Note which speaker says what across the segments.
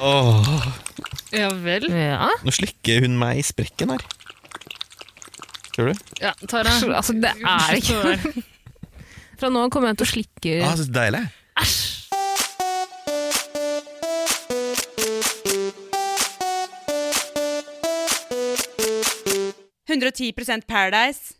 Speaker 1: Åh,
Speaker 2: Ja vel.
Speaker 3: Ja.
Speaker 1: nå slikker hun meg i sprekken her. Tror du?
Speaker 2: Ja, Tara.
Speaker 3: Altså, det er ikke Fra nå av kommer jeg til å slikke
Speaker 1: Ah, så deilig.
Speaker 4: det. 110 Paradise.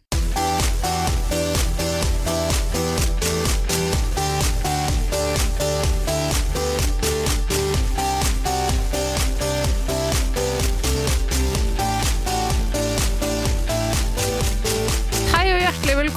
Speaker 3: Hei og hjertelig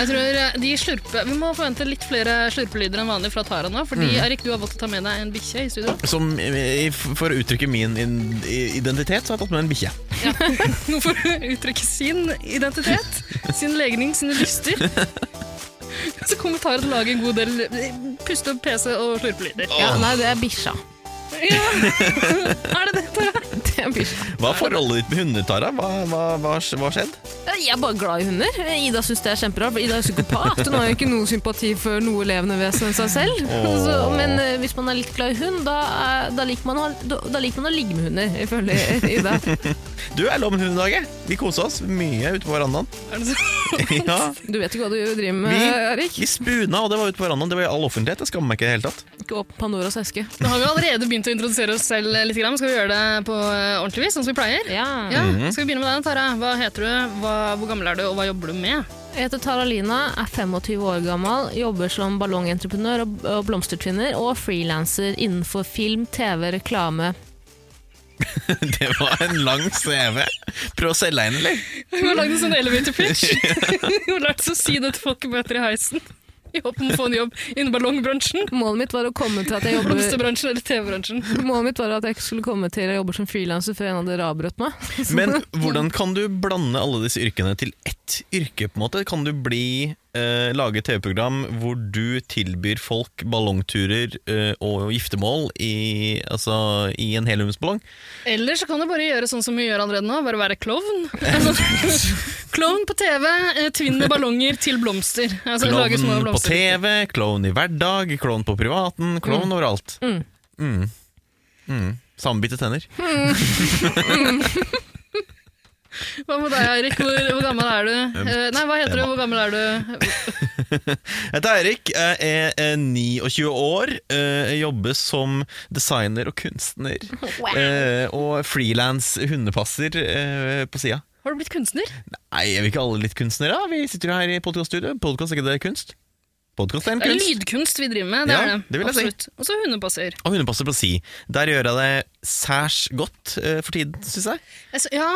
Speaker 2: Jeg tror eh, de slurpe, Vi må forvente litt flere slurpelyder enn vanlig fra Tara nå. Fordi Erik, du har valgt å ta med deg en bikkje i studio.
Speaker 1: Som, eh, for å uttrykke min in- identitet, så har jeg tatt med en bikkje.
Speaker 2: Nå får du uttrykke sin identitet, sin legning, sine lyster. Så kommer Tara til å lage en god del eh, puste- og pese- og slurpelyder.
Speaker 3: Ja, nei, det er bikkja.
Speaker 2: Ja. Er det det, Tara?
Speaker 3: Det er bikkja.
Speaker 1: Hva er forholdet ditt med hunder, Tara? Hva har skjedd?
Speaker 3: Eh, Jeg er bare glad i hunder. Eh, Ida syns det er kjemperart, for Ida er psykopat. Hun har jo ikke noe sympati for noe levende vesen enn seg selv.
Speaker 1: Åh.
Speaker 3: Så, men eh, hvis man er litt glad i hund, da, er- da, liker man å, ha- da, da liker man å ligge med hunder, ifølge Ida.
Speaker 1: Du er lov med hundedaget. Vi koser oss mye ute på verandaen.
Speaker 2: Er det så?
Speaker 1: Ja,
Speaker 3: Du vet ikke hva du driver med,
Speaker 1: vi,
Speaker 3: Erik?
Speaker 1: vi spuna, og det var ute på verandaen. Det var i all offentlighet. Jeg skammer meg ikke i det hele tatt.
Speaker 3: Ikke åpne Pandoras eske.
Speaker 2: Nå har vi allerede begynt å introdusere oss selv litt. Grann. Skal vi gjøre det på eh, ordentlig vis, sånn som vi pleier?
Speaker 3: Ja.
Speaker 2: Ja, Skal vi begynne med deg, Tara? Hva heter du, hva, hvor gammel er du, og hva jobber du med?
Speaker 3: Jeg heter Tara Lina, er 25 år gammel, jobber som ballongentreprenør og, og blomstertvinner og frilanser innenfor film, TV, reklame.
Speaker 1: Det var en lang CV. Prøv å selge inn, eller?
Speaker 2: Hun har lagd en sånn elevator pitch. Hun har lært seg å si det til folk hun møter i heisen. I håp om å få en jobb innen ballongbransjen,
Speaker 3: Målet mitt var å komme til at jeg jobber
Speaker 2: blomsterbransjen eller TV-bransjen.
Speaker 3: Målet mitt var at jeg ikke skulle komme til at jeg jobber som frilanser før en hadde avbrutt meg. Så-
Speaker 1: Men hvordan kan du blande alle disse yrkene til ett yrke? på en måte? Kan du bli, eh, lage TV-program hvor du tilbyr folk ballongturer eh, og giftermål i, altså, i en helhumsballong?
Speaker 2: Eller så kan du bare gjøre sånn som vi gjør allerede nå, bare være klovn. Altså, klovn på TV, eh, tvinne ballonger til blomster. Altså, lage små
Speaker 1: Klovn på
Speaker 2: blomster.
Speaker 1: TV, klovn i hverdag, klovn på privaten, klovn overalt.
Speaker 3: Mm.
Speaker 1: Mm. Mm. Sammenbitte tenner.
Speaker 2: Hva med deg, Eirik? Hvor, hvor gammel er du? Eh, Nei, hva heter du? Hvor gammel er du?
Speaker 1: Jeg heter Eirik, jeg er eh, 29 år. eh, Jeg jobber som designer og kunstner. eh, Og frilans hundepasser eh, på sida.
Speaker 2: Har du blitt kunstner?
Speaker 1: Nei, er vi ikke alle litt kunstnere? da? Vi sitter jo her i podkaststudio. Podkast, er ikke det kunst? Podkast er en
Speaker 2: Det er
Speaker 1: kunst.
Speaker 2: lydkunst vi driver med, det
Speaker 1: Ja,
Speaker 2: er det.
Speaker 1: det vil jeg si.
Speaker 2: Absolutt. Og så hundepasser.
Speaker 1: Og hundepasser på si. Der gjør jeg det særs godt eh, for tiden, syns jeg.
Speaker 2: Altså, ja,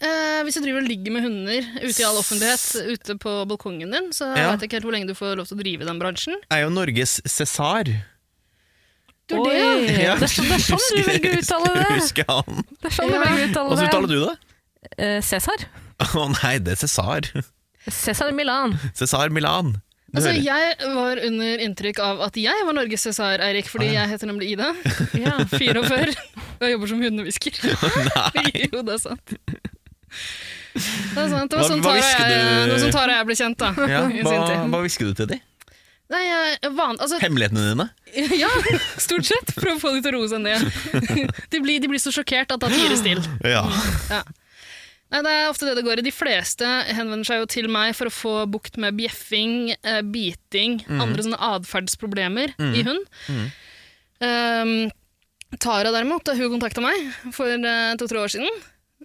Speaker 2: eh, hvis du driver og ligger med hunder ute i all offentlighet, ute på balkongen din, så
Speaker 1: Ja.
Speaker 2: vet jeg ikke helt hvor lenge du får lov til å drive i den bransjen.
Speaker 1: Jeg er jo Norges Cæsar.
Speaker 2: Du er
Speaker 3: Oi,
Speaker 2: det,
Speaker 3: det,
Speaker 1: ja.
Speaker 3: er sånn, det er sånn du velger å uttale det!
Speaker 1: Husker han.
Speaker 3: Det er sånn du
Speaker 2: Ja.
Speaker 3: velger å uttale
Speaker 1: Hvordan
Speaker 3: det.
Speaker 1: uttaler du det?
Speaker 3: Eh, Cæsar.
Speaker 1: Å nei, det er Cæsar.
Speaker 3: Cæsar i Milan.
Speaker 1: Cæsar Milan. Du
Speaker 2: Altså,
Speaker 1: hører.
Speaker 2: jeg var under inntrykk av at jeg var Norges Cæsar, Eirik, fordi
Speaker 1: Ah, ja.
Speaker 2: jeg heter nemlig Ida.
Speaker 3: Ja.
Speaker 2: 44. Og jeg jobber som hundehvisker.
Speaker 1: Nei.
Speaker 2: jo, det er sant. Det er sant. Det var
Speaker 1: Hva-
Speaker 2: sånn
Speaker 1: hva
Speaker 2: Tara og
Speaker 1: hvisker
Speaker 2: jeg,
Speaker 1: du?
Speaker 2: det var sånn Tara og jeg ble kjent, da.
Speaker 1: Ja,
Speaker 2: I
Speaker 1: hva,
Speaker 2: sin tid.
Speaker 1: hva hvisker du til de?
Speaker 2: Nei, jeg, van, altså,
Speaker 1: Hemmelighetene dine?
Speaker 2: ja, stort sett. Prøv å få dem til å roe seg ned. De blir, de blir så sjokkert at da tier det stille.
Speaker 1: Ja.
Speaker 2: Nei, Det er ofte det det går i. De fleste henvender seg jo til meg for å få bukt med bjeffing, eh, biting, andre sånne atferdsproblemer i hund. Um, Tara derimot, da hun kontakta meg for eh, to-tre år siden,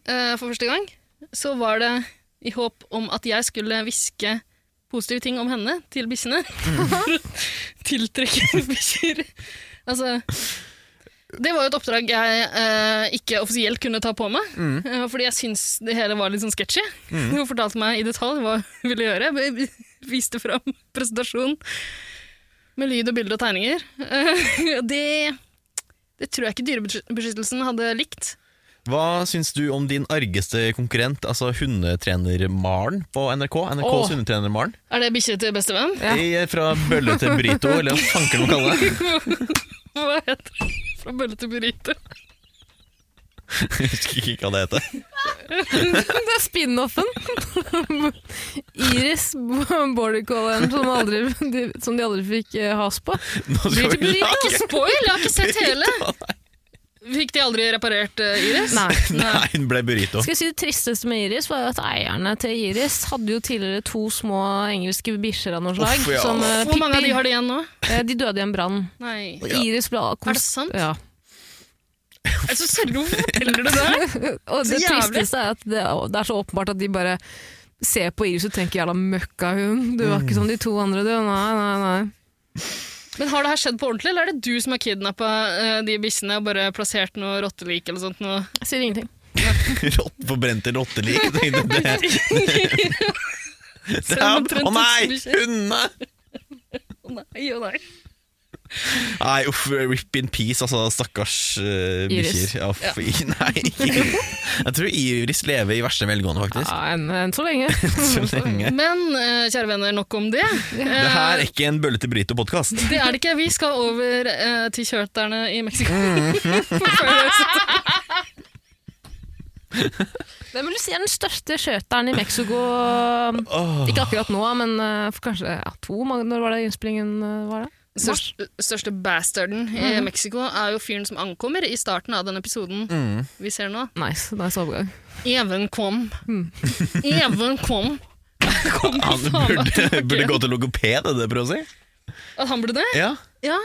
Speaker 2: eh, for første gang, så var det i håp om at jeg skulle hviske positive ting om henne til bikkjene. For å tiltrekke bikkjer. Altså Det var jo et oppdrag jeg eh, ikke offisielt kunne ta på meg, eh, fordi jeg syns det hele var litt sånn sketchy. Hun fortalte meg i detalj hva hun ville gjøre. Jeg Viste fram presentasjon med lyd og bilder og tegninger. Eh, det, det tror jeg ikke Dyrebeskyttelsen hadde likt.
Speaker 1: Hva syns du om din argeste konkurrent, altså hundetrener Maren på NRK? NRKs
Speaker 3: Åh.
Speaker 1: hundetrener Maren.
Speaker 2: Er det bikkje til bestevenn?
Speaker 3: Ja.
Speaker 1: I- Fra bølle til burrito, eller hva fanker man kaller det.
Speaker 2: Hva heter det? Fra bølle til burrito.
Speaker 1: Jeg husker ikke hva det heter.
Speaker 3: Det er spin-offen. Iris border collien som, aldri- de- som de aldri fikk eh, has på.
Speaker 1: Nå skal
Speaker 3: Blir det
Speaker 1: vi
Speaker 3: burrito?
Speaker 1: lage
Speaker 2: Ikke spoil, jeg har ikke sett hele.
Speaker 1: burrito.
Speaker 2: Fikk de aldri reparert eh, Iris?
Speaker 3: Nei.
Speaker 1: Nei, den ble burrito.
Speaker 3: Skal jeg si Det tristeste med Iris var jo at eierne til Iris hadde jo tidligere to små engelske bikkjer av noe slag.
Speaker 1: Uff, ja.
Speaker 3: som, eh,
Speaker 2: Hvor mange av de
Speaker 3: Pippi.
Speaker 2: har de igjen nå?
Speaker 3: Eh, de døde i en brann.
Speaker 2: Nei.
Speaker 3: Og
Speaker 1: Ja.
Speaker 3: Iris ble
Speaker 2: Er det sant?
Speaker 3: Ja.
Speaker 2: Altså, Sørre, hvorfor forteller du det?
Speaker 3: Og det
Speaker 2: Så jævlig.
Speaker 3: tristeste er at det, det er så åpenbart at de bare ser på Iris og tenker 'jævla møkkahund', du var ikke som de to andre, du. Nei, nei, nei.
Speaker 2: Men har det her skjedd på ordentlig, eller er det du som har kidnappa de bissene og bare plassert noe rottelik eller sånt noe?
Speaker 3: Jeg sier ingenting.
Speaker 1: Rott, forbrente rottelik. Jeg tenkte, Det, det
Speaker 2: Selv om
Speaker 1: er,
Speaker 2: omtrent
Speaker 1: å nei!
Speaker 2: tusen bikkjer.
Speaker 1: Hundene!
Speaker 2: Å nei, å nei.
Speaker 1: Nei, uff, rip in peace, altså. Stakkars uh,
Speaker 3: Iris.
Speaker 1: bikkjer. Ja, uff, i- Nei, ikke Jeg tror Iris lever i verste velgående, faktisk.
Speaker 3: Ja, enn, enn så lenge.
Speaker 1: Så lenge.
Speaker 2: Men eh, kjære venner, nok om det.
Speaker 1: Det her er
Speaker 2: Eh,
Speaker 1: ikke en Bølle til Brito-podkast.
Speaker 2: det er det ikke. Vi skal over eh, til kjørterne i Mexico.
Speaker 1: Mm.
Speaker 2: Forfølgelse.
Speaker 3: Hvem vil du si er den største skjøteren i Mexico?
Speaker 1: Åh,
Speaker 3: Ikke akkurat nå, men eh, for kanskje ja, to? mange- Når var det innspillingen eh, var? det? Mars?
Speaker 2: Største, største bastarden i Mexico er jo fyren som ankommer i starten av den episoden
Speaker 1: Mm.
Speaker 2: vi ser nå.
Speaker 3: Nice, nice overgang.
Speaker 2: Even kom. Even kom. kom
Speaker 1: Han
Speaker 2: faen meg
Speaker 1: burde,
Speaker 2: tilbake.
Speaker 1: burde gå til logoped, er det det jeg prøver å si?
Speaker 2: At han burde det?
Speaker 1: Ja,
Speaker 2: Ja.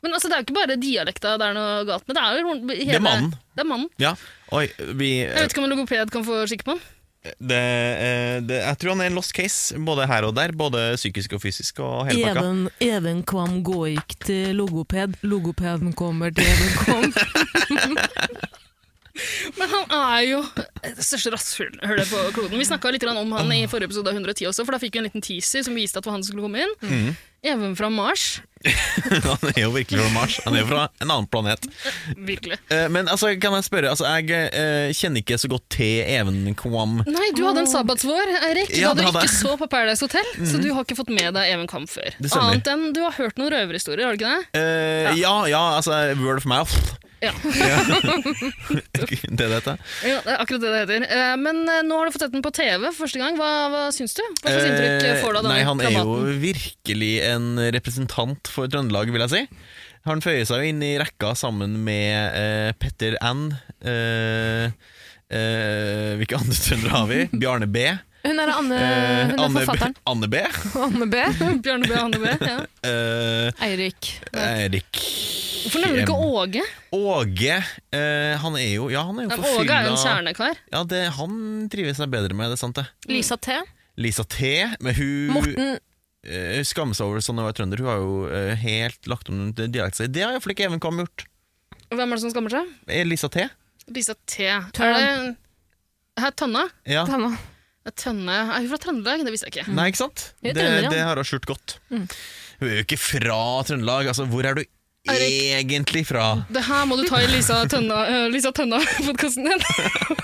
Speaker 2: Men altså, det er jo ikke bare dialekta det er noe galt med. Det er jo hele,
Speaker 1: er mannen.
Speaker 2: Det er mannen.
Speaker 1: ja. Oi, vi eh,
Speaker 2: Jeg vet ikke om en logoped kan få skikke på den.
Speaker 1: det, eh, det, Jeg tror han er en lost case, både her og der. Både psykisk og fysisk og hele pakka.
Speaker 3: Even, even kvam gåik til logoped. Logopeden kommer til Even kvam.
Speaker 2: Men han er jo det største rasshølet på kloden. Vi snakka litt grann om han i forrige episode av 110 også, for da fikk vi en liten teaser som viste at det var han som skulle komme inn.
Speaker 1: Mm.
Speaker 2: Even fra Mars.
Speaker 1: Han er jo virkelig fra Mars. Han er jo fra en annen planet.
Speaker 2: Virkelig.
Speaker 1: Eh, Men altså, kan jeg spørre altså, Jeg eh, kjenner ikke så godt til Even Kwam.
Speaker 2: Nei, du hadde en sabbatsvår, Eirik.
Speaker 1: Ja,
Speaker 2: da
Speaker 1: det
Speaker 2: du
Speaker 1: hadde jeg.
Speaker 2: ikke
Speaker 1: Mhm.
Speaker 2: så på Paradise Hotel, så du har ikke fått med deg Even Kam før.
Speaker 1: Det stemmer.
Speaker 2: Annet enn du har hørt noen røverhistorier, har du ikke det?
Speaker 1: Eh, ja, ja, altså Word of mouth.
Speaker 2: Ja.
Speaker 1: det er dette.
Speaker 2: Ja, det er akkurat det det heter. Eh, Men eh, nå har du fått sett den på TV for første gang. Hva, hva syns du? Hva slags inntrykk eh, får du
Speaker 1: Eh,
Speaker 2: av denne
Speaker 1: Nei, han er jo
Speaker 2: dramaten?
Speaker 1: virkelig en representant for Trøndelag, vil jeg si. Han føyer seg jo inn i rekka sammen med eh, Petter N. Eh, eh, hvilke andre trøndere har vi? Bjarne B. Eh,
Speaker 3: Hun er Anne,
Speaker 2: Eh,
Speaker 3: hun er
Speaker 1: Anne,
Speaker 3: forfatteren.
Speaker 1: B. Anne B.
Speaker 3: Anne B.
Speaker 2: Bjørne B. Hanne B. Ja.
Speaker 1: Eh,
Speaker 3: Eirik.
Speaker 1: Erik
Speaker 2: Hvorfor nevner du ikke Åge?
Speaker 1: Åge. Eh, han er jo Ja, han er jo
Speaker 2: Men
Speaker 1: forfylla
Speaker 2: Åge er jo en kjernekar.
Speaker 1: Ja, det, han trives seg bedre med det, sant det.
Speaker 3: Lisa T.
Speaker 1: Lisa T, men hun
Speaker 3: Morten.
Speaker 1: eh, skammer seg over sånn å være trønder. Hun har jo eh, helt lagt om til dialekt. Det har iallfall ikke Even Kvam gjort.
Speaker 2: Hvem er det som skammer seg?
Speaker 1: Eh, Lisa T.
Speaker 2: Lisa T. Er
Speaker 3: Tønne.
Speaker 2: det Hæ, Tønne?
Speaker 1: Ja.
Speaker 3: Hanna.
Speaker 2: Ja, Tønne Er hun fra Trøndelag? Det visste jeg ikke.
Speaker 1: Nei, ikke sant?
Speaker 3: Mm. Hun er
Speaker 1: Det,
Speaker 3: trønder, ja. Mm.
Speaker 1: det har hun skjult godt. Hun er jo ikke fra Trøndelag. Altså, hvor er du
Speaker 2: Erik.
Speaker 1: egentlig fra?
Speaker 2: Det her må du ta i Lisa Tønna-podkasten din.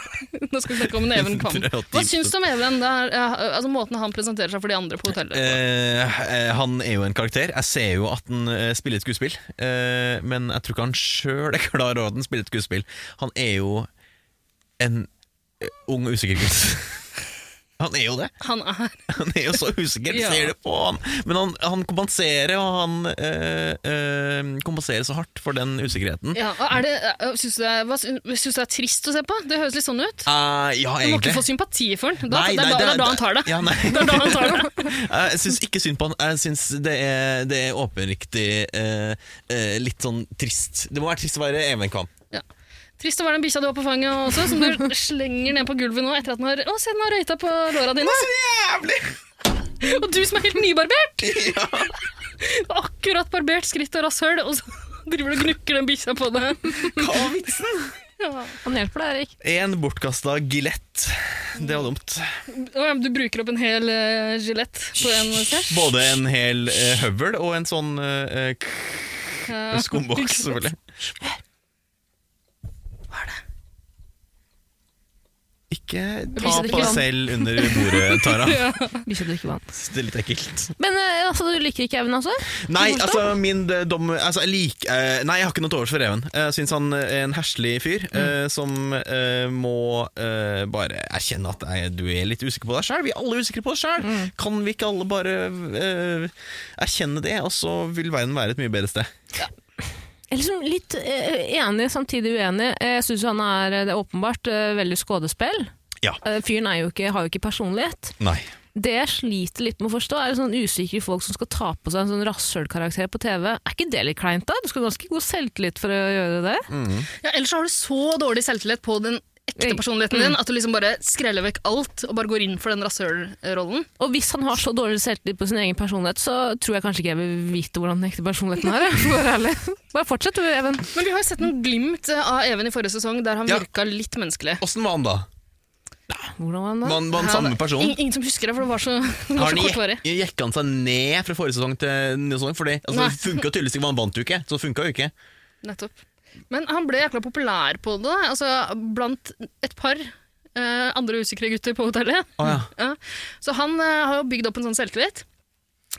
Speaker 2: Nå skal vi snakke om en Even Kvam. Hva syns du om Even? Det er, eh, altså, måten han presenterer seg for de andre på hotellet.
Speaker 1: Eh, eh, han er jo en karakter. Jeg ser jo at han eh, spiller et skuespill, eh, men jeg tror ikke han sjøl er klar over at han spiller et skuespill. Han er jo en eh, ung, usikker gutt. Han er jo det.
Speaker 2: Han er
Speaker 1: Han er jo så usikker,
Speaker 2: Ja.
Speaker 1: ser det på han. Men han, han kompenserer, og han eh, eh, kompenserer så hardt for den usikkerheten.
Speaker 2: Ja, og er det, øh, synes du det, er- hva, sy- synes du det er trist å se på? Det høres litt sånn ut.
Speaker 1: Eh, ja,
Speaker 2: Du må ikke
Speaker 1: egentlig.
Speaker 2: få sympati for den. Da,
Speaker 1: Nei,
Speaker 2: det, er
Speaker 1: nei,
Speaker 2: da, det
Speaker 1: det
Speaker 2: er
Speaker 1: er-
Speaker 2: da han tar det.
Speaker 1: Ja, nei.
Speaker 2: Det er da han tar det.
Speaker 1: Jeg syns ikke synd på han. Jeg syns det er, det er åpenriktig eh, eh, litt sånn trist. Det må være trist å være Evenkvam.
Speaker 2: Ja. Trist å være den bikkja du har på fanget også, som du slenger ned på gulvet nå etter at den har Å, se, den har røyta på låra dine!
Speaker 1: Jævlig!
Speaker 2: Og du som er helt nybarbert! Akkurat barbert skritt og rasshøl, og så driver du og gnukker den bikkja på deg.
Speaker 1: Hva er vitsen?
Speaker 2: Ja.
Speaker 3: Han hjelper deg, Eirik.
Speaker 1: En bortkasta gilett. Det var dumt.
Speaker 2: Å, ja, men Du bruker opp en hel uh, gilett på en skjær.
Speaker 1: Både en hel eh, høvel og en sånn eh, k-
Speaker 2: Ja.
Speaker 1: skumboks, selvfølgelig. Hva er det? Ikke ta
Speaker 3: blir
Speaker 1: på deg
Speaker 3: sånn.
Speaker 1: selv under bordet, Tara.
Speaker 2: Ja.
Speaker 3: Bikkje drikker vann.
Speaker 1: Det er litt ekkelt.
Speaker 3: Men eh, altså, du liker ikke Even, altså?
Speaker 1: Nei,
Speaker 3: Hvorfor?
Speaker 1: altså min eh, dom altså, jeg lik, eh, Nei, jeg har ikke noe til overs for Even. Jeg syns han er en herselig fyr eh, som eh, må eh, bare erkjenne at nei, du er litt usikker på deg sjøl. Vi er alle usikre på oss sjøl! Kan vi ikke alle bare eh, erkjenne det, og så vil verden være et mye bedre sted?
Speaker 3: Jeg er liksom litt eh, enig, samtidig uenig. Eh, Jeg syns han er eh, det er åpenbart eh, veldig skuespill.
Speaker 1: Ja.
Speaker 3: Eh, Fyren er jo ikke, har jo ikke personlighet.
Speaker 1: Nei.
Speaker 3: Det jeg sliter litt med å forstå, er sånn usikre folk som skal ta på seg en sånn rasshølkarakter på TV. Er ikke det litt kleint, da? Du skal ha ganske god selvtillit for å gjøre det.
Speaker 2: Ja, ellers så har du så dårlig selvtillit på den ekte
Speaker 3: Mm.
Speaker 2: personligheten din at du liksom bare skreller vekk alt og bare går inn for den rasørrollen.
Speaker 3: Og hvis han har så dårlig selvtillit på sin egen personlighet, så tror jeg kanskje ikke jeg vil vite hvordan den ekte personligheten er. jeg, For å være ærlig. Bare fortsett du, Even.
Speaker 2: Men vi har jo sett noen glimt eh, av Even i forrige sesong der han
Speaker 1: Ja.
Speaker 2: virka litt menneskelig.
Speaker 1: Åssen var han da?
Speaker 3: Hvordan var han
Speaker 1: Var
Speaker 3: da?
Speaker 1: han, var han
Speaker 2: Ja,
Speaker 1: samme
Speaker 2: det-
Speaker 1: person?
Speaker 2: Ingen, ingen som husker det, for det var så, det
Speaker 1: Har
Speaker 2: var
Speaker 1: han
Speaker 2: så kortvarig.
Speaker 1: jek- jekka han seg ned fra forrige sesong til ny sesong? Fordi altså,
Speaker 2: Nei.
Speaker 1: det funka tydeligvis ikke, man vant jo ikke. Så det funka jo ikke.
Speaker 2: Nettopp. Men han ble jækla populær på det, altså blant et par eh, andre usikre gutter på hotellet.
Speaker 1: Å, ja.
Speaker 2: Ja. Så han eh, har jo bygd opp en sånn selvtillit.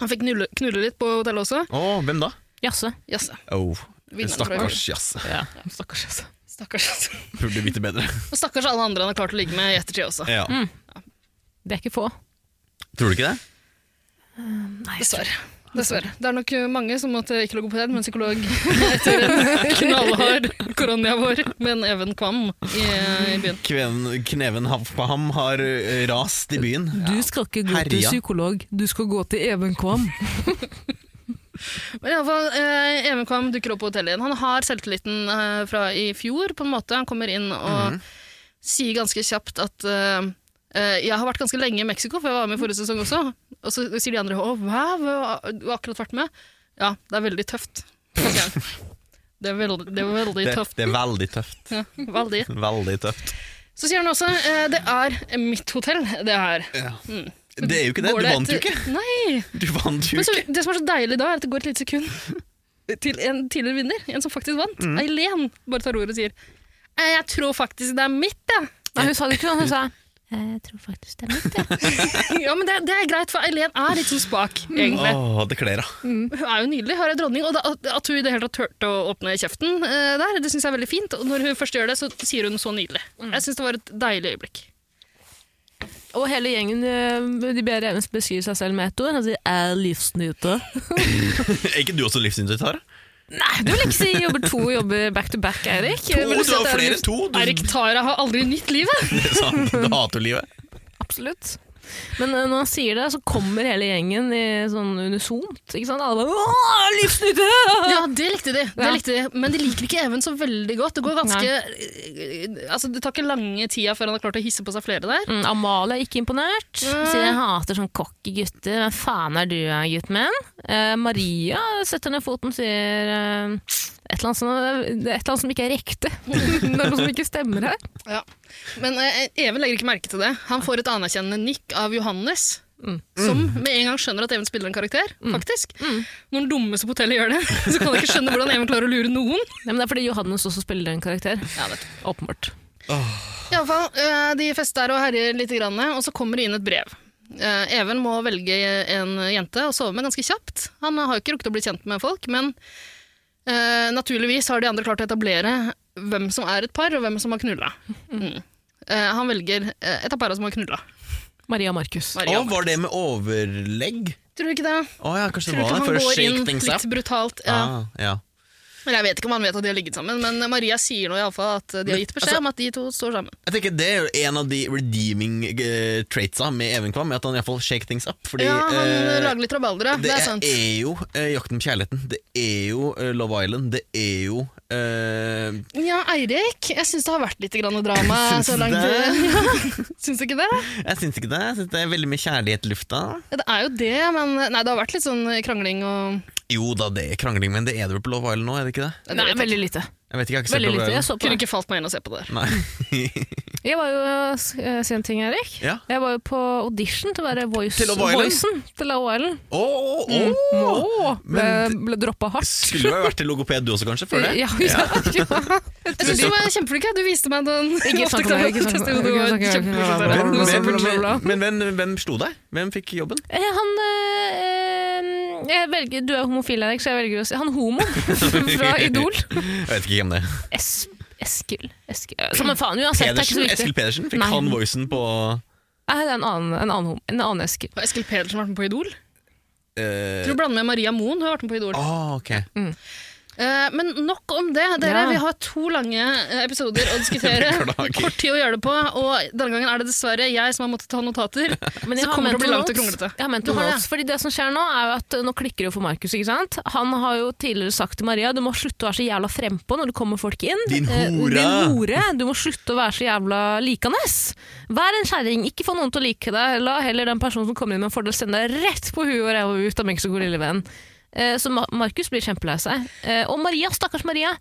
Speaker 2: Han fikk knulle, knulle litt på hotellet også.
Speaker 1: Å, hvem da?
Speaker 3: Jaså.
Speaker 2: Jaså,
Speaker 1: Oh,
Speaker 2: Vinneren, tror jeg.
Speaker 1: stakkars jasse.
Speaker 3: Ja, stakkars, altså.
Speaker 2: stakkars. altså.
Speaker 1: Burde vite bedre.
Speaker 2: Og stakkars alle andre han har klart å ligge med i ettertid også.
Speaker 1: Ja.
Speaker 3: Det er ikke få.
Speaker 1: Tror du ikke det?
Speaker 3: Nei,
Speaker 2: Dessverre. Dessverre. Det er nok eh, mange som måtte ikke logoped, men psykolog etter en knallhard koronia vår med en Even Kvam i, i byen.
Speaker 1: Kven, kneven hav- på ham har eh, rast i byen.
Speaker 3: Du skal ikke gå til
Speaker 1: Herja.
Speaker 3: psykolog, du skal gå til Even Kvam.
Speaker 2: Men i alle fall, eh, Even Kvam dukker opp på hotellet igjen. Han har selvtilliten eh, fra i fjor, på en måte. Han kommer inn og
Speaker 1: Mhm.
Speaker 2: sier ganske kjapt at eh, eh, jeg har vært ganske lenge i Mexico, for jeg var med i forrige sesong også. Og så sier de andre 'Å, wow, du har akkurat vært med'. Ja, det er veldig tøft. sier han. Det er veldig, det er veldig
Speaker 1: Det,
Speaker 2: tøft.
Speaker 1: det er veldig tøft.
Speaker 2: Ja, veldig.
Speaker 1: Veldig tøft.
Speaker 2: Så sier han også eh, det er mitt hotell, det her. Mm.
Speaker 1: Det er jo ikke det.
Speaker 2: Går
Speaker 1: Du vant jo
Speaker 2: etter-
Speaker 1: ikke.
Speaker 2: Nei.
Speaker 1: Du vant jo
Speaker 2: Men så,
Speaker 1: ikke.
Speaker 2: det som er så deilig da, er at det går et lite sekund til en tidligere vinner, en som faktisk vant.
Speaker 1: Mm.
Speaker 2: Eileen bare tar ordet og sier «Eh, jeg tror faktisk det er mitt, jeg.
Speaker 3: Nei, hun sa det ikke sånn, hun sa jeg tror faktisk det er mitt, jeg.
Speaker 2: Ja, men det, det er greit, for Eileen er litt sånn spak,
Speaker 1: Mm.
Speaker 2: egentlig.
Speaker 1: Åh, det kler henne.
Speaker 2: Hun er jo nydelig, har ei dronning. Og da, at- at hun i det hele tatt turte å åpne kjeften eh, der, det syns jeg er veldig fint. Og når hun først gjør det, så sier hun så nydelig.
Speaker 1: Mm.
Speaker 2: Jeg syns det var et deilig øyeblikk.
Speaker 3: Og hele gjengen eh, de ber Even beskrive seg selv med ett ord. Han sier 'er livsnyter'.
Speaker 1: Er ikke du også livsnyter, Tara?
Speaker 3: Nei, du vil ikke si jobber to jobber back to back, Eirik.
Speaker 1: To,
Speaker 3: Vil
Speaker 1: du
Speaker 3: si at
Speaker 1: har
Speaker 3: det er
Speaker 1: flere
Speaker 3: liv-
Speaker 1: enn to. Du,
Speaker 2: Eirik Tara har aldri nytt livet!
Speaker 1: det er sant. du hater livet.
Speaker 3: Absolutt. Men eh, når han sier det, så kommer hele gjengen i sånn unisont. ikke sant? Alle bare «Åh, livsnytte!»
Speaker 2: Ja, det likte de. Det
Speaker 3: Ja.
Speaker 2: likte de. Men de liker ikke Even så veldig godt. Det går ganske Altså, det tar ikke lange tida før han har klart å hisse på seg flere der.
Speaker 3: Mm, Amalie er ikke imponert.
Speaker 1: Mm.
Speaker 3: Sier jeg hater sånn cocky gutter. Hvem faen er du, gutten min? Eh, Maria setter ned foten sier eh, et eller, annet som, det er et eller annet som ikke er riktig. det er noe som ikke stemmer her.
Speaker 2: Ja. Men eh, Even legger ikke merke til det. Han får et anerkjennende nikk av Johannes. Som med en gang skjønner at Even spiller en karakter. faktisk. Når den dummeste på hotellet gjør det, så kan han ikke skjønne hvordan Even klarer å lure noen.
Speaker 3: Nei, men det er fordi Johannes også spiller en karakter. Åpenbart.
Speaker 2: I alle fall, eh, De fester og herjer litt, grann, og så kommer det inn et brev. Eh, Even må velge en jente å sove med ganske kjapt. Han har jo ikke rukket å bli kjent med folk, men eh, naturligvis har de andre klart å etablere hvem som er et par, og hvem som har knulla. Mm. Eh, han velger eh, et av para som har knulla.
Speaker 3: Maria Markus.
Speaker 1: Å, var det med overlegg?
Speaker 2: Tror du ikke det?
Speaker 1: Å ja, kanskje det
Speaker 2: Tror du
Speaker 1: var
Speaker 2: ikke
Speaker 1: det.
Speaker 2: han
Speaker 1: For å
Speaker 2: går
Speaker 1: shake
Speaker 2: inn
Speaker 1: things up.
Speaker 2: litt brutalt? Ja.
Speaker 1: Ah, ja.
Speaker 2: Men Jeg vet ikke om han vet at de har ligget sammen, men eh, Maria sier nå i alle fall at de har gitt beskjed
Speaker 1: altså-
Speaker 2: om at de to står sammen.
Speaker 1: Jeg tenker Det er jo en av de redeeming eh, traitsa med Even Kvam, at han iallfall shake things up. Fordi,
Speaker 2: ja, han
Speaker 1: eh,
Speaker 2: lager litt rabaldere, det,
Speaker 1: Det
Speaker 2: er sant.
Speaker 1: er jo eh, Jakten på kjærligheten. Det er jo eh, Love Island. Det er jo eh,
Speaker 2: Ja, Eirik, jeg syns det har vært litt grann drama
Speaker 1: Syns
Speaker 2: så
Speaker 1: du
Speaker 2: langt.
Speaker 1: det?
Speaker 2: Ja, syns du ikke det?
Speaker 1: Jeg syns ikke det. Jeg syns det er veldig mye kjærlighet i lufta.
Speaker 2: Ja, Det er jo det, men nei, det har vært litt sånn krangling og
Speaker 1: Jo da, det er krangling, men det er det vel på Love Island nå? er det ikke det?
Speaker 2: Nei, det
Speaker 3: Nei,
Speaker 2: vet jeg
Speaker 3: veldig lite.
Speaker 1: Jeg vet ikke, jeg har ikke sett
Speaker 3: Veldig
Speaker 1: Love
Speaker 3: lite. Jeg
Speaker 1: Island.
Speaker 3: så
Speaker 2: ikke.
Speaker 3: på
Speaker 2: Kunne
Speaker 3: det.
Speaker 2: ikke falt meg inn og se på det.
Speaker 1: Nei.
Speaker 3: Jeg var jo eh, Si en ting, Erik.
Speaker 1: Ja.
Speaker 3: Jeg var jo på audition til å være voice,
Speaker 1: Til Love Island?
Speaker 3: voicen til Love Island.
Speaker 1: Å, å, å.
Speaker 2: Mm,
Speaker 3: Åh, ble,
Speaker 1: Men
Speaker 3: ble droppa hardt.
Speaker 1: Skulle vel vært til logoped du også, kanskje? Før det?
Speaker 3: Ja, ja.
Speaker 2: Jeg syns du var kjempeflink. jeg. Du viste meg den.
Speaker 3: Ikke snakk om det, ikke snakk om det,
Speaker 2: Teste, du
Speaker 3: ikke
Speaker 2: var
Speaker 3: snakk om det.
Speaker 2: kjempeflink til
Speaker 3: Ja,
Speaker 1: Men,
Speaker 2: det.
Speaker 3: Blablabla.
Speaker 1: men, men, men hvem, hvem slo deg? Hvem fikk jobben?
Speaker 3: Eh, Han eh, eh, jeg velger, Du er homofil, Erik, så jeg velger å si han homoen fra Idol.
Speaker 1: Jeg vet ikke hvem det er.
Speaker 3: Es Eskil Eskil eh, Som en faen, uansett, det er
Speaker 1: Pedersen,
Speaker 3: ikke så viktig.
Speaker 1: Eskil Pedersen fikk
Speaker 3: Nei.
Speaker 1: han voicen på
Speaker 3: Nei, det er en annen, en annen, hom- en annen Eskil.
Speaker 2: Har Eskil Pedersen vært med på Idol?
Speaker 1: eh,
Speaker 2: Jeg tror du blander med Maria Moen. Hun har vært med på Idol.
Speaker 1: Ah, ok.
Speaker 2: Eh, men nok om det. Dere,
Speaker 3: Ja.
Speaker 2: Vi har to lange eh, episoder å diskutere.
Speaker 1: Beklager.
Speaker 2: Kort tid å gjøre det på, og denne gangen er det dessverre jeg som har måttet ta notater.
Speaker 3: Men
Speaker 2: Så kommer det til å bli langt og
Speaker 3: notes.
Speaker 2: kronglete.
Speaker 3: Jeg har ment
Speaker 2: Du har det,
Speaker 3: notes, fordi det som skjer nå, er jo at eh, nå klikker det jo for Markus. ikke sant? Han har jo tidligere sagt til Maria du må slutte å være så jævla frempå når det kommer folk inn.
Speaker 1: Din
Speaker 3: Eh,
Speaker 1: hore!»
Speaker 3: Din hore! Du må slutte å være så jævla likandes. Vær en kjerring, ikke få noen til å like deg. La heller den personen som kommer inn med en fordel, sende deg rett på huet og ræva ut av Mexico, lille venn. Eh, Så Ma- Markus blir kjempelei seg. Eh, Og Maria, stakkars Maria.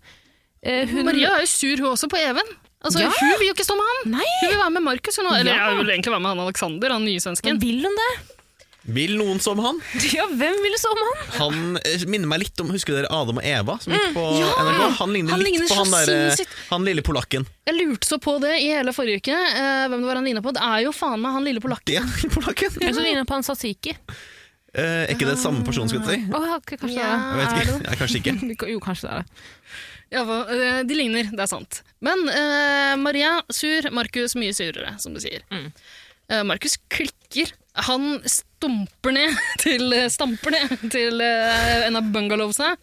Speaker 3: eh, Hun,
Speaker 2: Maria er jo sur, hun også, på Even. Altså,
Speaker 3: Ja.
Speaker 2: Hun vil jo ikke stå med han!
Speaker 3: Nei,
Speaker 2: Hun vil være med Markus. Hun, eller
Speaker 3: Ja.
Speaker 2: ja. hun vil egentlig være med han Alexander, han nye
Speaker 3: men
Speaker 2: svensken.
Speaker 3: vil hun det?
Speaker 1: Vil noen som han?
Speaker 3: Ja, hvem ville så om han?
Speaker 1: Han eh, minner meg litt om Husker dere Adam og Eva som gikk på NRK? Han ligner
Speaker 2: Mm, Han
Speaker 1: litt
Speaker 2: ligner
Speaker 1: på
Speaker 2: så
Speaker 1: han, der, eh,
Speaker 2: sinnssykt.
Speaker 1: han lille polakken.
Speaker 2: Jeg lurte så på det i hele forrige uke, eh, hvem det var han ligna på. Det er jo faen meg han lille polakken.
Speaker 1: Det er polakken!
Speaker 3: Eller så ligner han på han Satiki.
Speaker 1: Eh, er ikke det samme person, skal jeg si?
Speaker 3: Å, ja, kanskje det er det.
Speaker 1: Jeg vet
Speaker 2: Ja, er
Speaker 1: ikke.
Speaker 2: det?
Speaker 1: Nei, kanskje ikke.
Speaker 3: Jo, kanskje det er det.
Speaker 2: Ja, hva- eh, de ligner, det er sant. Men eh, Maria sur, Markus mye surere, som du sier.
Speaker 3: Mm.
Speaker 2: Eh, Markus klikker. Han stumper ned til, eh, stamper ned til eh, en av bungalowsene.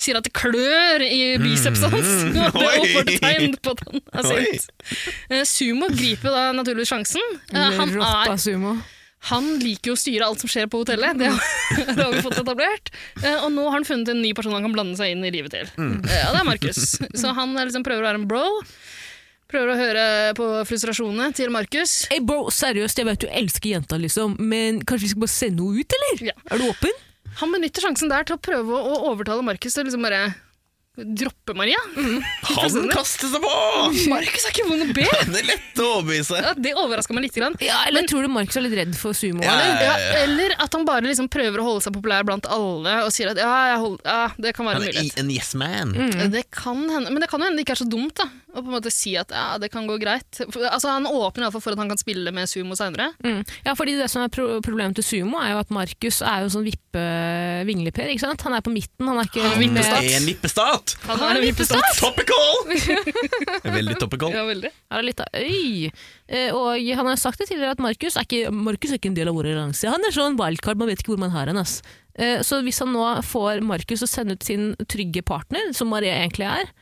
Speaker 2: Sier at det klør i biceps hans. og det er
Speaker 1: Mm. Oi!
Speaker 2: åpenbart tegn på at han er
Speaker 1: Oi.
Speaker 2: sint. Eh, Sumo griper da naturligvis sjansen. Eh, han, er,
Speaker 3: sumo.
Speaker 2: han liker jo å styre alt som skjer på hotellet. Det har, det har vi fått etablert. Eh, Og nå har han funnet en ny person han kan blande seg inn i livet til. Eh, Og det er Markus. Så han er liksom prøver å være en bro. Prøver å høre på frustrasjonene til Markus.
Speaker 3: Hey bro, seriøst, jeg vet du elsker jenta, liksom, men kanskje vi skal bare sende henne ut, eller?
Speaker 2: Ja.
Speaker 3: Er du åpen?
Speaker 2: Han benytter sjansen der til å prøve å overtale Markus til liksom bare droppe Maria.
Speaker 1: Han kaster seg på!
Speaker 2: Markus er ikke vond å be!
Speaker 1: Han er lett å overbevise.
Speaker 2: Ja, det overraska meg lite grann.
Speaker 3: Ja, eller tror du Markus er litt redd for sumo?
Speaker 1: Ja,
Speaker 3: eller?
Speaker 2: Eller, ja, eller at han bare liksom prøver å holde seg populær blant alle og sier at ja, jeg hold, ja det kan være
Speaker 1: Han
Speaker 2: en
Speaker 1: er
Speaker 2: mulighet.
Speaker 1: i- en yes man.
Speaker 3: Mm.
Speaker 2: Det kan hende, men det kan jo hende det ikke er så dumt da, å på en måte si at ja, det kan gå greit. For, altså, han åpner i hvert fall for at han kan spille med sumo seinere.
Speaker 3: Mm. ja, fordi det som er pro problemet til sumo, er jo at Markus er jo sånn vippe-vingleper, ikke sant? Han er på midten, han er ikke
Speaker 2: Han er vippestat.
Speaker 1: En vippestat!
Speaker 2: Han
Speaker 3: Han er
Speaker 2: er en vippestat!
Speaker 1: Topical! Veldig topical.
Speaker 2: Ja, veldig.
Speaker 3: Ja, litt av øy. Eh, Og han har jo sagt det tidligere at Markus er, ikke- Markus er ikke en del av vår allianse. Han er sånn wildcard, man vet ikke hvor man har han. Ass. Eh, Så hvis han nå får Markus å sende ut sin trygge partner, som Maria egentlig er,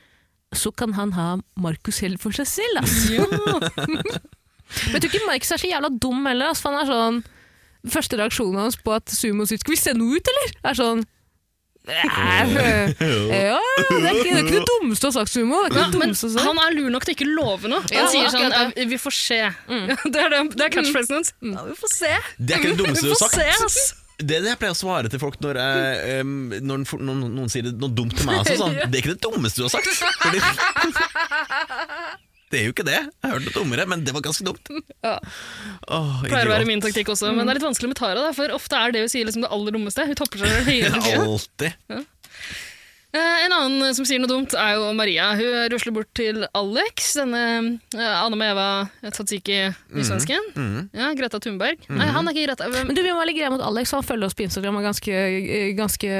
Speaker 3: så kan han ha Markus helt for seg selv, ass. Men jeg tror ikke Markus er så jævla dum heller, ass. for Han er sånn Første reaksjonen hans på at Sumo sier 'skal vi sende henne ut', eller? er sånn «Nei, eh, Ja, det er ikke det, er ikke det dummeste å ha sagt, Sumo. Det er
Speaker 2: Ja,
Speaker 3: ikke det
Speaker 2: men
Speaker 3: dummeste å ha sagt.
Speaker 2: han er lur nok til ikke å love noe. Han
Speaker 3: Sånn. Ja,
Speaker 2: sier sånn
Speaker 3: akkurat Mm.
Speaker 2: ja, 'vi får se'. Det er, det, det er catchphrasen hans. Ja, vi får se.
Speaker 1: Det er ikke det dummeste du har sagt.
Speaker 2: Vi får se, ass.
Speaker 1: Det er det jeg pleier å svare til folk når, jeg, em, når, en- når noen sier noe dumt til meg. Også, sånn. Det er ikke det dummeste du har sagt. Fordi, det er jo ikke det. Jeg hørte noe dummere, men det var ganske dumt.
Speaker 2: Ja.
Speaker 1: Åh,
Speaker 2: Pleier å være
Speaker 1: idiot.
Speaker 2: min taktikk også, men det er litt vanskelig med Tara, da, for ofte er det hun sier liksom det aller dummeste. Hun topper seg hele tiden.
Speaker 1: Alltid.
Speaker 2: Eh, En annen som sier noe dumt, er jo Maria. Hun rusler bort til Alex, denne eh, Anne med Eva Tatsiki,
Speaker 1: Mhm.
Speaker 2: nysvensken. Ja, Greta Thunberg. Nei, han er ikke Greta. Hvem?
Speaker 3: Men du, vi må være litt greie mot Alex, han følger oss på Instagram og er ganske, eh, ganske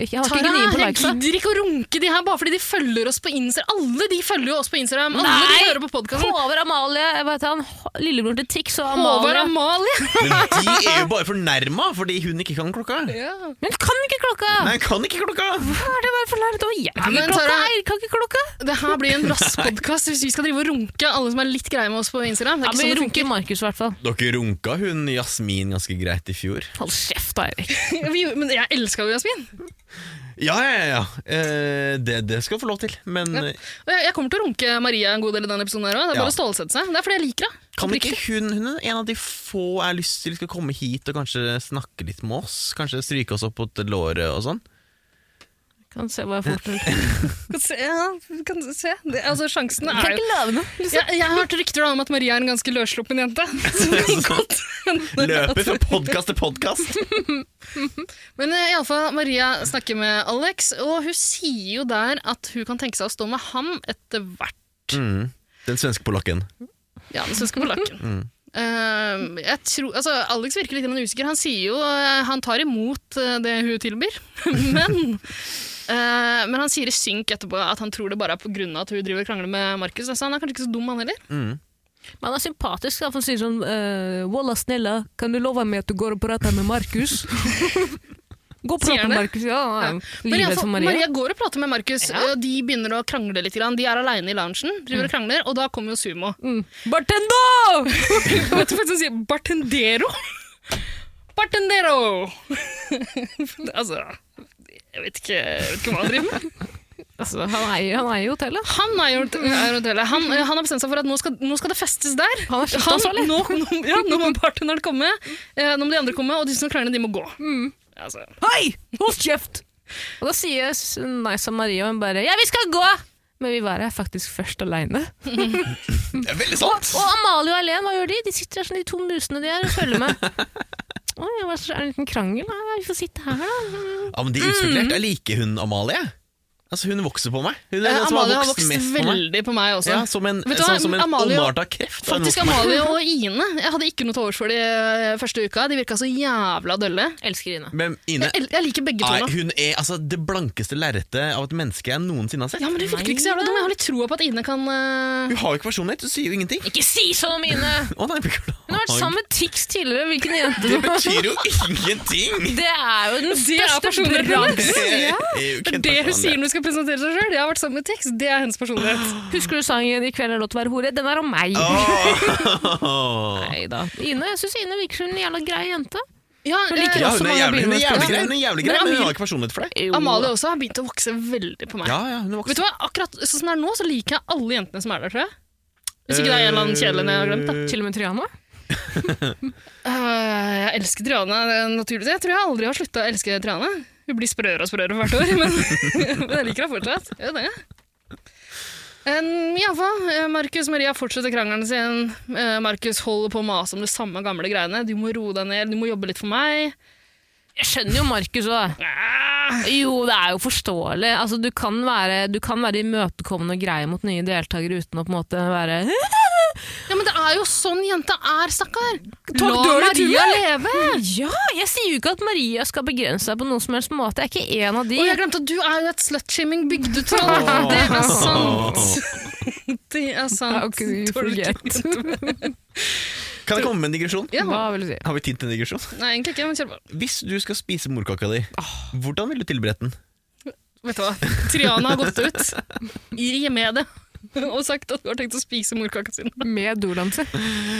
Speaker 3: ikke, Han har
Speaker 2: Tara,
Speaker 3: ikke gnidd på
Speaker 2: jeg
Speaker 3: likesa.
Speaker 2: gidder ikke å runke de her bare fordi de følger oss på Instagram. Alle de følger jo oss på Instagram. Alle
Speaker 3: Nei!
Speaker 2: de hører på podkasten.
Speaker 3: Håvard Amalie, jeg vet han, H- lillebror til Tix og
Speaker 2: Håvard
Speaker 3: Amalie.
Speaker 2: Amalie!
Speaker 1: Men de er jo bare fornærma fordi hun ikke kan klokka.
Speaker 2: Ja.
Speaker 3: Men kan ikke klokka!
Speaker 1: Nei, jeg kan ikke klokka!
Speaker 3: Hva er det bare for lært å Jeg kan
Speaker 2: men
Speaker 3: ikke klokka,
Speaker 2: Tara-
Speaker 3: Eirik kan ikke klokka!
Speaker 2: Det her blir en rask podkast hvis vi skal drive og runke alle som er litt greie med oss på Instagram. Det
Speaker 3: Ja,
Speaker 2: er
Speaker 3: men
Speaker 2: ikke
Speaker 3: vi
Speaker 2: sånn det
Speaker 3: runker Markus i hvert fall.
Speaker 1: Dere runka hun Jasmin ganske greit i fjor.
Speaker 3: Hold kjeft da, Eirik.
Speaker 2: funker. Vi gjorde- Men jeg elska jo Jasmin.
Speaker 1: Ja, ja, ja. Eh, det, det skal hun få lov til, men eh,
Speaker 2: Og jeg jeg kommer til å runke Maria en god del i denne episoden. her også. Det er
Speaker 1: Ja.
Speaker 2: bare å stålsette seg. Det er fordi jeg liker henne.
Speaker 1: Kan ikke
Speaker 2: Oppriktig.
Speaker 1: hun, hun er en av de få jeg har lyst til skal komme hit og kanskje snakke litt med oss? Kanskje stryke oss opp mot låret og sånn?
Speaker 3: Kan se hva jeg får til.
Speaker 2: Kan se, ja, kan se. Det, altså, sjansen er
Speaker 3: Kan
Speaker 2: jo
Speaker 3: ikke love noe.
Speaker 2: ja, Jeg har hørt rykter om at Maria er en ganske løssluppen jente. Så det kan godt hende
Speaker 1: Løper Sånn. fra
Speaker 2: at-
Speaker 1: podkast til podkast!
Speaker 2: Men eh, i alle fall, Maria snakker med Alex, og hun sier jo der at hun kan tenke seg å stå med ham etter hvert.
Speaker 1: Mm. Den svenske polakken.
Speaker 2: Ja, den svenske polakken. Eh, jeg tror, altså, Alex virker litt grann usikker. Han sier jo eh, han tar imot eh, det hun tilbyr, men eh, Men han sier i synk etterpå at han tror det bare er pga. at hun driver og krangler med Markus. Så han er kanskje ikke så dum, han heller.
Speaker 3: Men han er sympatisk. da, for Han sier sånn eh, Walla, snella, kan du love meg at du går og prater med Markus? Gå og
Speaker 2: Sier
Speaker 3: prat
Speaker 2: han
Speaker 3: med
Speaker 2: det?
Speaker 3: Markus. Ja,
Speaker 2: Ja.
Speaker 3: han er
Speaker 2: Men i alle
Speaker 3: livredd
Speaker 2: fall,
Speaker 3: for Maria.
Speaker 2: Maria går og prater med Markus,
Speaker 3: Ja.
Speaker 2: og de begynner å krangle litt. Grann. De er aleine i loungen, driver og krangler, og da kommer jo Sumo.
Speaker 3: Mm. Bartendo!
Speaker 2: Vet du hva som sier bartendero? Bartendero! altså jeg vet, ikke, jeg vet ikke hva han driver med.
Speaker 3: altså, han er, jo- han er i hotellet.
Speaker 2: Han er jo er jo hotellet. Han, han har bestemt seg for at nå skal, nå skal det festes der.
Speaker 3: Han er
Speaker 2: Han,
Speaker 3: skiftansvarlig.
Speaker 2: nå, nå, ja, nå må bartenderen komme, eh, nå må de andre komme, og de som krangler, de må gå. Altså,
Speaker 3: Hei! Hold kjeft! Og da sier s- Nice og Maria og hun bare Ja, vi skal gå! Men vi var her faktisk først aleine.
Speaker 1: Det er veldig
Speaker 3: Og,
Speaker 1: sant!
Speaker 3: og Amalie og Eileen, hva gjør de? De sitter der som de to musene de er og følger med. Oi, hva er det en liten krangel? Ja, vi får sitte her, da.
Speaker 2: Mm.
Speaker 1: Ja, men de er utspekulert. Jeg liker hun Amalie. Altså, hun vokser på meg. Hun er
Speaker 2: eh,
Speaker 1: den som
Speaker 2: Amalie har vokst veldig på meg også.
Speaker 1: Ja, som en,
Speaker 2: Vet du hva,
Speaker 1: sånn, som en
Speaker 2: Amalie-
Speaker 1: ondarta kreft. har hun vokst
Speaker 2: Faktisk
Speaker 1: på meg.
Speaker 2: Amalie og Ine. Jeg hadde ikke noe til overs for de eh, første uka. De virka så jævla dølle.
Speaker 3: Elsker Ine.
Speaker 1: Men Ine,
Speaker 2: Jeg, el- jeg liker begge to
Speaker 1: er,
Speaker 2: nå.
Speaker 1: hun er altså, det blankeste lerretet av et menneske jeg noensinne har sett.
Speaker 2: Ja, men Hun virker ikke så jævla dum. Jeg har litt troa på at Ine kan eh,
Speaker 1: Hun har jo ikke personlighet, hun sier jo ingenting.
Speaker 3: Ikke si sånn om Ine!
Speaker 1: Å nei, beklager.
Speaker 3: Hun har vært sammen med Tix tidligere. Hvilken jente?
Speaker 1: Det betyr jo ingenting!
Speaker 3: Det er jo den
Speaker 2: Det er
Speaker 3: største
Speaker 2: personlig
Speaker 3: bragd.
Speaker 1: Det er jo ikke
Speaker 2: Det
Speaker 1: en
Speaker 2: er det hun
Speaker 1: personlighet.
Speaker 2: sier når hun skal presentere seg sjøl. Jeg har vært sammen med Tex. Det er hennes personlighet.
Speaker 3: Husker du sangen 'I kveld er det lov til å være hore'? Den er om meg.
Speaker 1: Åh.
Speaker 3: Neida. Ine, jeg syns Ine virker som en jævla grei jente.
Speaker 2: Ja, eh,
Speaker 1: Ja,
Speaker 3: også
Speaker 1: hun er
Speaker 3: mange
Speaker 1: jævlig, hun er
Speaker 3: bilder.
Speaker 1: jævlig grei, hun er jævlig grei, men hun
Speaker 2: Men Amalie-
Speaker 1: har ikke personlighet for det.
Speaker 2: Amalie også har begynt å vokse veldig på meg.
Speaker 1: Ja, ja, hun er
Speaker 2: Vet
Speaker 1: voksen.
Speaker 2: du hva, akkurat Sånn som det er nå, så liker jeg alle jentene som er der, tror jeg. Hvis ikke det er en eller annen kjedelig en jeg har glemt. da.
Speaker 3: Til og med Triana.
Speaker 2: Øh, jeg elsker Triana, eh, naturligvis. Jeg tror jeg aldri har slutta å elske Triana. Hun blir sprøere og sprøere for hvert år, men, men jeg liker henne fortsatt. Jeg gjør det. Um, Iallfall, Markus og Maria fortsetter krangelen sin. Eh, Markus holder på å mase om det samme gamle greiene. Du må roe deg ned, du må jobbe litt for meg.
Speaker 3: Jeg skjønner jo Markus òg.
Speaker 2: Ah,
Speaker 3: Jo, det er jo forståelig. Altså, du, kan være, du kan være imøtekommende og grei mot nye deltakere uten å på en måte være
Speaker 2: Ja, men det er jo sånn jenta er, stakkar!
Speaker 3: Takk,
Speaker 2: La
Speaker 3: dårlig
Speaker 2: Maria
Speaker 3: tur.
Speaker 2: leve!
Speaker 3: Ja, jeg sier jo ikke at Maria skal begrense seg på noen som helst måte. Jeg er ikke en av de.
Speaker 2: Og jeg glemte at du er jo et slutshaming bygdetroll!
Speaker 1: Åh.
Speaker 2: Det er sant! Det er sant.
Speaker 3: How could you
Speaker 2: Dårlig
Speaker 3: forget?
Speaker 2: tur.
Speaker 1: Kan jeg komme med en digresjon?
Speaker 2: Ja.
Speaker 3: Hva vil du si?
Speaker 1: Har vi tid til en digresjon?
Speaker 2: Nei, egentlig ikke, men kjør på.
Speaker 1: Hvis du skal spise morkaka di, hvordan vil du tilberede den?
Speaker 2: Vet du hva? Triana har gått ut i med det og sagt at hun har tenkt å spise morkaka sin.
Speaker 3: Med dolanse.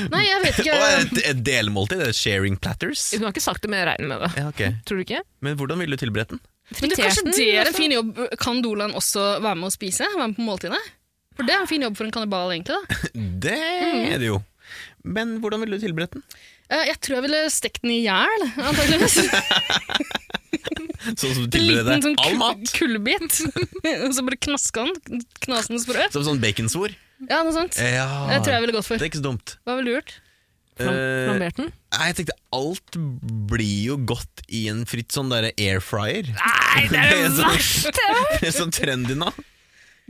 Speaker 2: Nei, jeg vet
Speaker 1: Og
Speaker 2: ikke.
Speaker 1: et, et delmåltid? er det Sharing platters?
Speaker 3: Hun har ikke sagt det, men jeg regner med det.
Speaker 1: Ja, ok.
Speaker 3: Tror du ikke?
Speaker 1: Men hvordan vil du tilberede den?
Speaker 2: Men du, kanskje
Speaker 3: Fritert den,
Speaker 2: det er en
Speaker 3: altså.
Speaker 2: fin jobb. Kan Dolan også være med å spise? Være med på måltidet? For det er en fin jobb for en kannibal, egentlig. da.
Speaker 1: Det
Speaker 2: Mm.
Speaker 1: er det jo. Men hvordan vil du tilberede den?
Speaker 2: Eh, Jeg tror jeg ville stekt den i hjel, antakeligvis.
Speaker 1: Sånn som du
Speaker 2: En
Speaker 1: tilbereder
Speaker 2: liten sånn
Speaker 1: all
Speaker 2: ku-
Speaker 1: mat?
Speaker 2: kullbit. Og så bare knaska den. Knasende sprø.
Speaker 1: Som sånn baconsvor?
Speaker 2: Ja, noe sånt.
Speaker 1: Ja.
Speaker 2: Jeg tror jeg ville gått
Speaker 1: Det
Speaker 2: for.
Speaker 1: er ikke så dumt.
Speaker 2: Hva ville du gjort?
Speaker 1: Eh,
Speaker 3: Flambert den?
Speaker 1: nei, jeg tenkte alt blir jo godt i en fritt sånn derre air fryer.
Speaker 3: Nei, det er det
Speaker 1: det er så-
Speaker 3: verste!
Speaker 1: Sånn trendy nå.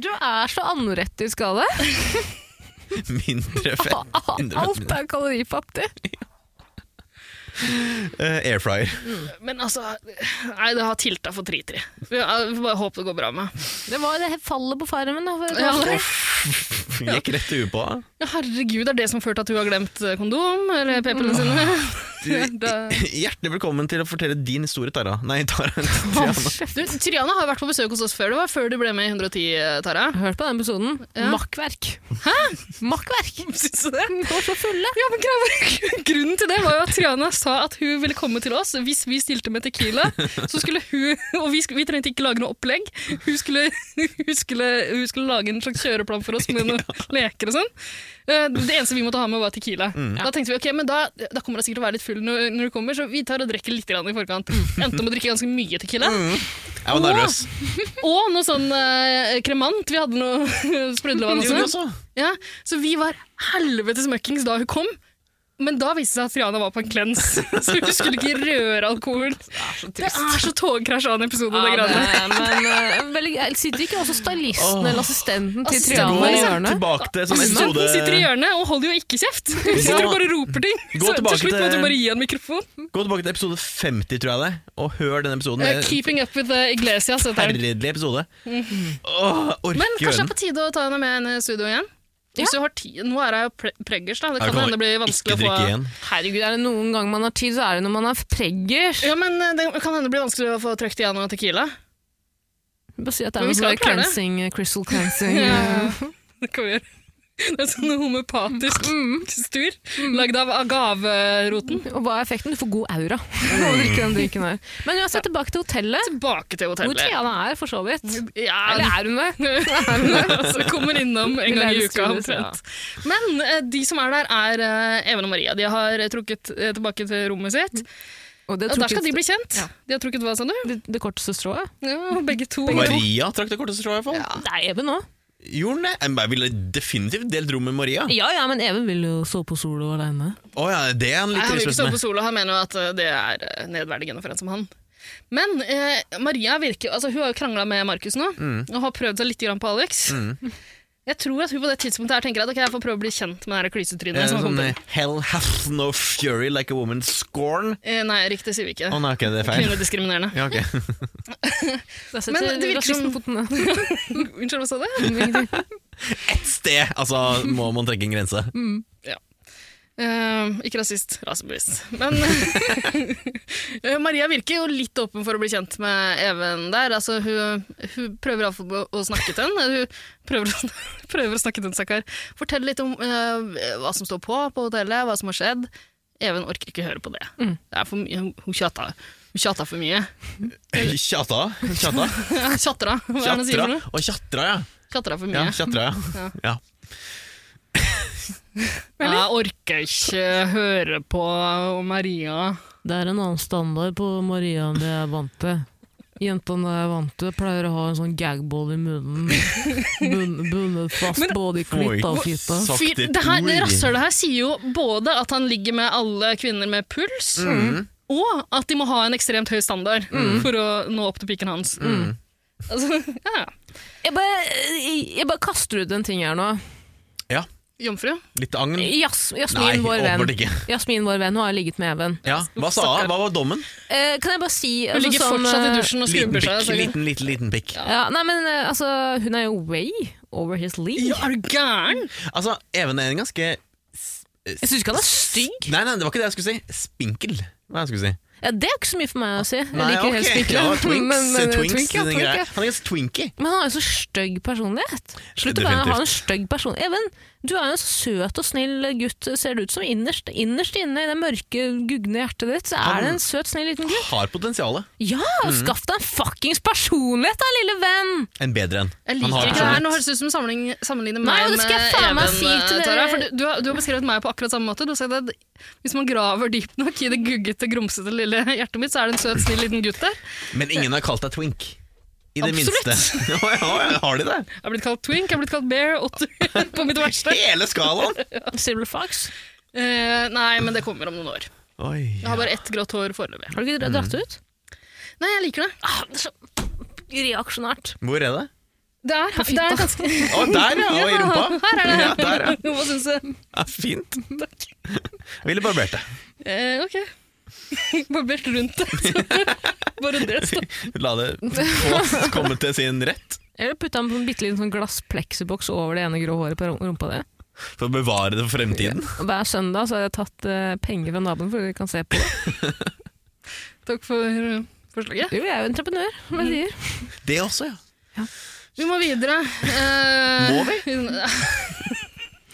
Speaker 3: Du er så anorektisk i skala.
Speaker 1: Mindre fett. Mindre fett.
Speaker 3: Alt er kalorifattig.
Speaker 1: Eh, air fryer.
Speaker 2: Men altså Nei, det har tilta for tri-tri. Vi får bare håpe det går bra med
Speaker 3: Det var det fallet på farmen. Da, for
Speaker 2: Ja,
Speaker 3: ja,
Speaker 1: Gikk rett i huet på henne.
Speaker 2: Ja, herregud, det er det som har ført til at hun har glemt eh, kondom, eller p-pillene sine.
Speaker 1: Du,
Speaker 2: Da-
Speaker 1: Hjertelig velkommen til å fortelle din historie, Tara. Nei, Tara. Triana.
Speaker 2: Du, Triana har jo vært på besøk hos oss før. Det var før du ble med i 110, eh, Tara.
Speaker 3: Hørt på den episoden.
Speaker 2: Ja.
Speaker 3: Makkverk. Hæ? Makkverk!
Speaker 2: Syns du det?
Speaker 3: De var så fulle.
Speaker 2: Ja, men greia- Grunnen til det var jo at Triana sa at hun ville komme til oss hvis vi stilte med Tequila. Så skulle hun, og vi, sk- vi trengte ikke lage noe opplegg. Hun skulle, hun, skulle, hun skulle lage en slags kjøreplan for oss med noen Mm. leker og sånn. Eh, Det eneste vi måtte ha med, var Tequila. Da tenkte vi ok, men da, da kommer hun sikkert til å være litt full når, når du kommer, så vi tar og drikker litt grann i forkant. Endte med å drikke ganske mye Tequila.
Speaker 1: Mm. Jeg var nervøs.
Speaker 2: sånn Og noe sånn eh, kremant. Vi hadde noe sprudlevann
Speaker 1: Gjorde
Speaker 2: også. Ja, så vi var helvetes møkkings da hun kom. Men da viste det seg at Triana var på en klens, så hun skulle ikke røre alkohol. Det er så togkrasj av en episode. av det
Speaker 3: Ja,
Speaker 2: greiene.
Speaker 3: det- men eh, veldig, gøy. Sitter ikke også
Speaker 1: Åh.
Speaker 3: stylisten eller assistenten til
Speaker 2: Assistenten
Speaker 1: Gå
Speaker 3: Triana i hjørnet?
Speaker 1: tilbake til sånn
Speaker 2: Studenten Altså, sitter i
Speaker 1: episode
Speaker 2: hjørnet og holder jo ikke kjeft. Hun sitter og bare roper ting.
Speaker 1: Gå
Speaker 2: Så til
Speaker 1: tilbake
Speaker 2: slutt måtte
Speaker 1: til-
Speaker 2: hun bare gi han mikrofon.
Speaker 1: Gå tilbake til episode 50, tror jeg det, og hør den episoden.
Speaker 2: Eh,
Speaker 1: Det er en
Speaker 2: keeping up with the Iglesias. heter den.
Speaker 1: Forferdelig episode. Åh, jeg orker
Speaker 2: Mhm. Men
Speaker 1: å
Speaker 2: kanskje det
Speaker 1: høre
Speaker 2: er
Speaker 1: den.
Speaker 2: på tide å ta henne med henne i eh, studio igjen? Hvis du har tid, Nå er hun jo pre- preggers, da. Det
Speaker 1: Jeg
Speaker 2: kan
Speaker 1: kan
Speaker 2: hende det blir
Speaker 1: ikke
Speaker 2: vanskelig å få
Speaker 1: drikke igjen.
Speaker 3: Herregud, er det noen gang man har tid, så er det når man er preggers.
Speaker 2: Ja, men eh, Det kan hende det blir vanskelig å få trøkt igjen noe Tequila.
Speaker 3: Bare si at det er
Speaker 2: Men vi
Speaker 3: noe
Speaker 2: skal
Speaker 3: sånn
Speaker 2: klare det.
Speaker 3: cleansing, eh, crystal cleansing. eh,
Speaker 2: Det kan vi gjøre. Det er sånn homopatisk
Speaker 3: Mm.
Speaker 2: stur lagd av agaveroten.
Speaker 3: Og hva er effekten? Du får god aura av å drikke den drinken her. Men uansett, tilbake til hotellet.
Speaker 2: Tilbake til
Speaker 3: Hvor
Speaker 2: hotellet.
Speaker 3: Triana er, for så vidt. Eller
Speaker 2: Ja,
Speaker 3: er hun det?
Speaker 2: altså, kommer innom en gang i
Speaker 3: Lærer
Speaker 2: uka
Speaker 3: studios, ja.
Speaker 2: omtrent. Men eh, de som er der, er eh, Even og Maria. De har eh, trukket eh, tilbake til rommet sitt.
Speaker 3: Og det,
Speaker 2: Og der skal de
Speaker 3: trukket-
Speaker 2: bli kjent. De har trukket hva, sa du?
Speaker 3: det, det korteste strået?
Speaker 2: Ja, begge to.
Speaker 1: Maria trakk det korteste strået, i hvert fall.
Speaker 3: Det er Even òg.
Speaker 1: Gjorde den det? Jeg ville definitivt delt rom med Maria. Å
Speaker 3: Ja ja, men Even vil jo sove på solo aleine.
Speaker 1: ja, det er han
Speaker 2: Nei,
Speaker 1: litt
Speaker 2: han vil ikke
Speaker 1: trist
Speaker 2: stå
Speaker 1: med.
Speaker 2: på sola, han mener jo at eh, det er eh, nedverdigende for en som han. Men eh, Maria virker, altså hun har jo krangla med Markus nå,
Speaker 1: Mm.
Speaker 2: og har prøvd seg litt grann på Alex. Jeg tror at hun på det tidspunktet her tenker at ok, jeg får prøve å bli kjent med det her
Speaker 1: Eh,
Speaker 2: klysetrynet.
Speaker 1: Sånn
Speaker 2: som har kommet
Speaker 1: eh, Hell hath no fury like a woman scorn.
Speaker 2: inn.» eh, nei, riktig sier vi ikke.
Speaker 1: Å nei, ok, det er feil.
Speaker 2: Kvinnediskriminerende.
Speaker 1: Ja, ok.
Speaker 2: Men det virker som-
Speaker 3: foten
Speaker 2: Unnskyld, hva sa du?
Speaker 1: Ett sted! Altså, må man trekke en grense.
Speaker 2: Mm, Eh, ikke rasist, rasebevisst. Men eh, Maria virker jo litt åpen for å bli kjent med Even der. Altså, hun, hun prøver iallfall å- å snakke til henne. Hun prøver, å sn- prøver å snakke til en stakkar. Fortell litt om eh, hva som står på på hotellet, hva som har skjedd. Even orker ikke høre på det. det er for mye, hun- hun tjata. Hun tjata for mye.
Speaker 1: Tjata? Tjata?
Speaker 2: Tjatra, hva er det hun sier
Speaker 1: Tjatra?
Speaker 2: for noe?
Speaker 1: Å, tjatra, ja.
Speaker 2: Tjatra for
Speaker 1: ja.
Speaker 2: mye.
Speaker 1: Tjatra, ja. ja.
Speaker 2: Jeg orker ikke høre på Maria.
Speaker 3: Det er en annen standard på Maria enn det jeg er vant til. Jentene jeg er vant til, pleier å ha en sånn gagball i munnen. Bun, bundet fast både i klitta og
Speaker 1: Oi,
Speaker 3: fitta.
Speaker 1: sakte
Speaker 2: Fyr, det her, det
Speaker 1: ord.
Speaker 2: rasshølet her sier jo både at han ligger med alle kvinner med puls,
Speaker 1: Mm.
Speaker 2: og at de må ha en ekstremt høy standard for å nå opp til piken hans.
Speaker 1: Mm.
Speaker 2: Altså, ja.
Speaker 3: Jeg bare, jeg- jeg bare kaster ut en ting her nå.
Speaker 1: Ja,
Speaker 2: Jomfru.
Speaker 1: litt agn.
Speaker 2: Mm.
Speaker 3: Jas,
Speaker 1: Nei,
Speaker 3: Jasmin, vår venn.
Speaker 1: åpenbart ikke.
Speaker 3: Jasmin, vår venn, hun har ligget med Even.
Speaker 1: Ja. Hva sa hun? Hva var dommen?
Speaker 3: Eh, kan jeg bare si
Speaker 2: Hun
Speaker 3: altså,
Speaker 2: ligger
Speaker 3: som,
Speaker 2: fortsatt i
Speaker 3: eh,
Speaker 2: dusjen og
Speaker 1: Liten
Speaker 2: skrubber
Speaker 1: pikk,
Speaker 2: seg. altså. sikkert.
Speaker 1: liten, liten, liten pikk.
Speaker 3: Ja, nei, men eh, altså, hun er jo way over his league.
Speaker 2: Ja, er du gæren?
Speaker 1: Altså, Even er en ganske
Speaker 3: Jeg syns ikke han er stygg.
Speaker 1: Nei, nei, det var ikke det jeg skulle si. Spinkel. Hva jeg skulle si.
Speaker 3: Ja, det er ikke så mye for meg å si. Jeg
Speaker 1: Nei,
Speaker 3: liker helst
Speaker 1: ok.
Speaker 3: ikke.
Speaker 1: Ja, twinks,
Speaker 3: Men- men-
Speaker 1: twinks,
Speaker 3: twink, ja,
Speaker 1: den
Speaker 3: twink,
Speaker 1: greia.
Speaker 3: ja.
Speaker 1: Han er ganske twinky.
Speaker 3: Men han har jo så stygg personlighet. Slutt å være
Speaker 1: Definitivt.
Speaker 3: ha en stygg person. Even, du er jo en så søt og snill gutt, ser det ut som. Innerst, innerst inne i det mørke, gugne hjertet ditt, så er det en søt, snill liten gutt.
Speaker 1: Har potensialet.
Speaker 3: Ja,
Speaker 1: Mm.
Speaker 3: skaff deg en fuckings personlighet da, lille venn!
Speaker 1: En bedre en.
Speaker 2: Jeg
Speaker 1: Han har
Speaker 2: liker ikke det her.
Speaker 1: personlighet.
Speaker 2: Nå høres det ut som sammenlign- sammenligner
Speaker 3: Nei,
Speaker 2: meg
Speaker 3: og det
Speaker 2: med
Speaker 3: skal jeg faen
Speaker 2: Even.
Speaker 3: meg si til dere.
Speaker 2: eh, Tara, for du, du, har, du har beskrevet meg på akkurat samme måte. Du har sagt at hvis man graver dypt nok i det guggete, grumsete lille hjertet mitt, så er det en søt, snill liten gutt der.
Speaker 1: Men ingen har kalt deg twink. I det
Speaker 2: Absolutt.
Speaker 1: minste. Ja, ja, har de det?
Speaker 2: Jeg har blitt kalt twink, jeg har blitt kalt bear, otter på mitt verste.
Speaker 1: Hele skalaen!
Speaker 3: Silver Fox.
Speaker 2: Eh, nei, men det kommer om noen år.
Speaker 1: Oi.
Speaker 2: Jeg har bare ett grått hår foreløpig.
Speaker 3: Har du ikke dra- dratt
Speaker 1: Mm.
Speaker 3: ut?
Speaker 2: Nei, jeg liker det.
Speaker 3: Ah, det er så reaksjonært.
Speaker 1: Hvor er det?
Speaker 2: Det er,
Speaker 3: På
Speaker 2: det
Speaker 3: fitta.
Speaker 2: er ganske
Speaker 1: Å, der, ja! Og i rumpa.
Speaker 2: Her er det.
Speaker 1: Ja, der, ja.
Speaker 2: Hva syns du?
Speaker 1: Ja, fint. Ville barbert deg.
Speaker 2: Eh, ok. Barbert rundt det. bare det. Så.
Speaker 1: La det få komme til sin rett.
Speaker 3: Eller putta en bitte liten sånn glasspleksiboks over det ene grå håret på rum- rumpa di.
Speaker 1: For å bevare det for fremtiden.
Speaker 3: Og Hver søndag så har jeg tatt eh, penger fra naboen for at vi kan se på det.
Speaker 2: Takk for eh, forslaget.
Speaker 3: Jo, jeg er jo entreprenør, som jeg sier.
Speaker 1: Det også, ja.
Speaker 2: Vi må videre. Eh,
Speaker 1: Må
Speaker 2: vi? Må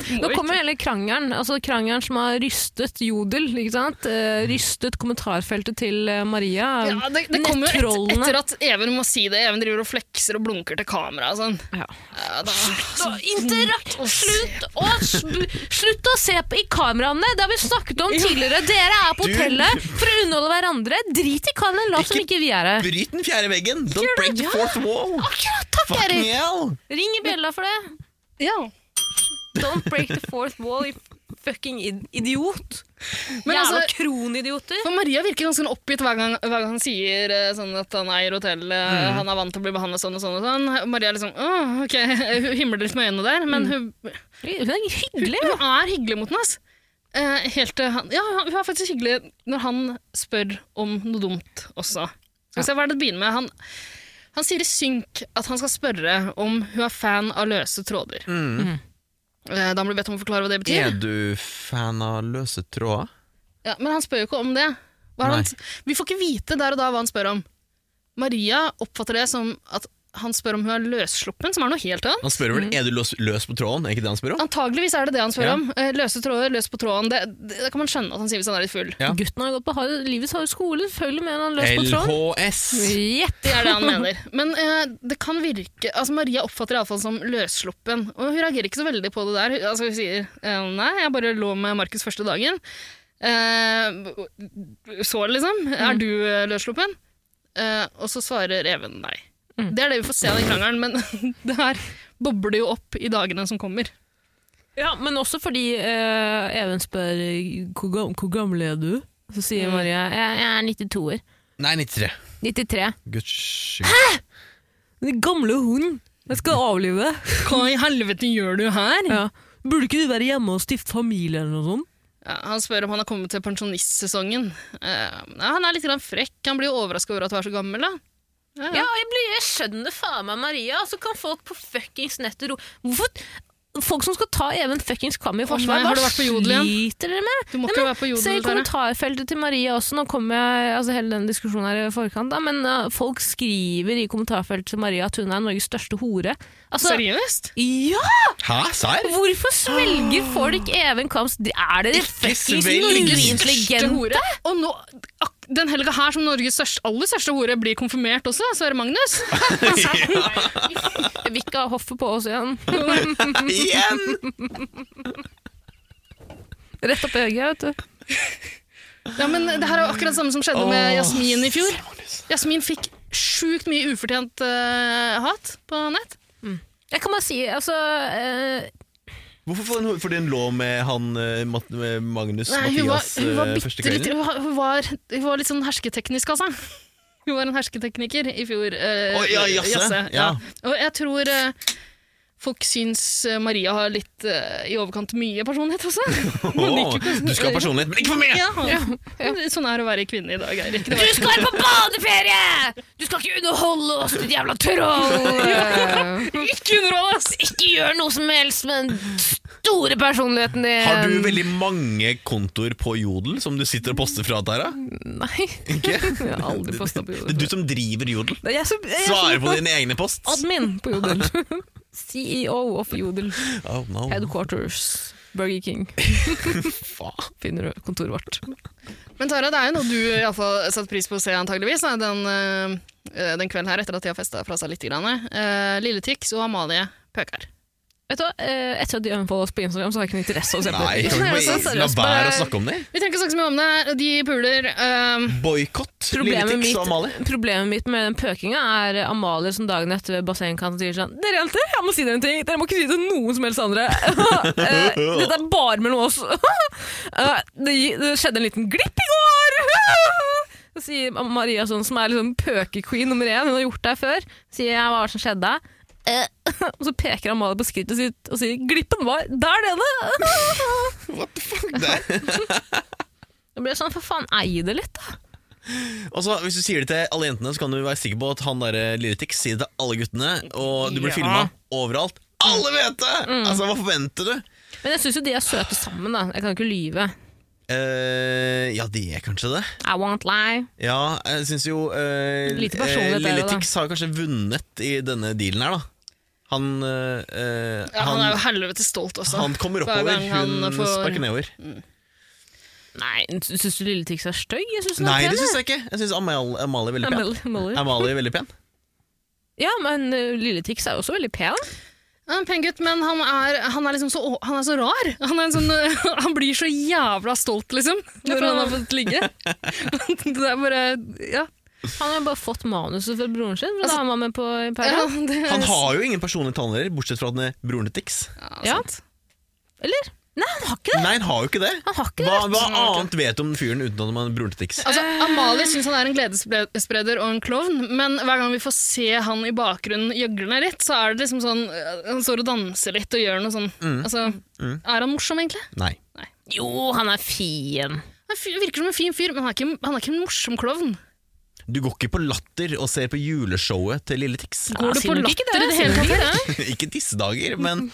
Speaker 3: Nå
Speaker 2: ikke.
Speaker 3: kommer hele krangelen. Altså krangelen som har rystet Jodel. ikke sant? Eh, rystet kommentarfeltet til eh, Maria.
Speaker 2: Ja, det, det kommer jo et,
Speaker 3: Nettrollene.
Speaker 2: etter at Even må si det. Even driver og flekser og blunker til kamera og sånn.
Speaker 3: Ja.
Speaker 2: Ja, da,
Speaker 3: Så Interakt! Slutt å, sp- slutt å se på i kameraene! Det har vi snakket om tidligere. Dere er på
Speaker 1: Du-
Speaker 3: hotellet for å underholde hverandre. Drit i kameraene, lat som
Speaker 1: Ikke-
Speaker 3: ikke vi er her.
Speaker 1: Bryt den fjerde veggen! Don't break the
Speaker 3: Ja.
Speaker 1: fourth wall!
Speaker 3: Akkurat! Takk,
Speaker 1: Fucking
Speaker 3: Erik!
Speaker 1: hell!
Speaker 3: Ring i bjella for det.
Speaker 2: ja.
Speaker 3: Don't break the fourth wall, you fucking id- idiot.
Speaker 2: Men
Speaker 3: Jævla
Speaker 2: altså-
Speaker 3: kronidioter.
Speaker 2: For Maria virker ganske sånn oppgitt hver gang, hver gang han sier eh, sånn at han eier hotellet, eh, han er vant til å bli behandlet sånn og sånn. og sånn. Maria er liksom åh, ok, hun himler litt med øynene der, men hun,
Speaker 3: Hun er hyggelig.
Speaker 2: hun er hyggelig mot henne. ass. Eh, helt til han, ja, hun er faktisk hyggelig når han spør om noe dumt også. Skal vi se, hva er det det begynner med? Han, han sier i synk at han skal spørre om hun er fan av løse tråder. Eh, Da blir bedt om å forklare hva det betyr.
Speaker 1: Er du fan av løse tråder?
Speaker 2: Ja, men han spør jo ikke om det. Hva er det han, vi får ikke vite der og da hva han spør om. Maria oppfatter det som at han spør om hun er løssluppen, som er noe helt annet.
Speaker 1: Han spør vel er du løs, løs på tråden, er ikke det han spør om?
Speaker 2: Antageligvis er det det han spør
Speaker 1: Ja.
Speaker 2: om. Eh, Løse tråder, løs på tråden. Det, det, det kan man skjønne at han sier hvis han er litt full.
Speaker 1: Ja.
Speaker 3: Gutten har gått på hard, livets harde skole, selvfølgelig mener han løs på tråden.
Speaker 1: LHS!
Speaker 3: Jepp.
Speaker 2: Det er det han mener. Men eh, det kan virke Altså Maria oppfatter det iallfall som løssluppen, og hun reagerer ikke så veldig på det der. Hun- Altså Hun sier eh, 'nei, jeg bare lå med Markus første dagen'. Eh, så liksom. 'Er du eh, løssluppen?' Eh, og så svarer Even nei. Det er det vi får se av den krangelen, men det her bobler jo opp i dagene som kommer.
Speaker 3: Ja, men også fordi eh, Even spør hvor, gam hvor gammel er du? Så sier
Speaker 2: Mm.
Speaker 3: Maria jeg, jeg er 92 år.
Speaker 1: Nei, 93.
Speaker 3: 93.
Speaker 1: Gudskjelov.
Speaker 3: Den gamle hunden! Jeg skal avlive deg.
Speaker 2: Hva i helvete gjør du her?
Speaker 3: Ja. Burde ikke du være hjemme og stifte familie eller noe sånt?
Speaker 2: Ja, han spør om han har kommet til pensjonistsesongen. Eh, ja, han er litt grann frekk. Han blir jo overraska over at du er så gammel. da. Ja, ja.
Speaker 3: Ja, jeg, blir, jeg skjønner faen meg Maria. Så kan folk på fuckings nettet ro... Hvorfor? Folk som skal ta Even fuckings Kvam i forsvar,
Speaker 2: nei,
Speaker 3: hva
Speaker 2: har du vært på Jodel igjen?
Speaker 3: sliter dere med?
Speaker 2: Du må
Speaker 3: Nei,
Speaker 2: ikke
Speaker 3: men
Speaker 2: være
Speaker 3: Se
Speaker 2: på
Speaker 3: i
Speaker 2: jodel. Tara.
Speaker 3: kommentarfeltet til Maria også, nå kommer jeg altså hele den diskusjonen her i forkant, da, men uh, folk skriver i kommentarfeltet til Maria at hun er Norges største hore. Altså,
Speaker 2: Seriøst?
Speaker 3: ja!
Speaker 1: Hæ, serr?
Speaker 3: Hvorfor svelger folk Even Kams Er dere fuckings
Speaker 1: svelg.
Speaker 3: uintelligente?
Speaker 2: hore. Og nå, ak- den helga her som Norges største, aller største hore blir konfirmert også, Sverre Magnus.
Speaker 3: Jeg vil ikke ha hoffet på oss igjen.
Speaker 1: Igjen!
Speaker 3: Rett opp i øyet, vet du.
Speaker 2: Ja, men Det her er jo akkurat det samme som skjedde
Speaker 1: Åh,
Speaker 2: med Jasmin i fjor.
Speaker 1: Magnus.
Speaker 2: Jasmin fikk sjukt mye ufortjent eh, hat på nett.
Speaker 3: Jeg kan bare si, altså eh,
Speaker 1: Hvorfor får hun, fordi hun lå med han eh, Mat- med Magnus
Speaker 2: Nei, hun, var,
Speaker 1: Mathias
Speaker 2: hun, var
Speaker 1: eh, første
Speaker 2: bitte litt,
Speaker 1: kvelden?
Speaker 2: hun, var, hun, var, hun var litt sånn hersketeknisk, altså. Hun var en hersketekniker i fjor. eh,
Speaker 1: Å, ja, jasse.
Speaker 2: ja.
Speaker 1: Ja.
Speaker 2: Og jeg tror eh, folk syns eh, Maria har litt eh, i overkant mye personlighet også. Man liker
Speaker 1: Åh, du skal ha personlighet, men ikke for meg!
Speaker 2: Ja. Sånn er det å være kvinne i dag, Eirik. Det
Speaker 3: Du
Speaker 2: var-
Speaker 3: skal være på badeferie! Du skal ikke underholde oss, ditt jævla troll!
Speaker 2: Ikke underhold, ass!
Speaker 3: Ikke gjør noe som helst med den store personligheten din.
Speaker 1: Har du veldig mange kontoer på Jodel som du sitter og poster fra, Tara?
Speaker 3: Nei.
Speaker 1: Ikke?
Speaker 3: Jeg har aldri postet på Jodel.
Speaker 1: Det er du som driver Jodel.
Speaker 3: Nei, Jeg, som- jeg,
Speaker 1: Svarer på dine egne post.
Speaker 3: Admin på Jodel. CEO of Jodel.
Speaker 1: Oh, no.
Speaker 3: Headquarters. Burger King.
Speaker 1: Faen.
Speaker 3: Finner du kontoret vårt.
Speaker 2: Men Tara, det er jo noe du i alle fall satte pris på å se, antageligvis, da, den, eh, den kvelden her, etter at de har festa fra seg litt. Grann. Eh, Lille Tix og Amalie pøker.
Speaker 3: Vet du hva, eh, Etter at de unfolder oss på Instagram, så har jeg ikke noe interesse av å se på
Speaker 1: Nei,
Speaker 3: det.
Speaker 1: kan vi
Speaker 2: Seriøst,
Speaker 1: bare la
Speaker 2: seriøst,
Speaker 1: være å
Speaker 2: bare-
Speaker 1: snakke om det?
Speaker 2: Vi trenger ikke snakke så mye om det. De puler. eh,
Speaker 1: Boikott Lille
Speaker 3: Problemet
Speaker 1: Tix og Amalie.
Speaker 3: mitt, problemet mitt med den pøkinga er Amalie som dagen etter ved bassengkanten sier sånn Dere jenter, jeg må si dere en ting. Dere må ikke si det til noen som helst andre. Eh, Dette er bare mellom oss. Eh, det, gi- det skjedde en liten glipp i går! Så sier Maria sånn, som er liksom pøkequeen nummer én, hun har gjort det her før, sier jeg hva var det som skjedde? Eh, og så peker Amalie på skrittet sitt og sier 'glippen var der nede'.
Speaker 1: What the fuck? Det.
Speaker 3: Da blir jeg sånn, for faen, ei det litt, da.
Speaker 1: Og så, hvis du sier det til alle jentene, så kan du være sikker på at han der eh, Lille Tix sier det til alle guttene, og du blir
Speaker 3: Ja.
Speaker 1: filma overalt. Alle vet det! Altså, hva forventer du?
Speaker 3: Men jeg syns jo de er søte sammen, da. Jeg kan ikke lyve.
Speaker 1: Eh, ja, de er kanskje det.
Speaker 3: I won't lie.
Speaker 1: Ja, jeg syns jo eh,
Speaker 3: Lite
Speaker 1: eh,
Speaker 3: personlighet er
Speaker 1: Lille
Speaker 3: det, da.
Speaker 1: Tix har kanskje vunnet i denne dealen her, da. Han, eh, eh,
Speaker 2: Ja, han,
Speaker 1: han,
Speaker 2: er jo helvetes stolt også.
Speaker 1: han kommer
Speaker 2: Hver
Speaker 1: oppover,
Speaker 2: gang han
Speaker 1: hun
Speaker 2: får-
Speaker 1: sparker nedover.
Speaker 3: Nei, syns du Lille Tix er stygg? Jeg syns hun
Speaker 1: Nei,
Speaker 3: er
Speaker 1: det
Speaker 3: pen.
Speaker 1: syns jeg ikke. Jeg syns Amalie, Amalie er veldig
Speaker 3: jeg.
Speaker 1: pen.
Speaker 3: Molly- Molly.
Speaker 1: Amalie er veldig pen.
Speaker 3: Ja, men uh, Lille Tix er også veldig pen.
Speaker 2: Han er en pen gutt, men han er, han er liksom så, å- han er så rar. Han, er en sånn, øh, han blir så jævla stolt, liksom,
Speaker 3: Ja, for
Speaker 2: når han
Speaker 3: han-
Speaker 2: har fått ligge. det er bare Ja.
Speaker 3: Han har bare fått manuset fra broren sin. For
Speaker 2: Altså-
Speaker 3: da har man med på
Speaker 2: ja
Speaker 3: Paradise.
Speaker 2: det er,
Speaker 1: Han har jo ingen personlige tannlærer, bortsett fra at han er broren til Tix.
Speaker 2: ja,
Speaker 3: Ja.
Speaker 2: sant.
Speaker 3: Eller? Nei, han har ikke det!
Speaker 1: Nei, han har jo ikke det.
Speaker 3: Han har ikke
Speaker 1: Hva,
Speaker 3: det.
Speaker 1: hva annet vet du om fyren uten at han er broren til Tix?
Speaker 2: Altså, Amalie syns han er en gledesspreder og en klovn, men hver gang vi får se han i bakgrunnen gjøglende litt, så er det liksom sånn øh, Han står og danser litt og gjør noe sånn
Speaker 1: Mm.
Speaker 2: Altså, er han morsom, egentlig?
Speaker 1: Nei.
Speaker 3: Jo, han er fin.
Speaker 2: Han fyr- virker som en fin fyr, men han er ikke, han er ikke en morsom klovn.
Speaker 1: Du går ikke på Latter og ser på juleshowet til Lille Tix.
Speaker 2: Går du
Speaker 3: sier
Speaker 2: på
Speaker 3: nok ikke
Speaker 2: latter
Speaker 3: det,
Speaker 2: i det hele
Speaker 3: sier nok
Speaker 2: tatt?
Speaker 1: ikke disse dager, men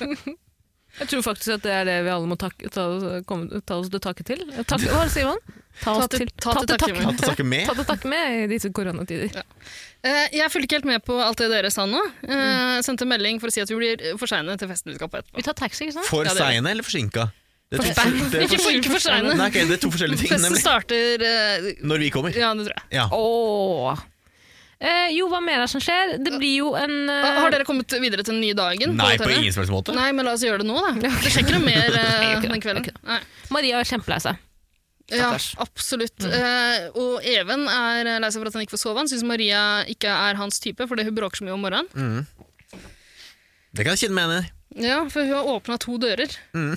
Speaker 3: Jeg tror faktisk at det er det vi alle må takke, ta, oss- komme, ta oss til takke til. Takk, hva sier man? Ta oss
Speaker 2: til-
Speaker 3: til
Speaker 2: ta til takke med.
Speaker 1: tatt og snakket med.
Speaker 3: Ta til takke med i disse koronatider.
Speaker 2: Eh, Jeg fulgte ikke helt med på alt det dere sa nå.
Speaker 1: Mm.
Speaker 2: Eh, Sendte melding for å si at vi blir eh, for seine til festen vi skal på etterpå.
Speaker 3: Vi tar taxi, ikke sant?
Speaker 1: For
Speaker 2: Ja, det er det.
Speaker 1: seine eller forsinka? Det er
Speaker 3: For
Speaker 1: to, det er
Speaker 2: Ikke for, ikke for seine.
Speaker 1: Nei, ok, det er to forskjellige ting,
Speaker 2: Festen
Speaker 1: nemlig.
Speaker 2: starter eh,
Speaker 1: Når vi kommer.
Speaker 2: Ja, det tror jeg.
Speaker 1: Ja.
Speaker 3: Åh. Eh, jo, hva mer er det som skjer? Det blir jo en eh,
Speaker 2: Har dere kommet videre til den nye dagen?
Speaker 1: Nei, på
Speaker 2: hotellet?
Speaker 1: ingen som helst måte.
Speaker 2: Nei, men la oss gjøre det nå, da. Det skjer ikke noe mer eh,
Speaker 3: gjør ikke det,
Speaker 2: den kvelden.
Speaker 3: jeg
Speaker 2: Nei.
Speaker 3: Maria er kjempelei seg.
Speaker 2: Ja,
Speaker 3: Stakkars.
Speaker 2: absolutt. Eh, og Even er lei seg for at han ikke får sove. Han syns Maria ikke er hans type, fordi hun bråker så mye om morgenen.
Speaker 1: Det kan jeg kjenne meg enig i.
Speaker 2: Ja, For hun har åpna to dører.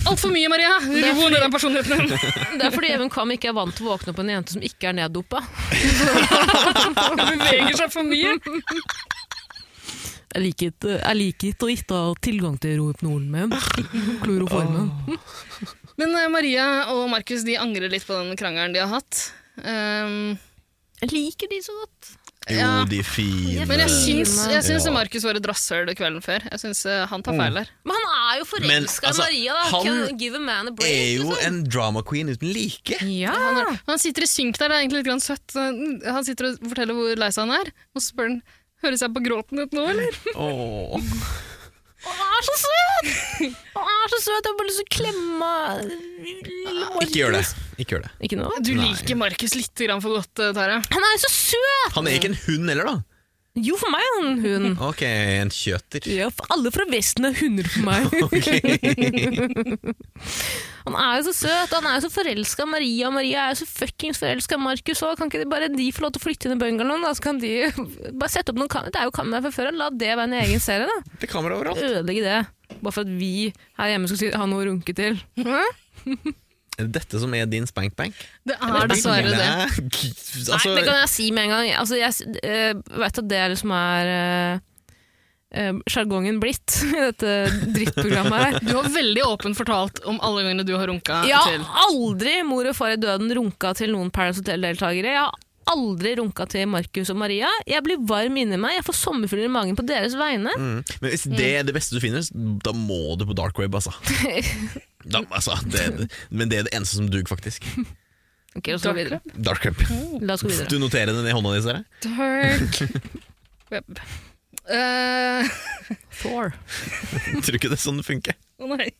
Speaker 2: Altfor mye, Maria! Ro ned den personligheten din!
Speaker 3: Det er fordi Even Kam ikke er vant til å våkne opp på en jente som ikke er neddopa.
Speaker 2: Hun beveger seg for mye.
Speaker 3: Jeg liker ikke- jeg liker ikke å ikke ha tilgang til Rohypnolen med kloroformen.
Speaker 2: Men eh, Maria og Markus de angrer litt på den krangelen de har hatt. Ehm,
Speaker 3: Jeg liker de så godt.
Speaker 1: Jo,
Speaker 2: Ja.
Speaker 1: de fine
Speaker 2: men jeg syns, jeg syns
Speaker 1: Mm. Ja.
Speaker 2: Markus var et rasshøl kvelden før. Jeg syns eh, han tar feil der.
Speaker 3: Men han er jo
Speaker 1: Men,
Speaker 3: forelska i
Speaker 1: altså,
Speaker 3: Maria, da.
Speaker 1: han
Speaker 3: Can give a man a break.
Speaker 1: Er jo
Speaker 3: liksom.
Speaker 1: en drama queen uten like.
Speaker 3: ja.
Speaker 2: Han, er, han sitter i synk der, det er egentlig litt grann søtt. Eh, Han sitter og forteller hvor lei seg han er, og så spør han Høres jeg på gråten ut nå, eller?
Speaker 1: Åh.
Speaker 3: Han er så søt! Han er så søt, jeg har bare lyst til å klemme lille Markus.
Speaker 1: Ikke gjør det. Ikke gjør det.
Speaker 3: Ikke nå?
Speaker 2: Du
Speaker 1: Nei.
Speaker 2: liker Markus litt grann for godt, eh, Tara.
Speaker 3: Han er jo så søt!
Speaker 1: Han er ikke en hund heller, da.
Speaker 3: Jo, for meg er han en hund.
Speaker 1: Ok, en kjøter.
Speaker 3: Ja, for alle fra Vesten er hunder for meg. han er jo så søt, han er jo så forelska i Maria. Maria er jo så fuckings forelska i Markus òg. Kan ikke de bare de få lov til å flytte inn i bungalowen? Da? Så kan de bare sette opp noen kam Det er jo kamera fra før av, la det være en egen serie, da.
Speaker 1: Det er kamera overalt.
Speaker 3: Ødelegge det. Bare for at vi her hjemme skal si, ha noe å runke til. Hæ?
Speaker 1: Er det dette som er din spankbank?
Speaker 2: Det er dessverre det.
Speaker 1: Altså,
Speaker 3: Nei, det kan jeg si med en gang. Altså, jeg s- eh, vet at det er liksom er eh, eh, sjargongen blitt i dette drittprogrammet her.
Speaker 2: Du har veldig åpent fortalt om alle gangene du har runka
Speaker 3: Jeg
Speaker 2: til.
Speaker 3: har aldri mor og far i døden runka til noen Paradise Hotel-deltakere. Jeg har aldri runka til Markus og Maria. Jeg blir varm inni meg. Jeg får sommerfugler i magen på deres vegne.
Speaker 1: mm. Men hvis det er det beste du finner, da må du på dark web, altså. Da, altså det, men det er det eneste som duger, faktisk.
Speaker 3: Ok, la oss gå videre.
Speaker 1: Dark web.
Speaker 3: La oss gå Mm, videre.
Speaker 1: Du noterer den i hånda di, ser jeg.
Speaker 2: Dark web. Eh,
Speaker 3: Thor.
Speaker 1: Tror ikke det er sånn det funker.
Speaker 2: Å nei.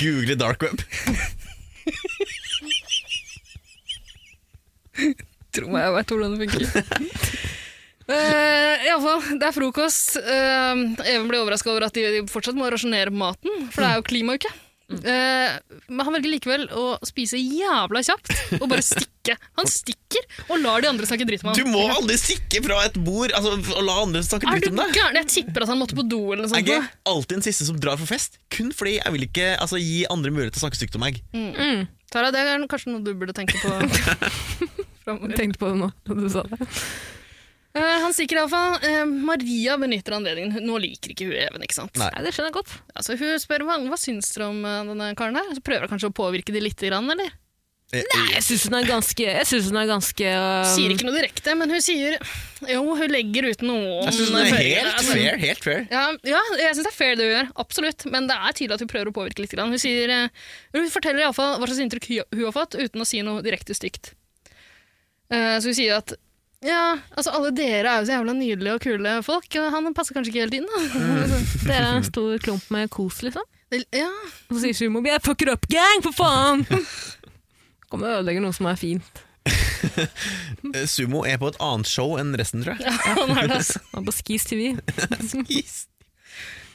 Speaker 1: Google dark web.
Speaker 2: Tror meg jeg vet hvordan det funker. Uh, Iallfall, det er frokost. Eh, Even blir overraska over at de, de fortsatt må rasjonere på maten, for det
Speaker 1: Mm.
Speaker 2: er jo klimauke. Eh, men han velger likevel å spise jævla kjapt og bare stikke. Han stikker og lar de andre snakke dritt om
Speaker 1: Du
Speaker 2: ham.
Speaker 1: må aldri stikke fra et bord altså, og la andre snakke
Speaker 2: Er
Speaker 1: dritt
Speaker 2: du altså?
Speaker 1: om deg.
Speaker 2: gæren? Jeg tipper at han måtte på do eller noe sånt.
Speaker 1: Jeg er
Speaker 2: nå.
Speaker 1: alltid den siste som drar for fest, kun fordi jeg vil ikke altså, gi andre mulighet til å snakke stygt om meg.
Speaker 3: Mm.
Speaker 2: Tara, det er kanskje noe du burde tenke på. fremover.
Speaker 3: Tenkte på det nå da du sa det.
Speaker 2: Eh, han stikker iallfall. Uh, Maria benytter anledningen. Nå liker ikke hun Even, ikke sant?
Speaker 1: Nei.
Speaker 3: Nei, det skjønner jeg godt.
Speaker 2: Altså, hun spør hva, hva syns dere om eh, denne karen der? Så prøver hun kanskje å påvirke de litt, grann, eller?
Speaker 1: Eh,
Speaker 3: Nei, Jeg syns hun er ganske, jeg synes hun er ganske um,
Speaker 2: Sier
Speaker 1: Um,
Speaker 2: ikke noe direkte, men hun sier Jo, hun legger ut noe om
Speaker 1: Jeg synes det er
Speaker 2: følgene,
Speaker 1: helt
Speaker 2: altså.
Speaker 1: fair. Helt fair.
Speaker 2: Ja, ja, jeg syns det er fair det hun gjør, absolutt. Men det er tydelig at hun prøver å påvirke litt. Grann. Hun, sier, eh, hun forteller iallfall hva slags inntrykk hun hun har fått, uten å si noe direkte stygt. Eh, Så hun sier at Ja, altså alle dere er jo så jævla nydelige og kule folk. og Han passer kanskje ikke helt inn, da.
Speaker 3: Dere er en stor klump med kos, liksom.
Speaker 2: Det- Ja,
Speaker 3: Så sier Sumo Jeg fucker up gang, for faen! Kommer og ødelegger noe som er fint.
Speaker 1: Eh, Sumo er på et annet show enn resten, tror jeg.
Speaker 2: han er det, altså.
Speaker 3: Han er på Skis TV.
Speaker 1: Yes.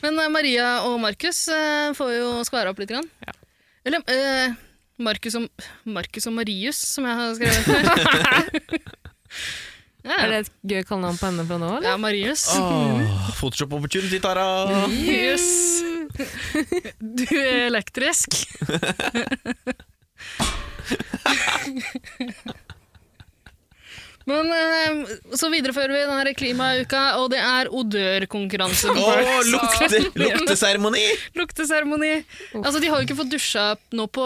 Speaker 2: Men eh, Maria og Markus eh, får jo skvære opp litt. Grann. Eller eh, Markus og, Markus og Marius, som jeg har skrevet her.
Speaker 3: Er
Speaker 2: ja,
Speaker 3: det et gøy kallenavn på henne fra nå, eller?
Speaker 2: ja, Marius.
Speaker 1: Åh, Mm. Photoshop opportunity, Tara!
Speaker 2: Marius. Du er elektrisk. Men eh, så viderefører vi denne klimauka, og det er odørkonkurranse.
Speaker 1: Åh, lukte, lukteseremoni!
Speaker 2: Lukteseremoni. Altså, de har jo ikke fått dusja nå på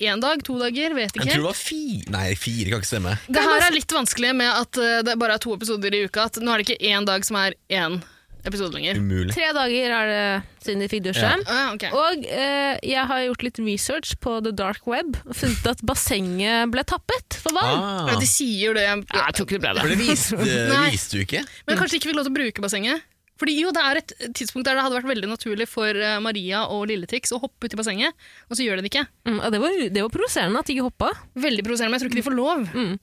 Speaker 2: én dag, to dager, vet
Speaker 1: Jeg
Speaker 2: ikke.
Speaker 1: tror det var fire Nei, fire kan ikke stemme.
Speaker 2: Det her er litt vanskelig med at eh, det bare er to episoder i uka. At nå er det ikke én dag som er én episode lenger.
Speaker 1: Umulig.
Speaker 3: Tre dager er det siden de fikk dusje.
Speaker 1: Ja.
Speaker 2: Ah, ok.
Speaker 3: Og eh, jeg har gjort litt research på the dark web og funnet at bassenget ble tappet for vann.
Speaker 1: Ah,
Speaker 2: Ja, de sier det.
Speaker 3: jeg tror ikke det ble
Speaker 1: for det viste,
Speaker 2: Nei.
Speaker 1: viste du ikke.
Speaker 2: Men kanskje de ikke fikk lov til å bruke bassenget? Fordi jo, Det er et tidspunkt der det hadde vært veldig naturlig for eh, Maria og Lilletix å hoppe uti bassenget, og så gjør de det ikke.
Speaker 3: Mm, og det var, det var provoserende at de ikke hoppa.
Speaker 2: Veldig provoserende, men jeg tror ikke de får lov.
Speaker 3: Mm.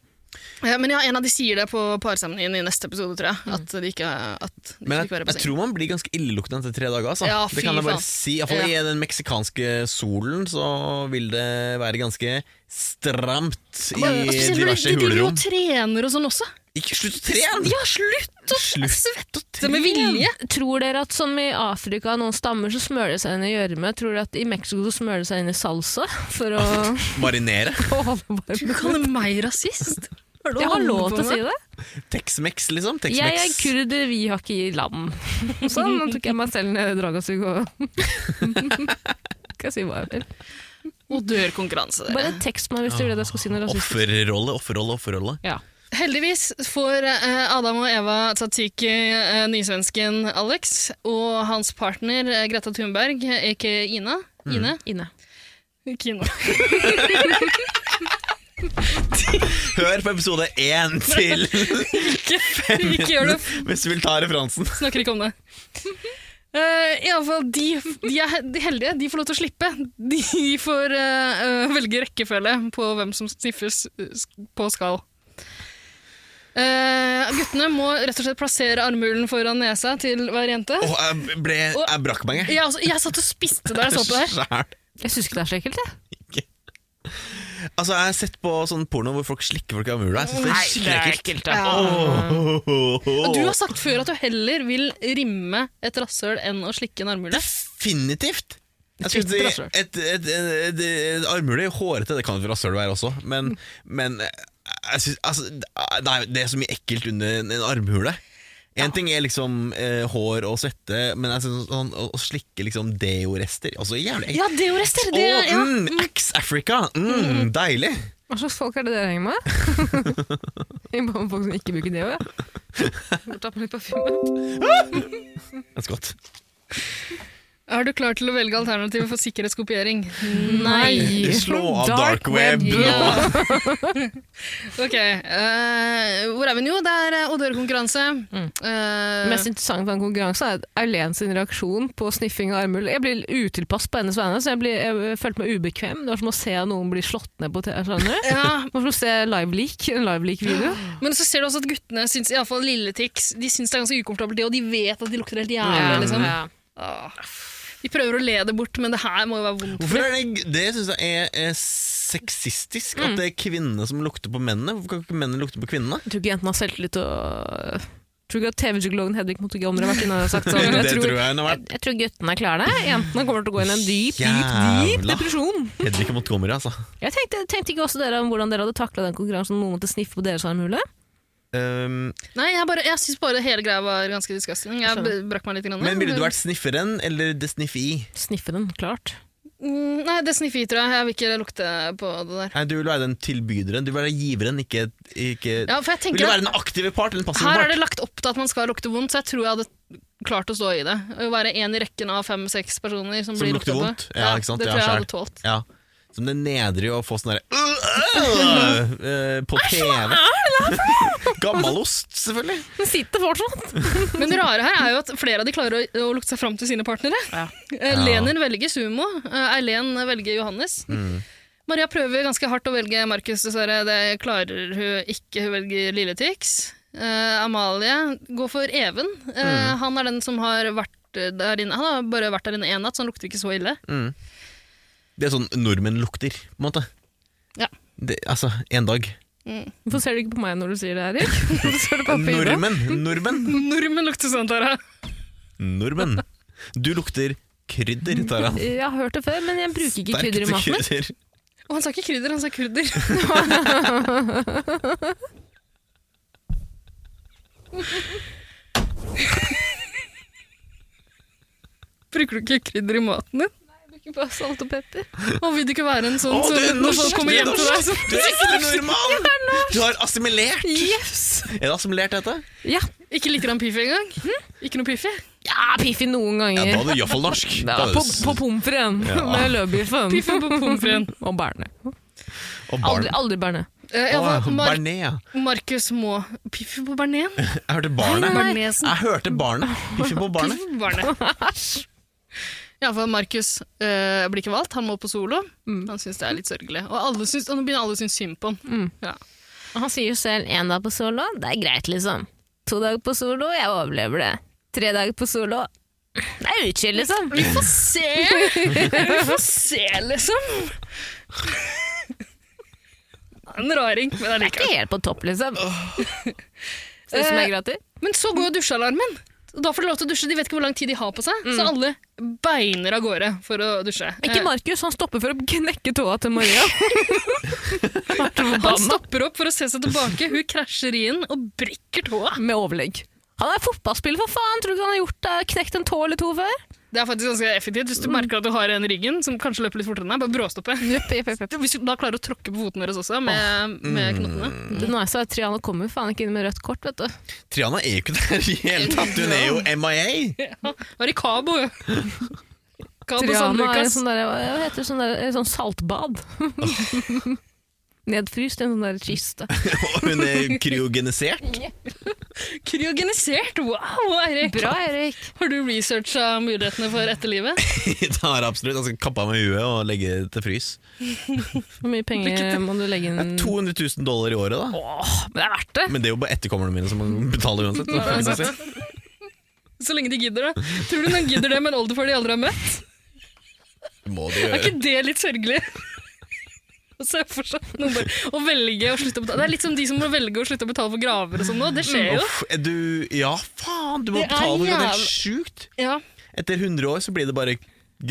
Speaker 2: Eh, Men ja, en av de sier det på parseremonien i neste episode, tror jeg. At de ikke, at de
Speaker 1: Men
Speaker 2: ikke
Speaker 1: jeg,
Speaker 2: fikk være i
Speaker 1: jeg
Speaker 2: bassenget.
Speaker 1: tror man blir ganske illeluktende etter tre dager. Altså.
Speaker 2: Ja,
Speaker 1: det kan
Speaker 2: fy
Speaker 1: jeg bare
Speaker 2: faen.
Speaker 1: si. Iallfall i den meksikanske solen så vil det være ganske stramt i
Speaker 2: Og spesielt fordi
Speaker 1: diverse
Speaker 2: de driver jo
Speaker 1: hulrom.
Speaker 2: og trener og sånn også.
Speaker 1: Ikke slutt å trene!
Speaker 2: Ja, slutt å
Speaker 1: Slutt å
Speaker 2: svette med vilje!
Speaker 3: Tror dere at som i Afrika noen stammer så smører de seg inn i gjørme, tror dere at i Mexico så smører de seg inn i salsa for å
Speaker 1: Marinere.
Speaker 3: holde
Speaker 2: Du
Speaker 3: varmen?
Speaker 2: kaller meg rasist? Har du
Speaker 3: Jeg har
Speaker 2: holdt
Speaker 3: lov
Speaker 2: på
Speaker 3: til å si
Speaker 2: med?
Speaker 3: det.
Speaker 1: Tex-Mex, liksom.
Speaker 3: Jeg er
Speaker 1: Tex-Mex.
Speaker 3: kurder, vi har ikke land. Sånn, nå tok jeg meg selv ned i Dragasug og Skal jeg si hva jeg vil.
Speaker 2: Og dør konkurranse, dere.
Speaker 3: Bare tekst meg hvis du vil at jeg skal si noe rasistisk.
Speaker 1: Offerrolle, offerrolle, offerrolle.
Speaker 3: Ja.
Speaker 2: Heldigvis får eh, Adam og Eva Tsatsiki eh, nysvensken Alex og hans partner eh, Greta Thunberg, eh, ikke Ina. Ine?
Speaker 3: Inne.
Speaker 2: Kina.
Speaker 1: Hør på episode én til
Speaker 2: Ikke, ikke gjør det,
Speaker 1: hvis du vil ta referansen.
Speaker 2: snakker ikke om det. Uh, i alle fall, de, de er he- de heldige. De får lov til å slippe. De får eh, eh, velge rekkefølge på hvem som sniffes eh, sk- på skall. Eh, guttene må rett og slett plassere armhulen foran nesa til hver jente.
Speaker 1: Åh, jeg, ble, jeg brakk meg, jeg.
Speaker 2: Jeg, også, altså, jeg satt og spiste da jeg så på det her.
Speaker 1: Sjæl.
Speaker 3: Jeg syns ikke det er så ekkelt, jeg.
Speaker 1: Altså, jeg har sett på sånn porno hvor folk slikker folk i armhula. Jeg synes det er skikkelig ekkelt.
Speaker 2: Og du har
Speaker 1: Åh.
Speaker 2: sagt før at du heller vil rimme et rasshøl enn å slikke en armhule.
Speaker 1: Definitivt! Jeg
Speaker 3: Fritt
Speaker 1: skulle si
Speaker 3: rasshøl.
Speaker 1: et, et, et, et, et armhule i hårete, det kan jo rasshøl være også, men, men eh, jeg synes, altså, nei, det er så mye ekkelt under en, en armhule. Én ting er liksom eh, hår og svette, men jeg synes sånn, å, å slikke liksom deorester altså, jævlig ekkelt.
Speaker 2: Ja, det er jo rester!
Speaker 1: Å, mm, Ax-Africa! Mm, deilig!
Speaker 3: Hva slags folk er det dere henger med? Jeg bare med folk som ikke bruker det òg, ja. Må ta på litt parfyme.
Speaker 1: That's godt.
Speaker 2: Er du klar til å velge alternativet for sikkerhetskopiering?
Speaker 3: Nei!
Speaker 1: Eh, Slå av dark web nå!
Speaker 2: Ja. ok, eh, hvor er vi nå? Det er uh, odørkonkurranse.
Speaker 1: Mm.
Speaker 3: Det
Speaker 2: Eh,
Speaker 3: mest interessante med den konkurransen er at Eileen sin reaksjon på sniffing av armhull Jeg blir utilpass på hennes vegne, så jeg, blir, jeg følte meg ubekvem. Det var som å se noen bli slått ned på TV. Skjønner du?
Speaker 2: ja,
Speaker 3: Det var som å se live-leak, en live-leak-video.
Speaker 2: men så ser du også at guttene syns i alle fall Lille Tix de syns det er ganske ukomfortabelt, det, og de vet at de lukter helt
Speaker 1: Mm.
Speaker 2: jævlig. Liksom. Åh. De prøver å le det bort, men det her må jo være vondt.
Speaker 1: Hvorfor er det Det syns jeg er, er sexistisk,
Speaker 2: Mm.
Speaker 1: at det er kvinnene som lukter på mennene. Hvorfor kan ikke mennene lukte på kvinnene?
Speaker 3: Jeg tror ikke jentene har selvtillit og Tror ikke at TV-psykologen Hedvig Motogamre har vært inne og sagt sånn. Jeg tror, jeg,
Speaker 1: jeg hun har vært.
Speaker 3: jeg tror guttene klarer det. Jentene kommer til å gå inn i en dyp, dyp, dyp
Speaker 1: Jævla.
Speaker 3: depresjon.
Speaker 1: Hedvig Montgomery, altså.
Speaker 3: Jeg tenkte, tenkte ikke også dere om hvordan dere hadde takla den konkurransen om noen måtte sniffe på deres armhule?
Speaker 1: Um,
Speaker 2: Nei, Jeg, bare- jeg syns bare hele greia var ganske disgusting. Jeg b- brakk meg litt. Grann.
Speaker 1: men ville du vært snifferen eller det sniffi?
Speaker 3: Sniffe den, klart.
Speaker 2: Mm, Nei, det sniffer i, tror jeg. Jeg vil ikke lukte på det der.
Speaker 1: Nei, du vil være den tilbyderen, du vil være giveren, ikke, ikke
Speaker 2: Ja, for jeg
Speaker 1: Vil du
Speaker 2: tenker
Speaker 1: være
Speaker 2: at
Speaker 1: den aktive part eller den passive
Speaker 2: Her er
Speaker 1: part?
Speaker 2: det lagt opp til at man skal lukte vondt, så jeg tror jeg hadde klart å stå i det. Å være en i rekken av fem-seks personer som,
Speaker 1: Som
Speaker 2: blir
Speaker 1: lukter
Speaker 2: lukta på.
Speaker 1: vondt? Ja, ikke sant?
Speaker 2: Det
Speaker 1: Ja,
Speaker 2: tror jeg jeg
Speaker 1: skjær.
Speaker 2: hadde tålt.
Speaker 1: Ja. som det nedre i å få sånn derre eh, På TV. Gammalost, selvfølgelig.
Speaker 3: Den sitter fortsatt.
Speaker 2: Men det rare her er jo at flere av de klarer å, å lukte seg fram til sine partnere.
Speaker 4: Ja.
Speaker 2: Eh, Lenin velger Sumo, eh, Eileen velger Johannes. Maria prøver ganske hardt å velge Markus, dessverre. Det klarer hun ikke. Hun velger Lille Tix. Eh, Amalie går for Even. Eh, Han er den som har vært eh, der inne. Han har bare vært der inne én natt, så han lukter ikke så ille.
Speaker 1: Mm. Det er sånn nordmenn lukter, på en måte.
Speaker 2: Ja.
Speaker 1: Det, altså, én dag.
Speaker 3: Hvorfor ser du ikke på meg når du sier det, Erik? Hvorfor ser du på Frida?
Speaker 1: Nordmenn! Nordmenn!
Speaker 2: Nordmenn lukter sånn, Tara.
Speaker 1: Nordmenn. Du lukter krydder, Tara.
Speaker 3: Jeg har hørt det før, men jeg bruker ikke krydder i maten min.
Speaker 1: krydder.
Speaker 2: Og han sa ikke krydder, han sa kurder. Bruker du ikke krydder i maten din?
Speaker 3: Bruker bare salt og pepper.
Speaker 2: Og vil du ikke være en sånn
Speaker 1: Å,
Speaker 2: som
Speaker 1: du er
Speaker 2: når folk
Speaker 1: norsk,
Speaker 2: kommer
Speaker 1: du er
Speaker 2: hjem til deg så,
Speaker 1: Du er ikke normal! Du har assimilert!
Speaker 3: Yes!
Speaker 1: Er det assimilert, dette?
Speaker 3: Ja,
Speaker 2: Ikke litt grann piffi engang? Hm? Ikke noe piffi?
Speaker 3: ja Piffi noen
Speaker 1: Ja, da
Speaker 3: ganger.
Speaker 1: er du iallfall norsk.
Speaker 3: Ja,
Speaker 1: Da er du
Speaker 3: på
Speaker 1: s-
Speaker 3: på pommes fritesen
Speaker 1: Ja.
Speaker 3: med løvbiffen.
Speaker 2: Piffi på pommes fritesen.
Speaker 3: Og bærene.
Speaker 1: og barn.
Speaker 3: Aldri, aldri bærene.
Speaker 2: Eh, ja,
Speaker 1: Åh,
Speaker 2: hva- Mar
Speaker 1: Barnet, ja.
Speaker 2: Markus må Piffi på bearnés.
Speaker 1: Jeg hørte barnet.
Speaker 2: Bearnésen.
Speaker 1: Jeg hørte barnet. Piffi på barnet.
Speaker 2: Piffi på bearnés. Ja, for Markus eh, blir ikke valgt. Han må på solo. Han syns det er litt sørgelig. Og, alle syns, og nå begynner alle å synes synd på han. Ja.
Speaker 3: Han sier jo selv én dag på solo, det er greit, liksom. To dager på solo, jeg overlever det. Tre dager på solo, det er utskill, liksom.
Speaker 2: Vi får se! Vi får se, liksom. En raring, men
Speaker 3: Ikke
Speaker 2: allikevel.
Speaker 3: helt på topp, liksom. Ser ut som jeg gråter.
Speaker 2: Men så går jo dusjealarmen. Da får de lov til å dusje. De vet ikke hvor lang tid de har på seg, så alle beiner av gårde for å dusje.
Speaker 3: Ikke
Speaker 2: Eh,
Speaker 3: Markus, han stopper for å knekke tåa til Maria.
Speaker 2: Han stopper opp for å se seg tilbake. Hun krasjer inn og brekker tåa.
Speaker 3: Med overlegg. Han er fotballspiller, for faen! Tror du ikke han har gjort det? knekt en tå eller to før?
Speaker 2: Det er faktisk ganske effektivt hvis du
Speaker 3: Mm.
Speaker 2: merker at du har en i ryggen som kanskje løper litt fortere enn deg. Bare bråstoppe. Hvis du da klarer å tråkke på foten deres også med,
Speaker 3: Mm.
Speaker 2: med knottene.
Speaker 3: Det nice er at Triana kommer faen ikke inn med rødt kort, vet du.
Speaker 1: Triana er jo ikke der i hele tatt. Hun er jo MIA.
Speaker 2: Ja, var i Cabo, jo. Cabo San
Speaker 3: Triana er en
Speaker 2: Lucas.
Speaker 3: sånn der, hva heter det, sånn, der, en sånn saltbad. Nedfryst i en sånn der kiste.
Speaker 1: Og hun er kryogenisert.
Speaker 2: Kryogenisert! Wow, Eirik!
Speaker 3: Bra, Erik.
Speaker 2: Har du researcha mulighetene for etterlivet?
Speaker 1: Tar absolutt. Han skal kappe av med huet og legge det til frys.
Speaker 3: Hvor mye penger må du legge inn?
Speaker 1: 200 000 dollar i året, da.
Speaker 3: Åh, men det er verdt det!
Speaker 1: Men det er jo bare etterkommerne mine som betaler uansett. da, får jeg si. sånn.
Speaker 2: Så lenge de gidder, da. Tror du noen gidder det med en oldefar de aldri har møtt?
Speaker 1: Må de
Speaker 2: Er
Speaker 1: gjøre.
Speaker 2: ikke det litt sørgelig? Å se for seg noen bare å velge å slutte å betale Det er litt som de som må velge å slutte å betale for graver og sånn nå. Det
Speaker 3: Mm.
Speaker 2: skjer jo.
Speaker 1: Uff, er du Ja, faen! Du må
Speaker 2: Det er
Speaker 1: betale for det. Det er
Speaker 2: jævla-
Speaker 1: helt sjukt.
Speaker 2: Ja.
Speaker 1: Etter 100 år så blir det bare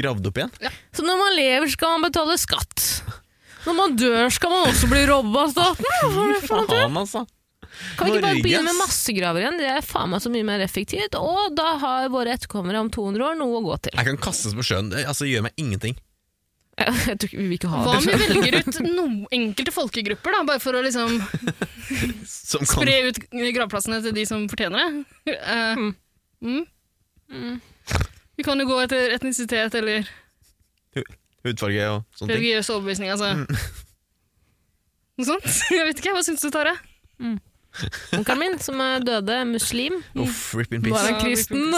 Speaker 1: gravd opp igjen.
Speaker 3: Så når man lever, skal man betale skatt. Når man dør, skal man også bli robba av staten. Hva faen tror du?
Speaker 1: Faen, altså.
Speaker 3: Kan vi ikke bare
Speaker 1: Norge,
Speaker 3: begynne med
Speaker 1: ass.
Speaker 3: massegraver igjen? Det er faen meg så mye mer effektivt. Og da har våre etterkommere om 200 år noe å gå til.
Speaker 1: Jeg kan kastes på sjøen. Det altså, gjør meg ingenting.
Speaker 3: Jeg tror ikke vi vil ikke ha
Speaker 2: Hva
Speaker 3: det.
Speaker 2: om vi velger ut noen enkelte folkegrupper, da, bare for å liksom
Speaker 1: Som kan
Speaker 2: spre ut gravplassene til de som fortjener det? Eh, mm. Vi kan jo gå etter etnisitet eller
Speaker 1: hudfarge og sånne ting.
Speaker 2: Religiøs overbevisning, altså. Noe sånt? Jeg vet ikke, Hva syns du, Tare?
Speaker 3: Onkelen min, som er døde, muslim,
Speaker 1: Uff, rip in
Speaker 3: var
Speaker 1: peace.
Speaker 3: en kristen.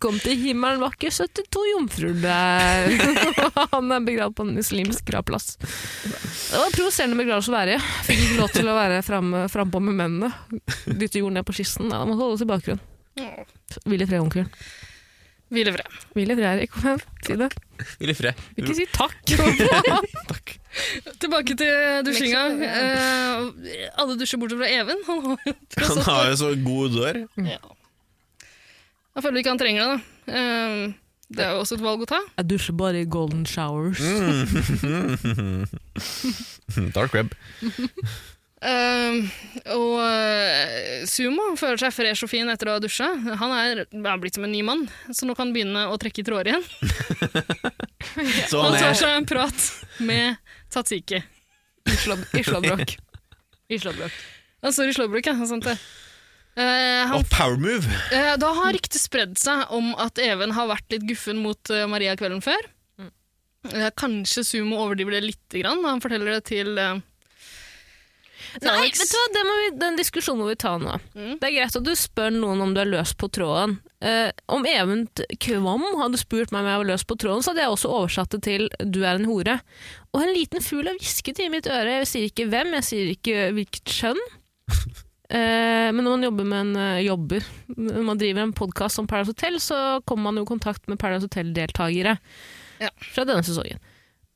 Speaker 3: Kom til himmelen var ikke 72 jomfruer der. Han er begravd på en muslimsk gravplass. Det var provoserende begravelse å være i. Fikk ikke lov til å være frampå frem frampå med mennene. Dytte jord ned på kisten. Nei, han måtte holde oss i bakgrunnen. Hvil i fred, onkel.
Speaker 2: Hvile fred.
Speaker 3: Hvil i fred, Erik. Kom igjen, si det.
Speaker 1: Vil i fred.
Speaker 3: Vil ikke si takk.
Speaker 1: Takk.
Speaker 2: Tilbake til dusjinga. Eh, alle dusjer bortsett fra Even. Han har jo tross
Speaker 1: Han
Speaker 2: alt
Speaker 1: har jo så god dør.
Speaker 2: ja. Jeg føler ikke han trenger det, da. Eh, det er jo også et valg å ta.
Speaker 3: Jeg dusjer bare i golden showers.
Speaker 1: Mm. Dark web.
Speaker 2: Eh, og eh, Sumo føler seg fresh og fin etter å ha dusja. Han er, er blitt som en ny mann, så nå kan han begynne å trekke i tråder igjen.
Speaker 1: Så
Speaker 2: Han
Speaker 1: han
Speaker 2: tar
Speaker 1: er
Speaker 2: seg en prat med Tatsiki.
Speaker 3: Islabråk. Islabråk.
Speaker 2: Han står i slåbrok, ja. Sant det. Eh, han,
Speaker 1: Og power move!
Speaker 2: eh, da har ryktet spredd seg om at Even har vært litt guffen mot eh, Maria kvelden før.
Speaker 3: Mm.
Speaker 2: Eh, kanskje Sumo overdriver det litt, grann, da han forteller det til eh, til
Speaker 3: Nei,
Speaker 2: Alex.
Speaker 3: vet du hva? Den, må vi, den diskusjonen må vi ta nå.
Speaker 2: Mm.
Speaker 3: Det er greit at du spør noen om du er løs på tråden. Eh, om Even Kvam hadde spurt meg om jeg var løs på tråden, så hadde jeg også oversatt det til 'du er en hore'. Og en liten fugl har hvisket i mitt øre. Jeg sier ikke hvem, jeg sier ikke hvilket kjønn. Eh, men når man jobber med en eh, jobber, når man driver en podkast som Paradise Hotel, så kommer man jo i kontakt med Paradise Hotel-deltakere
Speaker 2: Ja.
Speaker 3: fra denne sesongen.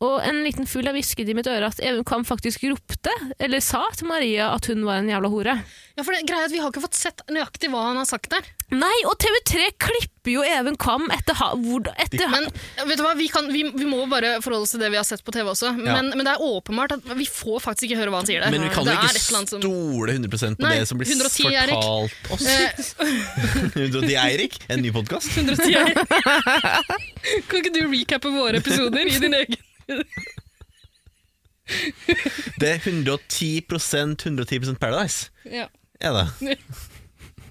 Speaker 3: Og en liten fugl har hvisket i mitt øre at Even Kvam faktisk ropte, eller sa til Maria at hun var en jævla hore.
Speaker 2: Ja, for det, greia er at Vi har ikke fått sett nøyaktig hva han har sagt der.
Speaker 3: Nei, og TV3 klipper jo Even Kam etter, ha, hvor, etter ha,
Speaker 2: Men vet du hva, vi, kan, vi, vi må bare forholde oss til det vi har sett på TV også.
Speaker 1: Ja.
Speaker 2: Men, men det er åpenbart at vi får faktisk ikke høre hva han sier der.
Speaker 1: Men vi kan jo
Speaker 2: det
Speaker 1: ikke
Speaker 2: er et eller annet som-
Speaker 1: stole 100 på
Speaker 2: Nei,
Speaker 1: det som blir
Speaker 2: 110 er Erik.
Speaker 1: fortalt oss.
Speaker 2: Eh,
Speaker 1: 110 Eirik, en ny podkast.
Speaker 2: 110 er Kan ikke du recappe våre episoder i din egen
Speaker 1: Det er 110 110 Paradise,
Speaker 2: Ja,
Speaker 1: er det.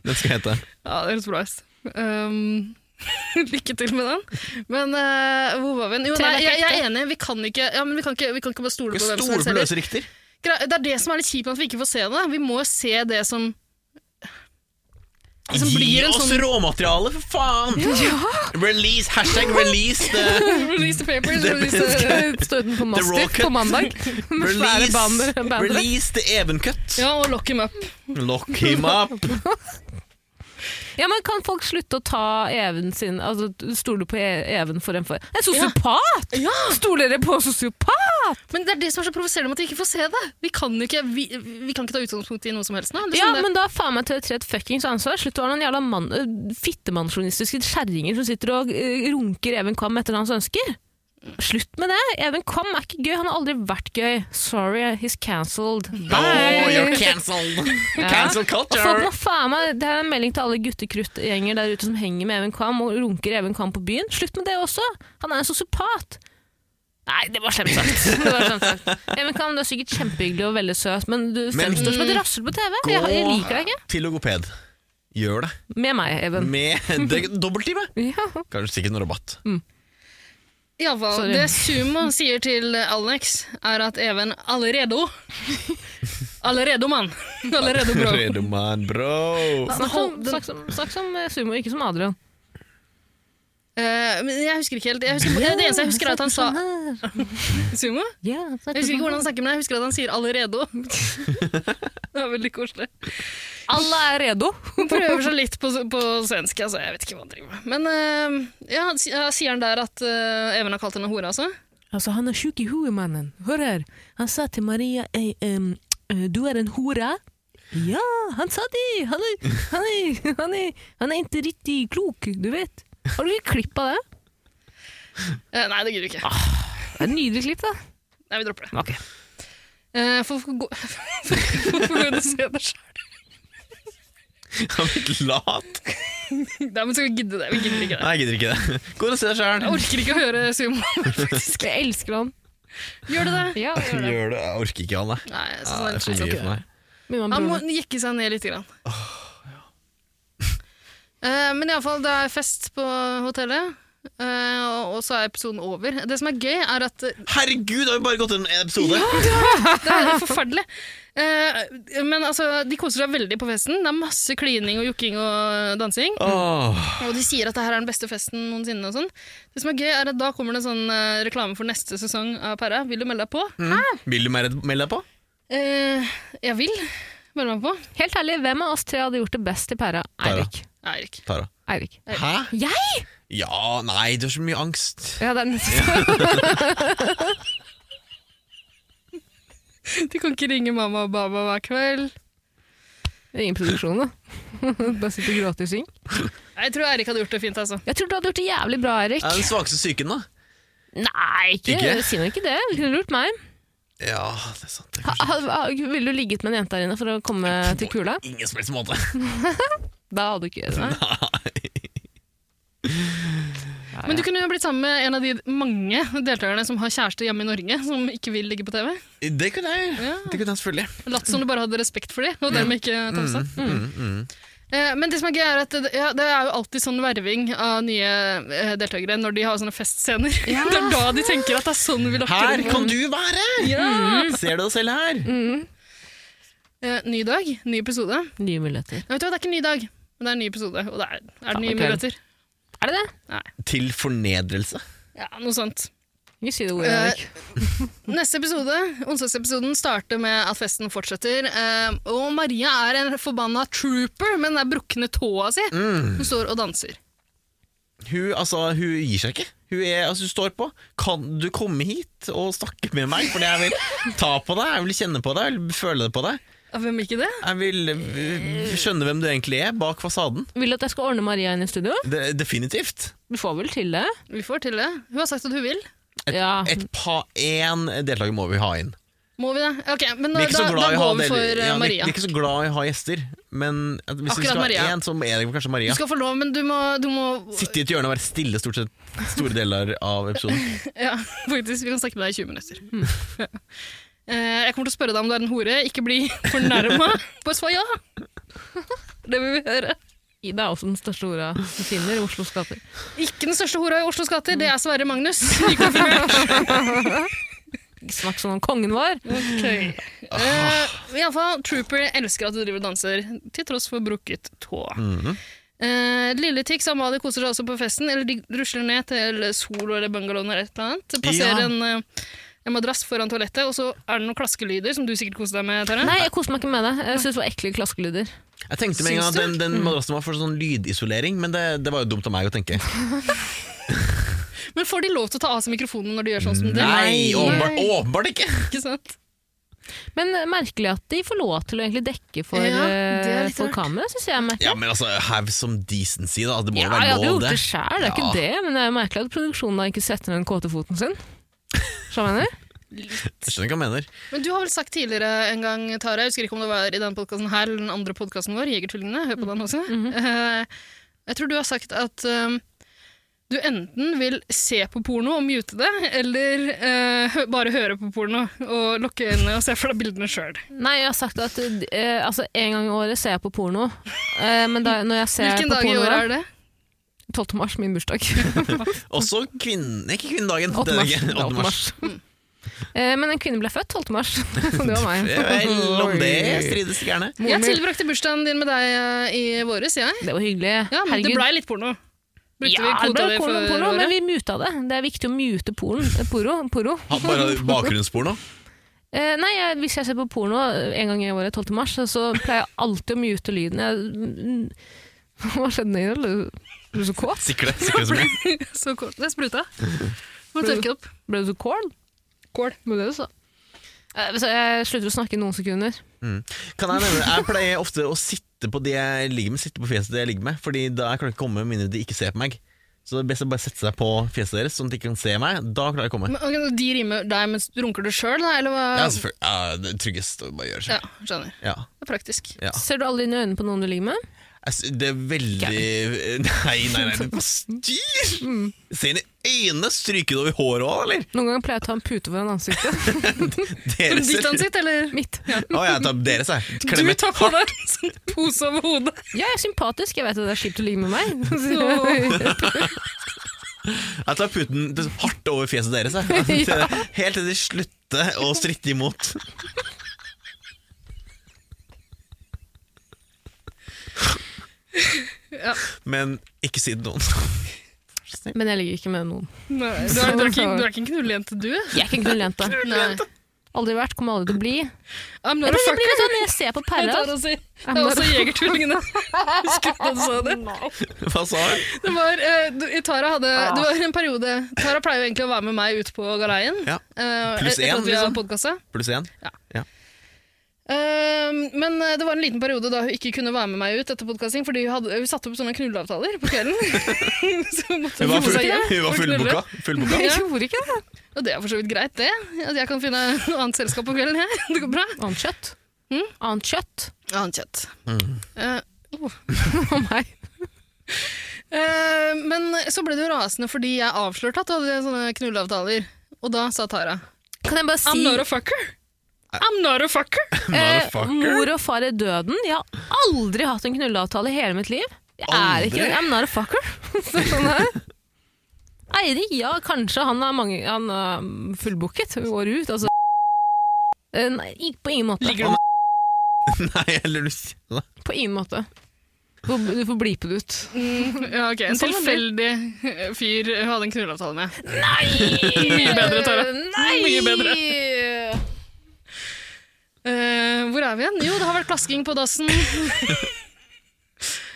Speaker 1: Den skal hete.
Speaker 2: ja det høres bra ut. Um, lykke til med den. Men eh, hvor var vi? hen? Jo, nei, jeg, jeg er enig, vi kan ikke, ja, men vi kan ikke, vi kan ikke bare stole på hvem som
Speaker 1: Stole
Speaker 2: helst.
Speaker 1: på
Speaker 2: heller.
Speaker 1: løse rykter.
Speaker 2: Gre- Det er det som er litt kjipt med at vi ikke får se det. Vi må jo se det som Som
Speaker 1: Gi
Speaker 2: blir en
Speaker 1: oss
Speaker 2: sånn-
Speaker 1: råmateriale, for faen! Release, hashtag release the,
Speaker 2: Release the papers,
Speaker 1: Det-
Speaker 2: release the
Speaker 3: Stod den på
Speaker 1: The Raw
Speaker 3: Mastiff
Speaker 1: Cut.
Speaker 3: på mandag med svære
Speaker 1: release,
Speaker 3: bander. bander.
Speaker 1: release the Even-cut.
Speaker 2: Ja, og lock him up.
Speaker 1: Lock him up.
Speaker 3: Ja, men Kan folk slutte å ta Even sin altså, Stole på E- Even for en for En sosiopat!
Speaker 2: Ja.
Speaker 3: Stoler dere på sosiopat?
Speaker 2: Men det er det som er så provoserende med at vi ikke får se det. Vi kan ikke, vi, vi kan ikke ta utgangspunkt i noe som helst nå. Liksom
Speaker 3: Ja,
Speaker 2: det-
Speaker 3: men da er faen meg TV3 et fuckings ansvar. Slutt å være noen jævla mann, øh, fittemannsjournalistiske kjerringer som sitter og øh, runker Even Kam etter hans ønsker. Slutt med det! Even Kam er ikke gøy. Han har aldri vært gøy. Sorry, he's cancelled.
Speaker 1: Oh,
Speaker 3: Bye.
Speaker 1: you're cancelled. Cancel
Speaker 3: Og folk
Speaker 1: culture.
Speaker 3: må faen meg, Det er en melding til alle guttekruttgjenger der ute som henger med Even Kvam og runker Even Kvam på byen. Slutt med det også! Han er en sosiopat. Nei, det var slemt sagt. Det var slemt sagt. Even Kvam, du er sikkert kjempehyggelig og veldig søt, men du
Speaker 1: Men-
Speaker 3: fremstår som et rasshøl på TV. Jeg, jeg liker deg ikke.
Speaker 1: Til logoped. Gjør det.
Speaker 3: Med meg, Even.
Speaker 1: Med det- dobbelttime.
Speaker 2: Mm.
Speaker 3: Ja.
Speaker 1: Kanskje sikkert noe rabatt.
Speaker 2: Ja, hva-
Speaker 3: Sorry.
Speaker 2: det Sumo sier til Alex, er at Even allerede Allerede, mann. Allerede, bro.
Speaker 1: Redo man, bro.
Speaker 3: Snakk som, snakk som, snakk som eh, sumo, ikke som Adrian.
Speaker 2: Eh, men jeg husker ikke helt. Jeg husker, det eneste jeg husker, er at han sa Sumo?
Speaker 3: Ja,
Speaker 2: Jeg husker ikke hvordan han snakker, men jeg husker at han sier 'allerede'. Det er veldig koselig.
Speaker 3: Alle er redo.
Speaker 2: Han prøver seg litt på, på svensk, altså. Jeg vet ikke hva han driver med. Men eh, ja, si- ja, sier han der at eh, Even har kalt henne hore, altså?
Speaker 3: Altså, han er sjuk i huet, mannen. Hør her. Han sa til Maria «Ei, em, eh, Du er en hore. Ja, han sa det! Han er, han er, han er, han er ikke riktig klok, du vet. Har du ikke klipp av det?
Speaker 2: Eh, nei, det gidder vi ikke.
Speaker 3: Det er et Nydelig klipp, da.
Speaker 2: Nei, vi dropper det.
Speaker 3: Ok.
Speaker 2: Eh, for for- gå- for- for å se det selv.
Speaker 1: Han er litt lat.
Speaker 2: Nei, men skal vi gidde det? Vi gidder ikke det.
Speaker 1: Nei, jeg gidder ikke det. Gå og se deg sjæl.
Speaker 2: Jeg orker ikke å høre sumo.
Speaker 3: Jeg elsker han.
Speaker 2: Gjør det det?
Speaker 3: Ja, gjør det.
Speaker 1: Gjør det. Jeg orker ikke han, jeg.
Speaker 2: Nei, jeg
Speaker 1: Ja, det er
Speaker 2: synes
Speaker 1: for
Speaker 2: det er
Speaker 1: mye for meg.
Speaker 3: Min mann
Speaker 2: Han må
Speaker 3: Brune.
Speaker 2: jekke seg ned litt. Grann. Eh, men iallfall, det er fest på hotellet, eh, og- og så er episoden over. Det som er gøy, er at eh,
Speaker 1: Herregud, har vi bare gått gjennom en episode?
Speaker 2: Det er forferdelig. Eh, men altså, de koser seg veldig på festen. Det er masse klining og jokking og dansing.
Speaker 1: Åh.
Speaker 2: Og de sier at det her er den beste festen noensinne. og sånn. Det som er gøy, er at da kommer det en sånn eh, reklame for neste sesong av Pæra. Vil du melde deg på?
Speaker 1: Mm. Vil du mer- melde deg på?
Speaker 2: Eh, jeg vil melde meg på.
Speaker 3: Helt ærlig, hvem av oss tre hadde gjort det best i pæra?
Speaker 1: Pæra.
Speaker 3: Eirik.
Speaker 2: Eirik.
Speaker 1: Tara.
Speaker 3: Eirik.
Speaker 1: Hæ?
Speaker 3: Jeg?
Speaker 1: Ja, nei, du har så mye angst.
Speaker 3: Ja, det er nesten.
Speaker 2: Du kan ikke ringe mamma og baba hver kveld.
Speaker 3: Ingen produksjon, da. Bare sitte og gråte og synge.
Speaker 2: Jeg tror Eirik hadde gjort det fint. altså.
Speaker 3: Jeg tror du hadde gjort det jævlig bra, Erik.
Speaker 1: Er det den svakeste psyken, da?
Speaker 3: Nei, ikke,
Speaker 1: Ikke?
Speaker 3: si nå ikke det. Du kunne lurt meg.
Speaker 1: Ja, det er sant. Det er
Speaker 3: Ha,
Speaker 1: kanskje
Speaker 3: ha, ha- ville du ligget med en jente her inne for å komme til kula?
Speaker 1: ingen som helst måte.
Speaker 3: Da hadde du ikke gjort det.
Speaker 2: Men du kunne jo blitt sammen med en av de mange deltakerne som har kjæreste hjemme i Norge, som ikke vil ligge på TV.
Speaker 1: Det kunne jeg. Det kunne jeg selvfølgelig.
Speaker 2: Latt som du bare hadde respekt for dem, og dermed ikke tafsa.
Speaker 1: Mm, mm.
Speaker 2: Eh, Men det som er gøy, er at det, ja, det er jo alltid sånn verving av nye eh, deltakere når de har sånne festscener. det er da de tenker at det er sånn vi lokker
Speaker 1: Her
Speaker 2: inn.
Speaker 1: kan du være! Ser du deg selv her?
Speaker 3: Mm.
Speaker 2: Eh, Ny dag, ny episode. Nei,
Speaker 3: Nye muligheter.
Speaker 2: vet du hva, det er ikke ny dag, men det er en ny episode. Og det er, er det nye
Speaker 3: ok.
Speaker 2: muligheter.
Speaker 3: Er det det?
Speaker 1: Til fornedrelse.
Speaker 2: Ja, noe sånt.
Speaker 3: Ikke si det ordet,
Speaker 2: Eh,
Speaker 3: Erik.
Speaker 2: Neste episode, onsdagsepisoden, starter med at festen fortsetter. eh, Og Maria er en forbanna trooper med den der brukne tåa si.
Speaker 1: Mm.
Speaker 2: Hun står og danser.
Speaker 1: Hun, altså, hun gir seg ikke. Hun, er, altså, hun står på. Kan du komme hit og snakke med meg? Fordi jeg vil ta på deg, jeg vil kjenne på deg, jeg vil føle det på deg.
Speaker 2: Ja, Hvem ikke det?
Speaker 1: Jeg vil øh, skjønne hvem du egentlig er, bak fasaden.
Speaker 3: Vil du at jeg skal ordne Maria inn i studio?
Speaker 1: Det, definitivt.
Speaker 3: Du får vel til det?
Speaker 2: Vi får til det. Hun har sagt at hun vil.
Speaker 3: ja.
Speaker 1: Et par, Én deltaker må vi ha inn.
Speaker 2: Må vi det? Ok, men
Speaker 1: Vi
Speaker 2: da,
Speaker 1: er ikke så
Speaker 2: da, da
Speaker 1: glad i å ha
Speaker 2: går vi
Speaker 1: del-
Speaker 2: for eh,
Speaker 1: ja, vi-
Speaker 2: Maria.
Speaker 1: Vi er ikke så glad i å ha gjester, men at hvis vi
Speaker 2: Akkurat
Speaker 1: skal
Speaker 2: Maria.
Speaker 1: ha én, så er det kanskje Maria.
Speaker 2: Du skal få lov, men du må, du må
Speaker 1: Sitte i et hjørne og være stille stort sett store deler av episoden.
Speaker 2: Ja, faktisk. Vi kan snakke med deg i 20 minutter.
Speaker 1: Hmm.
Speaker 2: Eh, Jeg kommer til å spørre deg om du er en hore. Ikke bli fornærma. Bare svar ja! Det vil vi høre.
Speaker 3: Ida er også den største orda du finner i Oslos gater.
Speaker 2: Ikke den største hora i Oslos gater, det er Sverre Magnus. Nykonfirmert.
Speaker 3: Ikke snakk sånn om kongen vår.
Speaker 2: Okay.
Speaker 1: Ah.
Speaker 2: Eh, Iallfall, Trooper elsker at du driver og danser, til tross for brukket tå.
Speaker 1: Mhm.
Speaker 2: Eh, Lille Tix og Amalie koser seg også på festen, eller de rusler ned til Solo eller bungalowen eller et eller annet. Passerer
Speaker 1: Ja.
Speaker 2: en, eh, en madrass foran toalettet, og så er det noen klaskelyder som du sikkert koser deg med, Terje.
Speaker 3: Nei, jeg koser meg ikke med det. Jeg syns det var ekle klaskelyder.
Speaker 1: Jeg tenkte med en gang at
Speaker 2: Syns Mm.
Speaker 1: den, den madrassen var for sånn lydisolering, men det, det var jo dumt av meg å tenke.
Speaker 2: Men får de lov til å ta av seg mikrofonen når de gjør sånn som det?
Speaker 1: Mm. Nei, åpenbart,
Speaker 2: Nei,
Speaker 1: åpenbart ikke!
Speaker 2: Ikke sant?
Speaker 3: Men eh, merkelig at de får lov til å egentlig dekke for,
Speaker 2: Ja, det er
Speaker 3: eh,
Speaker 2: litt
Speaker 3: for
Speaker 2: rart.
Speaker 3: kamera, syns jeg. er merkelig.
Speaker 1: Ja, men altså, have some decency, da. Det må jo
Speaker 3: Ja, jeg
Speaker 1: være
Speaker 3: hadde
Speaker 1: lov,
Speaker 3: gjort
Speaker 1: det.
Speaker 3: det sjæl, det er ikke
Speaker 1: Ja.
Speaker 3: det. Men det er jo merkelig at produksjonen da ikke setter den kåte foten sin. Skjønner du? hva jeg mener?
Speaker 1: Jeg skjønner ikke hva han mener.
Speaker 2: Men du har vel sagt tidligere en gang, Tara, jeg husker ikke om det var i den podkasten her eller den andre podkasten vår, Jegertvillingene, hør på den også.
Speaker 3: Mhm.
Speaker 2: Eh, jeg tror du har sagt at eh, du enten vil se på porno og mute det, eller eh, hø bare høre på porno og lukke øynene og se for deg bildene sjøl.
Speaker 3: Nei, jeg har sagt at eh, altså, en gang i året ser jeg på porno. Eh, men da, når jeg ser
Speaker 2: Hvilken
Speaker 3: på
Speaker 2: dag i
Speaker 3: porno,
Speaker 2: året er det?
Speaker 3: 12. mars, min bursdag.
Speaker 1: Også kvinne... Nei, ikke kvinnedagen.
Speaker 3: 8.
Speaker 1: det er det
Speaker 3: mars.
Speaker 1: ikke.
Speaker 3: Det er 8. mars. Eh, men en kvinne ble født 12. mars. Det var meg.
Speaker 1: Vel, om det
Speaker 3: Oi.
Speaker 1: strides gjerne.
Speaker 3: Moren
Speaker 2: Jeg
Speaker 3: min-
Speaker 2: tilbrakte bursdagen din med deg eh, i våres, jeg.
Speaker 3: Det var hyggelig.
Speaker 2: Ja, men det
Speaker 3: Herregud.
Speaker 2: blei litt porno. Brukte
Speaker 3: ja,
Speaker 2: vi
Speaker 3: det
Speaker 2: kvota
Speaker 3: ble
Speaker 2: di for
Speaker 3: porno, porno, men
Speaker 2: året?
Speaker 3: vi muta det. Det er viktig å mute porn, eh, poro. poro.
Speaker 1: Ha bare bakgrunnssporno.
Speaker 3: Eh, nei, jeg, Hvis jeg ser på porno eh, en gang i året, 12. mars, så- så pleier jeg alltid å mute lyden. Jeg, mm, hva skjedde nå? Ble du- Ble du så kåt?
Speaker 1: Sikre, sikre som mulig.
Speaker 2: Så kort. Det spruta. Må tørke opp.
Speaker 3: Ble du så kål?
Speaker 2: Kål.
Speaker 3: Ble det du sa? Eh, så jeg slutter å snakke i noen sekunder.
Speaker 1: Kan jeg nevne Jeg pleier ofte å sitte på det jeg ligger med, sitte på fjeset det jeg ligger med, Fordi da jeg klarer ikke å komme med mindre de ikke ser på meg. Så det er best å bare sette seg på fjeset deres, sånn at de ikke kan se meg. Da klarer jeg å komme.
Speaker 2: Men, ok, de rimer deg mens du runker du sjøl, da? Eller hva?
Speaker 1: Ja, altså, selvfølgelig. Ja, det er tryggest å bare gjøre
Speaker 2: Ja,
Speaker 1: seg.
Speaker 2: skjønner.
Speaker 1: Ja.
Speaker 2: Det er praktisk.
Speaker 1: Ja.
Speaker 3: Ser du alle inn i øynene på noen du ligger med?
Speaker 1: Jeg sy- Det er veldig Nei, nei, nei, det er styr!
Speaker 2: Mm.
Speaker 1: Se inn i øynene! Stryker det over håret òg, eller?
Speaker 3: Noen ganger pleier jeg å ta en pute foran ansiktet.
Speaker 1: Deres
Speaker 2: Ditt ansikt, eller?
Speaker 3: Mitt.
Speaker 1: Å, jeg tar deres, jeg.
Speaker 2: Du
Speaker 1: Klemmer.
Speaker 2: tar på deg en sånn pose over hodet.
Speaker 3: Jeg er sympatisk, jeg vet at det er kjipt å ligge med meg.
Speaker 2: Så-
Speaker 1: Jeg tar puten det- hardt over fjeset deres, jeg. Til- Helt til de slutter å stritte imot.
Speaker 2: Ja.
Speaker 1: Men ikke si det til noen.
Speaker 3: Men jeg ligger ikke med noen.
Speaker 2: Nei, du, er, du, er ikke, du er ikke en knullejente, du.
Speaker 3: Jeg er ikke Sånn knullejente.
Speaker 2: Nei.
Speaker 3: Aldri vært, kommer aldri til å bli.
Speaker 2: I'm not
Speaker 3: Jeg, blir-
Speaker 2: a
Speaker 3: jeg blir
Speaker 2: fucker.
Speaker 3: sånn, jeg ser på
Speaker 2: Jeg tar
Speaker 3: Perra.
Speaker 2: og sier. Det
Speaker 3: I'm
Speaker 2: er
Speaker 3: not
Speaker 2: også
Speaker 3: a-
Speaker 2: Jegertvillingene. Husker du da du sa det?
Speaker 1: Hva sa hun?
Speaker 2: Det var, eh, du, i Tara hadde,
Speaker 3: Ah.
Speaker 2: det var en periode Tara pleier jo egentlig å være med meg ut på galeien.
Speaker 1: Ja.
Speaker 2: eh,
Speaker 1: Pluss
Speaker 2: etter
Speaker 1: én,
Speaker 2: at vi har
Speaker 1: liksom.
Speaker 2: podkastet.
Speaker 1: Pluss én?
Speaker 2: Ehm, men eh, det var en liten periode da hun ikke kunne være med meg ut etter podcasting, fordi hun, hadde, hun satte opp sånne knulleavtaler på kvelden. så hun måtte
Speaker 1: Hun var,
Speaker 2: roe seg
Speaker 1: full,
Speaker 2: hjem
Speaker 1: hun var
Speaker 2: og knulle.
Speaker 1: fullboka. fullboka.
Speaker 3: Jeg gjorde ikke det.
Speaker 2: Og det er for så vidt greit, det. At jeg kan finne noe annet selskap på kvelden. Jeg. Det går bra.
Speaker 3: Annet kjøtt.
Speaker 2: Hm?
Speaker 3: Annet kjøtt.
Speaker 2: Annet kjøtt.
Speaker 1: Mm.
Speaker 2: Eh,
Speaker 3: Å nei.
Speaker 2: eh, men så ble det jo rasende fordi jeg avslørte at du hadde sånne knulleavtaler. Og da sa Tara
Speaker 3: Kan jeg bare
Speaker 2: I'm
Speaker 3: si
Speaker 2: not a fucker. I'm not a fucker!
Speaker 3: Eh,
Speaker 1: Motherfucker.
Speaker 3: mor og far er døden. Jeg har aldri hatt en knulleavtale i hele mitt liv. Jeg er ikke
Speaker 1: Aldri?
Speaker 3: I'm not a fucker. Så sånn er det. Eirik, ja, kanskje han er, mange, han er fullbooket året ut. Altså. Eh, Nei, ikke på ingen måte.
Speaker 2: Ligger du med
Speaker 1: Nei, eller du sier det.
Speaker 3: På ingen måte. Får- Du får blipe det ut.
Speaker 2: mm, ja, ok, En
Speaker 3: Sånn er
Speaker 2: tilfeldig eh, fyr hun hadde en knulleavtale med.
Speaker 3: Nei!
Speaker 2: Mye bedre, Tara.
Speaker 3: Nei!
Speaker 2: Mye bedre. Eh, hvor er vi igjen? Jo, det har vært plasking på dassen.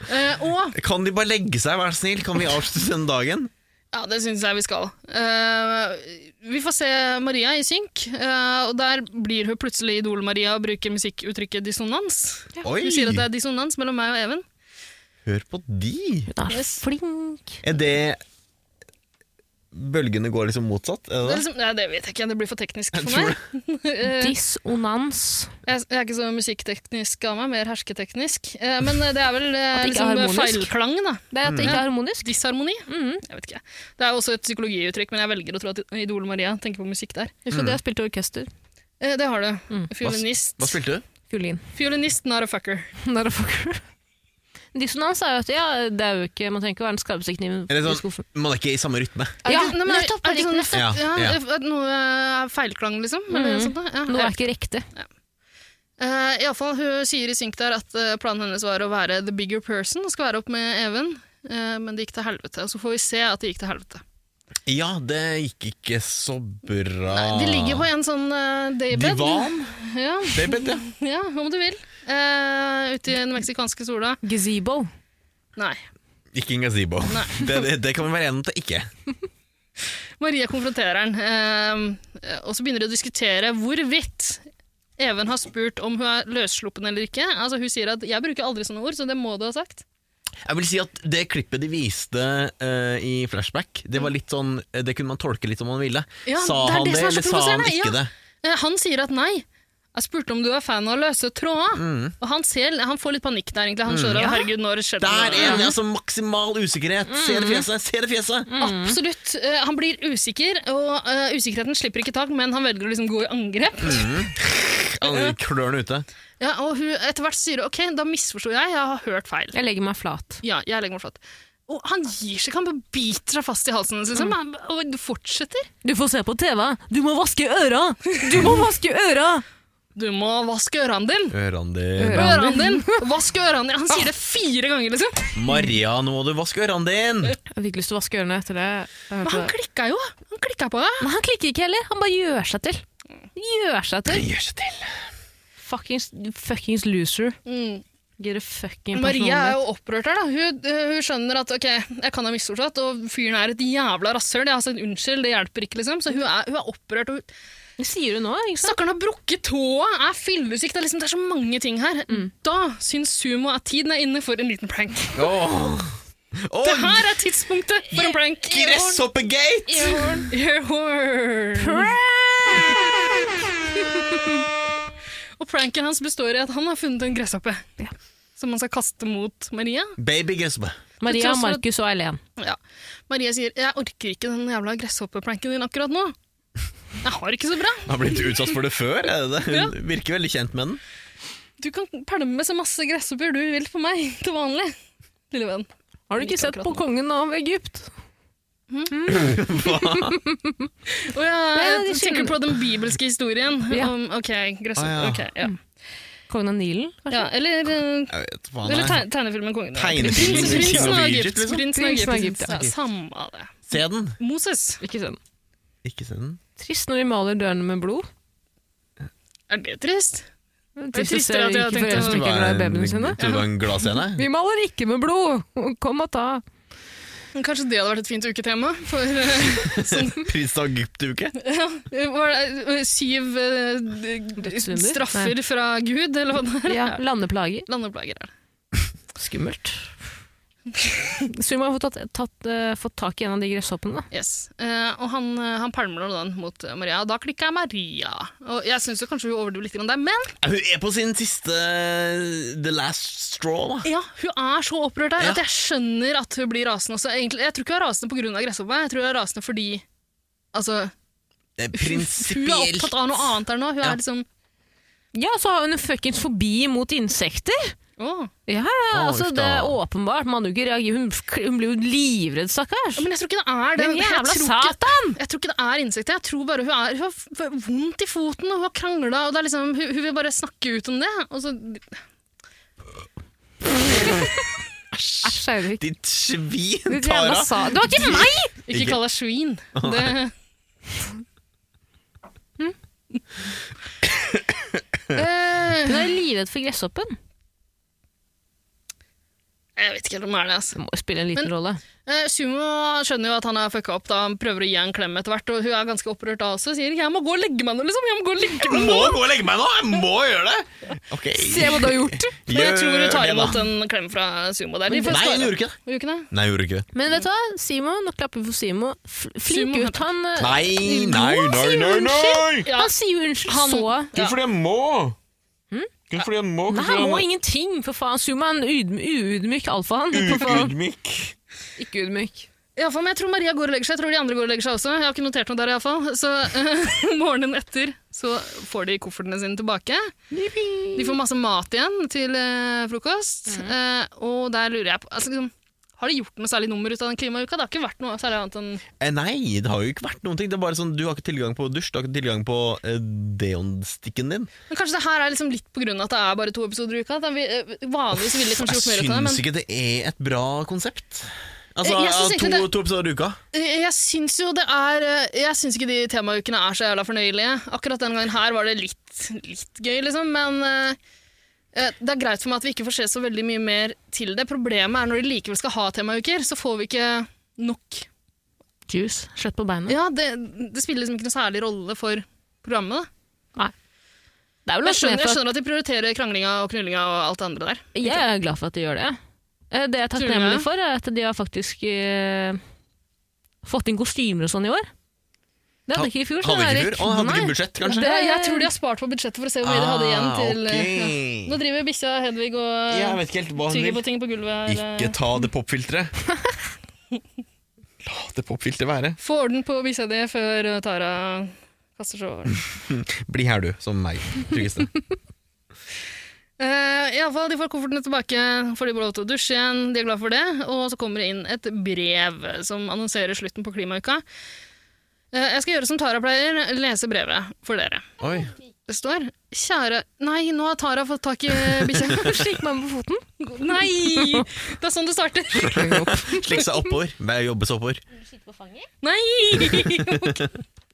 Speaker 2: Eh, og
Speaker 1: Kan de bare legge seg, vær så snill? Kan vi avslutte denne dagen?
Speaker 2: Ja, det syns jeg vi skal. Eh, vi får se Maria i synk, eh, og der blir hun plutselig Idol-Maria og bruker musikkuttrykket dissonans.
Speaker 1: Oi!
Speaker 2: Hun sier at det er dissonans mellom meg og Even.
Speaker 1: Hør på de!
Speaker 3: Hun er så flink.
Speaker 1: Er det Bølgene går liksom motsatt? Er
Speaker 2: Det, er
Speaker 1: det det?
Speaker 2: liksom, nei, det vet jeg ikke, det blir for teknisk
Speaker 1: Jeg
Speaker 2: for
Speaker 1: tror
Speaker 2: meg. Eh,
Speaker 3: Dissonans.
Speaker 2: jeg, jeg er ikke så musikkteknisk av meg, mer hersketeknisk. Eh, men det er vel eh,
Speaker 3: At det ikke er
Speaker 2: liksom,
Speaker 3: harmonisk.
Speaker 2: feilklang, da.
Speaker 3: Det er Mm. at det ikke er harmonisk.
Speaker 2: Disharmoni. Jeg vet ikke. Det er jo også et psykologiuttrykk, men jeg velger å tro at Idol-Maria tenker på musikk der.
Speaker 3: Husk at jeg spilte orkester.
Speaker 2: Eh, det har du.
Speaker 3: Mm.
Speaker 2: Fiolinist.
Speaker 1: Hva spilte du?
Speaker 3: Fiolin.
Speaker 2: Fiolinist, not a fucker.
Speaker 3: Not a fucker. Dissonans er jo at ja, det er jo ikke, man trenger ikke å være den skarpeste kniven
Speaker 1: Eller
Speaker 3: i
Speaker 1: sånn-
Speaker 3: skuffen.
Speaker 1: Man er ikke i samme rytme.
Speaker 2: Er det
Speaker 3: Ja,
Speaker 2: ikke- nei, men er-
Speaker 3: nettopp, liksom,
Speaker 2: er det ikke sånn-
Speaker 3: nettopp.
Speaker 1: Ja,
Speaker 2: nettopp, ja,
Speaker 1: ja.
Speaker 2: det- at Noe er feilklang, liksom? Eller
Speaker 3: Mhm.
Speaker 2: sånt, da? ja.
Speaker 3: Noe er ikke riktig.
Speaker 2: Eh, i alle fall, hun sier i synk der at eh, planen hennes var å være the bigger person og skvære opp med Even. eh, men det gikk til helvete. Og så får vi se at det gikk til helvete.
Speaker 1: Ja, det gikk ikke så bra.
Speaker 2: Nei, de ligger på en sånn eh, daybed.
Speaker 1: Ah. Divan?
Speaker 2: Ja,
Speaker 1: Daybed, ja.
Speaker 2: ja, om du vil. Uh, Ute i den meksikanske sola.
Speaker 3: Gazebo.
Speaker 2: Nei.
Speaker 1: Ikke en gazebo.
Speaker 2: Nei.
Speaker 1: Det, det, det kan vi være enige om at det ikke er.
Speaker 2: Maria konfronterer han, eh, og så begynner de å diskutere hvorvidt Even har spurt om hun er løssluppen eller ikke. Altså Hun sier at 'jeg bruker aldri sånne ord', så det må du ha sagt.
Speaker 1: Jeg vil si at Det klippet de viste eh, i flashback, det var litt sånn eh, Det kunne man tolke litt som man ville.
Speaker 2: Ja,
Speaker 1: sa
Speaker 2: det er
Speaker 1: han
Speaker 2: det
Speaker 1: det,
Speaker 2: som er så
Speaker 1: eller sa han
Speaker 2: provoserende,
Speaker 1: ikke
Speaker 2: ja.
Speaker 1: det?
Speaker 2: Eh, han sier at nei. Jeg spurte om du er fan av løse tråder.
Speaker 1: Mm.
Speaker 2: Og han, ser, han får litt panikk der, egentlig. Han skjønner at herregud, nå har det skjedd
Speaker 1: Der
Speaker 2: noe».
Speaker 1: er det altså maksimal usikkerhet! Se
Speaker 2: Mhm.
Speaker 1: det fjeset! Se det fjeset!
Speaker 2: Mm. Absolutt. Eh, han blir usikker, og eh, usikkerheten slipper ikke tak, men han velger å liksom gå i angrep.
Speaker 1: Mm.
Speaker 2: Mhm.
Speaker 1: Alle Klørne ute.
Speaker 2: Ja, og hun etter hvert sier hun, ok, da misforsto jeg, jeg har hørt feil.
Speaker 3: Jeg legger meg flat.
Speaker 2: Ja, jeg legger meg flat. Og han gir seg ikke, han bare biter seg fast i halsen hennes, liksom. Han- Og du fortsetter.
Speaker 3: Du får se på TV! Du må vaske øra! Du må vaske øra!
Speaker 2: Du må vaske ørene dine!
Speaker 1: Ørene dine.
Speaker 3: Ørene
Speaker 2: Ørene Ah. dine! Vask ørene dine! Han sier det fire ganger, liksom.
Speaker 1: Maria, nå må du vaske ørene dine!
Speaker 3: Jeg fikk lyst til å vaske ørene etter det. Jeg
Speaker 2: Men
Speaker 3: hørte
Speaker 2: han
Speaker 3: det.
Speaker 2: klikka jo. Han klikka på det.
Speaker 3: Men han klikker ikke heller. Han bare gjør seg til. Gjør seg
Speaker 1: Det
Speaker 3: til.
Speaker 1: gjør seg til.
Speaker 3: Fuckings, fuckings loser.
Speaker 2: Mm.
Speaker 3: Get a fucking
Speaker 2: Maria er jo opprørt her. da. Hun, hun skjønner at ok, jeg kan ha misforstått, og fyren er et jævla rasshøl. Jeg har sagt unnskyld, det hjelper ikke, liksom. Så hun er, hun er opprørt. og hun-
Speaker 3: Det sier du nå, ikke sant?
Speaker 2: Stakkaren har brukket tåa, er fyllesyk, det, er liksom, det er så mange ting her. Da syns Sumo at tiden er inne for en liten prank.
Speaker 1: Åh.
Speaker 2: Det
Speaker 1: Åh,
Speaker 2: her er tidspunktet for en prank.
Speaker 1: gresshoppegate!
Speaker 2: Earhorn. Earhorn. Og pranken hans består i at han har funnet en gresshoppe.
Speaker 3: Ja.
Speaker 2: Som han skal kaste mot Maria.
Speaker 1: Baby gresshoppe.
Speaker 3: Maria,
Speaker 2: Til tross for at-
Speaker 3: Markus og Eileen.
Speaker 2: Ja. Maria sier 'jeg orker ikke den jævla gresshoppepranken din akkurat nå'. Jeg har ikke så bra.
Speaker 1: Har blitt utsatt for det før, er det det? Hun virker veldig kjent med den.
Speaker 2: Du kan pælme så masse gresshopper du vil for meg til vanlig. Lille venn.
Speaker 3: Har du
Speaker 2: Ikke
Speaker 3: ikke sett
Speaker 2: akkurat
Speaker 3: på
Speaker 2: nå.
Speaker 3: kongen av Egypt?
Speaker 2: Å ja,
Speaker 3: Nei, de
Speaker 2: jeg tenker
Speaker 3: skjønner.
Speaker 2: på den bibelske historien.
Speaker 3: Ja. Mm.
Speaker 2: Om,
Speaker 1: Å,
Speaker 2: ok,
Speaker 1: ja.
Speaker 2: gresshoppe. ok, ja.
Speaker 3: Kongen av Nilen, kanskje?
Speaker 2: ja. Eller eh,
Speaker 1: Jeg vet faen jeg.
Speaker 2: Eller teg tegnefilmen Kongen. av
Speaker 1: Tegnefilmen
Speaker 2: Egypt. Prins-
Speaker 1: Kongen
Speaker 2: Prinsen av
Speaker 1: av Egypt,
Speaker 2: Egypt.
Speaker 1: liksom.
Speaker 2: Prinsen av
Speaker 3: Prinsen av
Speaker 2: Egypt.
Speaker 3: Egypt,
Speaker 2: Ja,
Speaker 1: ja.
Speaker 2: samme av det.
Speaker 1: Se den!
Speaker 2: Moses.
Speaker 3: Ikke se den.
Speaker 1: Ikke se den.
Speaker 3: Trist når de maler dørene med blod.
Speaker 2: Er det trist?
Speaker 3: Det er trist
Speaker 2: tristere
Speaker 3: å
Speaker 2: at
Speaker 3: se
Speaker 2: jeg har
Speaker 3: rike
Speaker 2: tenkt
Speaker 3: foreldre
Speaker 2: å-
Speaker 3: som ikke er glad i babyene sine.
Speaker 1: Tror du det var en glad scene?
Speaker 3: Vi maler ikke med blod! Kom og ta.
Speaker 2: Men Kanskje det hadde vært et fint uketema? For eh,
Speaker 1: Prins av Sånn Egypt-uke?
Speaker 2: var det, eh, syv eh, d-
Speaker 3: Dødssynder?
Speaker 2: straffer
Speaker 3: Nei.
Speaker 2: fra Gud, eller hva det er?
Speaker 3: Ja, landeplager.
Speaker 2: Landeplager er det.
Speaker 3: Skummelt. Suma har fått, tatt, tatt, eh, fått tak i en av de gresshoppene. da.
Speaker 2: Yes. Eh, og han, eh, han palmer nå den mot eh, Maria, og da klikka Maria. Og jeg syns kanskje hun overdriver litt grann der, men
Speaker 1: Hun er på sin siste eh, The Last Straw, da.
Speaker 2: ja, hun er så opprørt der
Speaker 1: Ja.
Speaker 2: at jeg skjønner at hun blir rasende også. Egentlig, jeg tror ikke hun er rasende pga. gresshoppa, jeg tror hun er rasende fordi Altså,
Speaker 1: Det er
Speaker 2: hun er opptatt
Speaker 1: Prinsipielt.
Speaker 2: av noe annet her nå. Hun
Speaker 1: Ja.
Speaker 2: er liksom
Speaker 3: Ja, så har hun en fuckings fobi mot insekter.
Speaker 2: Åh.
Speaker 3: Ja, ja,
Speaker 1: Å,
Speaker 3: altså
Speaker 1: uff
Speaker 3: det
Speaker 1: da.
Speaker 3: er åpenbart. Man hadde jo ikke reagert. Hun, hun ble jo livredd, stakkars.
Speaker 2: Ja, Men jeg tror ikke det er det.
Speaker 3: Den
Speaker 2: Jeg
Speaker 3: jævla
Speaker 2: tror ikke-
Speaker 3: satan!
Speaker 2: Jeg tror ikke det er insekter. Jeg tror bare hun, er, hun har f- f- vondt i foten, og hun har krangla, og det er liksom, hun, hun vil bare snakke ut om det. Og så,
Speaker 3: Æsj, Eirik.
Speaker 1: Ditt svin,
Speaker 3: Ditt jævla
Speaker 1: Tara!
Speaker 3: sa... Det var ikke meg!
Speaker 2: ikke
Speaker 1: Ikke-
Speaker 2: kall deg svin. Det,
Speaker 3: Hun er livredd for gresshoppen.
Speaker 2: jeg vet ikke helt om det er det. Altså.
Speaker 3: Det må jo spille en liten
Speaker 2: Men-
Speaker 3: rolle.
Speaker 2: Eh, Sumo skjønner jo at han har fucka opp, da. han prøver å gi henne en klem etter hvert, og hun er ganske opprørt da også. Sier 'jeg må gå og legge meg nå', liksom. Jeg må gå og legge
Speaker 1: Jeg
Speaker 2: meg
Speaker 1: må
Speaker 2: nå.
Speaker 1: gå og legge meg nå! Jeg må gjøre det! Ok.
Speaker 3: hva du har gjort!
Speaker 2: Men jeg tror hun
Speaker 1: Gjør
Speaker 2: tar
Speaker 1: det,
Speaker 2: imot
Speaker 1: da.
Speaker 2: en klem fra Sumo der.
Speaker 1: Nei,
Speaker 2: Vi
Speaker 1: hun
Speaker 2: får svare.
Speaker 1: gjorde ikke det.
Speaker 2: Gjorde ikke det?
Speaker 1: Nei, hun gjorde ikke det.
Speaker 3: Men vet du hva? Simo, nå klapper vi for Simo. F- Flink
Speaker 2: Simo-
Speaker 3: gutt. Han, eh,
Speaker 1: Nei, nei, nei, nei! nei.
Speaker 2: Ja.
Speaker 3: han sier jo unnskyld
Speaker 2: Han-
Speaker 3: så.
Speaker 2: Kun
Speaker 1: fordi jeg må! Kun fordi jeg må.
Speaker 3: Hm? Nei, han må ingenting, for faen. Sumo er en udm- uydmyk alfa, han. For faen.
Speaker 1: Ydmyk.
Speaker 3: Ikke udmyk.
Speaker 2: Ja, for men jeg tror Maria går og legger seg. Jeg tror de andre går og legger seg også. Jeg har ikke notert noe der i alle fall. Så eh, morgenen etter så får de koffertene sine tilbake. De får masse mat igjen til eh, frokost. Eh, og der lurer jeg på altså, liksom, Har de gjort noe særlig nummer ut av den klimauka? Det har ikke vært noe særlig annet enn
Speaker 1: Eh, Nei, det har jo ikke vært noen ting. Det er bare sånn, Du har ikke tilgang på dusj, du har ikke tilgang på eh, deonstikken din.
Speaker 2: Men kanskje det her er liksom litt på grunn av at det er bare to episoder i uka? At vi, eh, vanligvis ville de
Speaker 1: Jeg
Speaker 2: kanskje gjort mer ut av det,
Speaker 1: syns
Speaker 2: men
Speaker 1: ikke det er et bra konsept. Altså,
Speaker 2: Eh, jeg synes
Speaker 1: to,
Speaker 2: egentlig det-
Speaker 1: to episoder i uka.
Speaker 2: eh, jeg syns jo det er eh, Jeg syns ikke de temaukene er så jævla fornøyelige. Akkurat den gangen her var det litt, litt gøy, liksom, men eh, Eh, Det er greit for meg at vi ikke får se så veldig mye mer til det. Problemet er når de likevel skal ha temauker, så får vi ikke nok.
Speaker 3: Juice. Kjøtt på beinet.
Speaker 2: Ja, Det, det spiller liksom ikke noen særlig rolle for programmet. da.
Speaker 3: Det er vel også
Speaker 2: Men Jeg
Speaker 3: med
Speaker 2: skjønner, jeg
Speaker 3: for at-
Speaker 2: skjønner at de prioriterer kranglinga og knullinga og alt det andre der.
Speaker 3: jeg er glad for at de gjør det. Eh, Det jeg er
Speaker 2: Tror du
Speaker 3: takknemlig
Speaker 2: det?
Speaker 3: for, er at de har faktisk eh, fått inn kostymer og sånn i år. Det hadde
Speaker 1: Ha-
Speaker 3: ikke i fjor. så
Speaker 1: Hadde ikke
Speaker 3: Erik.
Speaker 1: fjor. Å, hadde
Speaker 3: Nei.
Speaker 1: ikke budsjett, kanskje? Ah,
Speaker 2: Det, jeg tror de har spart på budsjettet for å se hvor mye de hadde igjen. til... eh, ja.
Speaker 1: ok.
Speaker 2: Nå driver bikkja Hedvig og
Speaker 1: Jeg vet ikke helt hva hun
Speaker 2: tygger
Speaker 1: vil.
Speaker 2: på ting på gulvet. her. eh.
Speaker 1: Ikke ta det popfilteret. La det popfilteret være.
Speaker 2: Få orden på bikkja di før eh, Tara kaster seg over den.
Speaker 1: Bli her, du, som meg. Tryggeste.
Speaker 2: Uh, Iallfall, de får koffertene tilbake, får de lov til å dusje igjen, de er glad for det. Og så kommer det inn et brev som annonserer slutten på klimauka. Eh, jeg skal gjøre som Tara pleier, lese brevet for dere.
Speaker 1: Oi.
Speaker 2: Det står 'Kjære Nei, nå har Tara fått tak i bikkja.
Speaker 3: Slik meg på foten.
Speaker 2: Nei! Det er sånn det starter.
Speaker 1: Slik seg oppover. Vær- Jobbe seg oppover.
Speaker 2: Nei!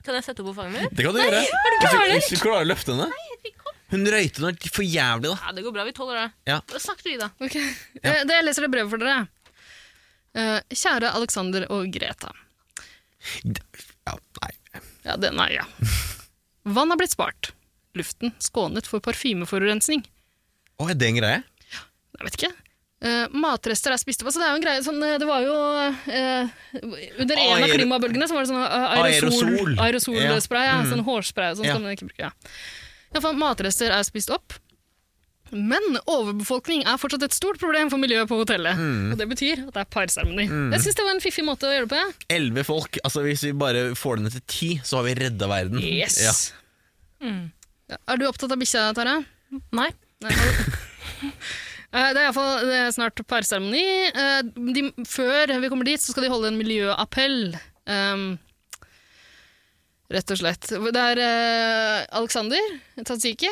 Speaker 3: Kan jeg sette opp på fanget mitt?
Speaker 1: Det kan du gjøre. Hvis du- Hvis du klarer å løfte henne. Hun røyte noe for jævlig, da.
Speaker 3: Ja, det går bra. Vi tåler det.
Speaker 1: Ja.
Speaker 3: Snakk du, Ida.
Speaker 2: Ok, Eh, det, Jeg leser det brevet for dere. Eh, kjære Alexander og Greta.
Speaker 1: Ja, nei.
Speaker 2: Ja, den er ja. Vann har blitt spart. Luften skånet for parfymeforurensning.
Speaker 1: Å, er det en greie?
Speaker 2: Jeg vet ikke. Eh, matrester er spist opp. Altså, det er jo en greie sånn, eh, Det var jo eh, Under en av
Speaker 1: Aer-
Speaker 2: klimabølgene så var det sånn eh, aerosol,
Speaker 1: Aerosol. Mm.
Speaker 2: aerosolspray. Ja. Sånn hårspray og sånn
Speaker 1: Ja.
Speaker 2: skal man ikke bruke. Ja. I alle fall, matrester er spist opp. Men overbefolkning er fortsatt et stort problem for miljøet på hotellet.
Speaker 1: Mm.
Speaker 2: Og det betyr at det er parseremoni. Jeg syns det var en fiffig måte å gjøre det på. jeg.
Speaker 1: Elleve folk. Altså, Hvis vi bare får det ned til ti, så har vi redda verden.
Speaker 2: Yes.
Speaker 1: Ja. Mm.
Speaker 2: Ja, Er du opptatt av bikkja, Tara?
Speaker 3: Nei.
Speaker 2: Nei, har du- Eh, Det er iallfall snart parseremoni. Eh, de- Før vi kommer dit, så skal de holde en miljøappell. Um, rett og slett. Det er eh, Alexander Tatsiki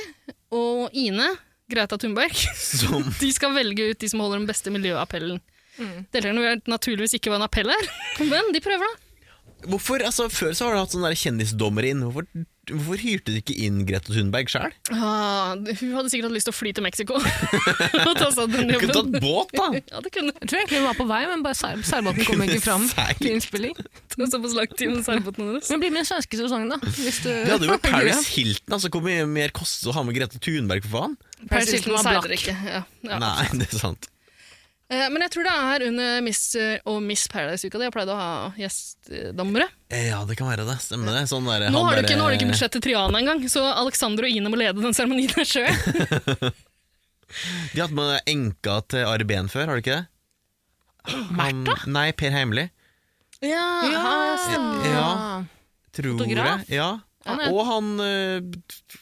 Speaker 2: og Ine Greta Thunberg.
Speaker 1: Som
Speaker 2: De skal velge ut de som holder den beste miljøappellen. Deltakerne vet naturligvis ikke hva en appell er, men de prøver, da.
Speaker 1: Hvorfor, altså Før så har du hatt sånne der kjendisdommer inn. Hvorfor, hvorfor hyrte du ikke inn Greta Thunberg sjøl?
Speaker 2: Ah, hun hadde sikkert hatt lyst til å fly til Mexico og ta seg av den
Speaker 1: Du kunne
Speaker 2: jobben.
Speaker 1: tatt båt, da!
Speaker 2: Ja, det kunne
Speaker 3: Jeg tror egentlig hun var på vei, men bare seil- seilbåten kom ikke fram.
Speaker 1: Seil.
Speaker 3: til innspilling.
Speaker 2: ta såpass lang tid med seilbåten hennes.
Speaker 3: Men bli med i den svenske sesongen, da. Hvis du
Speaker 1: Det hadde jo vært Paris Hilton. altså Hvor mye mer koster det å ha med Greta Thunberg, for faen?
Speaker 2: Per
Speaker 3: Paris Hilton
Speaker 2: Silton
Speaker 3: var
Speaker 2: seiler
Speaker 3: blakk.
Speaker 2: ikke. Ja. Ja.
Speaker 1: Nei, det er sant.
Speaker 2: Eh, Men jeg tror det er under Mr. og Miss Paradise-uka. De har pleid å ha gjestedommere.
Speaker 1: Eh, Ja, det kan være det. Stemmer det. Sånn der, han
Speaker 2: Nå har du
Speaker 1: der,
Speaker 2: ikke, nå har du ikke
Speaker 1: eh,
Speaker 2: budsjett til Triana engang, så Alexander og Ine må lede den seremonien her sjøl.
Speaker 1: De har hatt med enka til Ari Behn før, har du ikke det? Han- Nei, Per Heimli.
Speaker 2: Ja,
Speaker 3: Ja,
Speaker 1: Ja. Tror
Speaker 3: Fotograf?
Speaker 1: jeg. Ja.
Speaker 3: Han er-
Speaker 1: Og han eh,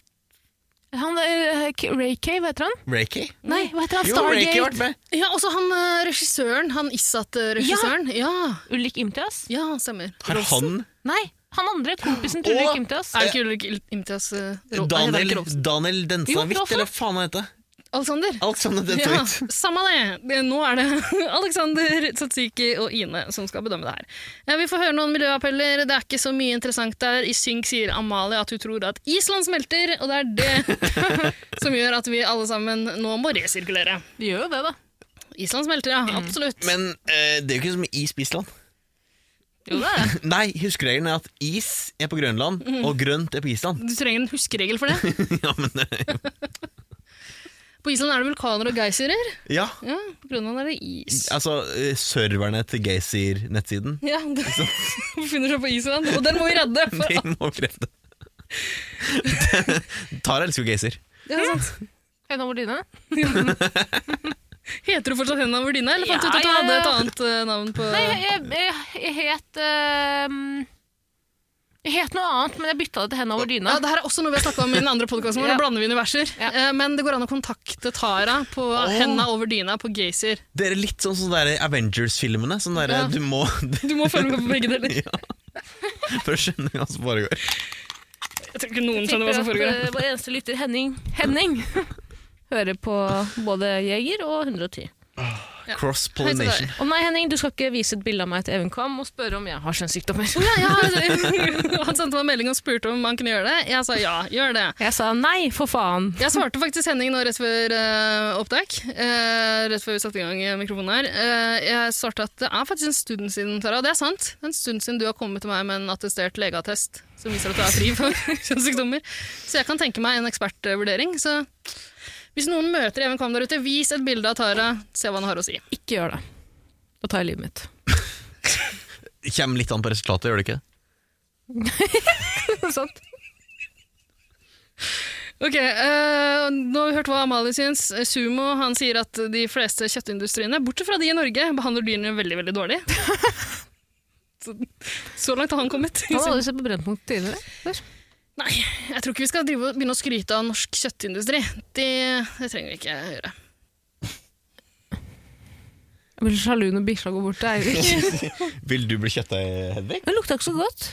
Speaker 3: Han, eh, K- Ray Cave, heter han?
Speaker 1: Reiki?
Speaker 3: Nei, hva heter han?
Speaker 1: Jo, Reiki har vært
Speaker 3: Stargate?
Speaker 1: med.
Speaker 2: Ja, også han eh, regissøren, han Isat-regissøren. Ja.
Speaker 3: Ulrik Imtias?
Speaker 2: ja, han stemmer.
Speaker 1: Har han
Speaker 3: Nei, han andre, kompisen til
Speaker 1: Å!
Speaker 3: Ulrik Imtias.
Speaker 2: Er det ikke Ulrik Il- Imtias eh, Ro- nei, det er ikke
Speaker 1: Daniel,
Speaker 2: Rolfsen.
Speaker 1: Daniel Densavik,
Speaker 3: Jo, Rolfsen.
Speaker 1: eller hva faen han heter?
Speaker 2: Alexander?
Speaker 1: Alexander
Speaker 2: Ja,
Speaker 1: Densavik.
Speaker 2: samme det. det. Nå er det Alexander, Tsatsiki og Ine som skal bedømme det her. Eh, Vi får høre noen miljøappeller. Det er ikke så mye interessant der. I Synk sier Amalie at hun tror at Island smelter, og det er det som gjør at vi alle sammen nå må resirkulere.
Speaker 3: De gjør jo det, da.
Speaker 2: Island smelter, ja. Absolutt.
Speaker 1: Men eh, det er jo ikke som is på Island.
Speaker 3: Jo, det er det.
Speaker 1: Nei, huskeregelen er at is er på Grønland,
Speaker 2: Mhm.
Speaker 1: og grønt er på Island.
Speaker 2: Du trenger en huskeregel for det.
Speaker 1: ja, men eh,
Speaker 2: På Island er det vulkaner og geysirer.
Speaker 1: Ja.
Speaker 2: Ja, på Grønland er det is.
Speaker 1: Altså, eh, serverne til Geysir-nettsiden.
Speaker 2: Ja, det befinner seg på Island, og den må vi redde. For,
Speaker 1: De må kreve det. Tara elsker jo Geysir.
Speaker 2: ja, sant.
Speaker 3: Øyna Mordine.
Speaker 2: Heter du fortsatt Henna Verdina, eller fant du
Speaker 3: Ja,
Speaker 2: ut at du
Speaker 3: ja,
Speaker 2: hadde et
Speaker 3: ja.
Speaker 2: annet eh, navn på
Speaker 3: Nei, jeg, jeg, jeg, jeg het eh, Jeg het noe annet, men jeg bytta det til Henda over dyna.
Speaker 2: Ja, det her er også noe vi har snakka om i den andre podkasten vår.
Speaker 3: Ja.
Speaker 2: Nå blander vi universer.
Speaker 3: Ja.
Speaker 2: Eh, Men det går an å kontakte Tara på Henda over dyna på Gaysir.
Speaker 1: Dere er litt sånn som der Avengers-filmene. Sånn der,
Speaker 2: Ja.
Speaker 1: Du må
Speaker 2: Du må følge med på begge deler.
Speaker 1: For å skjønne hva som foregår.
Speaker 2: Jeg tror ikke noen skjønner hva som foregår. her.
Speaker 3: eh, Vår eneste lytter, Henning, Henning hører på både Jeger og 110.
Speaker 1: Cross-pollination.
Speaker 3: Å nei, Henning, du skal ikke vise et bilde av meg til Even Kvam og spørre om jeg har kjønnssykdommer.
Speaker 2: Ja, ja, det- han sendte meg en melding og spurte om han kunne gjøre det. Jeg sa ja, gjør det.
Speaker 3: Jeg sa nei, for faen.
Speaker 2: Jeg svarte faktisk Henning nå rett før eh, opptak. eh, rett før vi satte i gang eh, mikrofonen her. Eh, jeg svarte at det er faktisk en stund siden, Tara. og Det er sant. Det er en stund siden du har kommet til meg med en attestert legeattest som viser at du er fri for kjønnssykdommer. Så jeg kan tenke meg en ekspertvurdering. Så hvis noen møter Even Kvam der ute, vis et bilde av Tara. Se hva han har å si.
Speaker 3: Ikke gjør det. Da tar jeg livet mitt.
Speaker 1: Det Kommer litt an på resultatet, gjør det ikke?
Speaker 3: Sant?
Speaker 2: Ok, eh, Nå har vi hørt hva Amalie syns. Sumo han sier at de fleste kjøttindustriene, bortsett fra de i Norge, behandler dyrene veldig veldig dårlig. Så, så langt har han kommet.
Speaker 3: Han har aldri sett på Brennpunkt tidligere. Før.
Speaker 2: Nei, jeg tror ikke vi skal drive, og begynne å skryte av norsk kjøttindustri. Det, det trenger vi ikke gjøre.
Speaker 3: Jeg blir så sjalu når bikkja går bort til Eirik.
Speaker 1: Vil du bli kjøttdeig, Hedvig?
Speaker 3: Det lukta ikke så godt.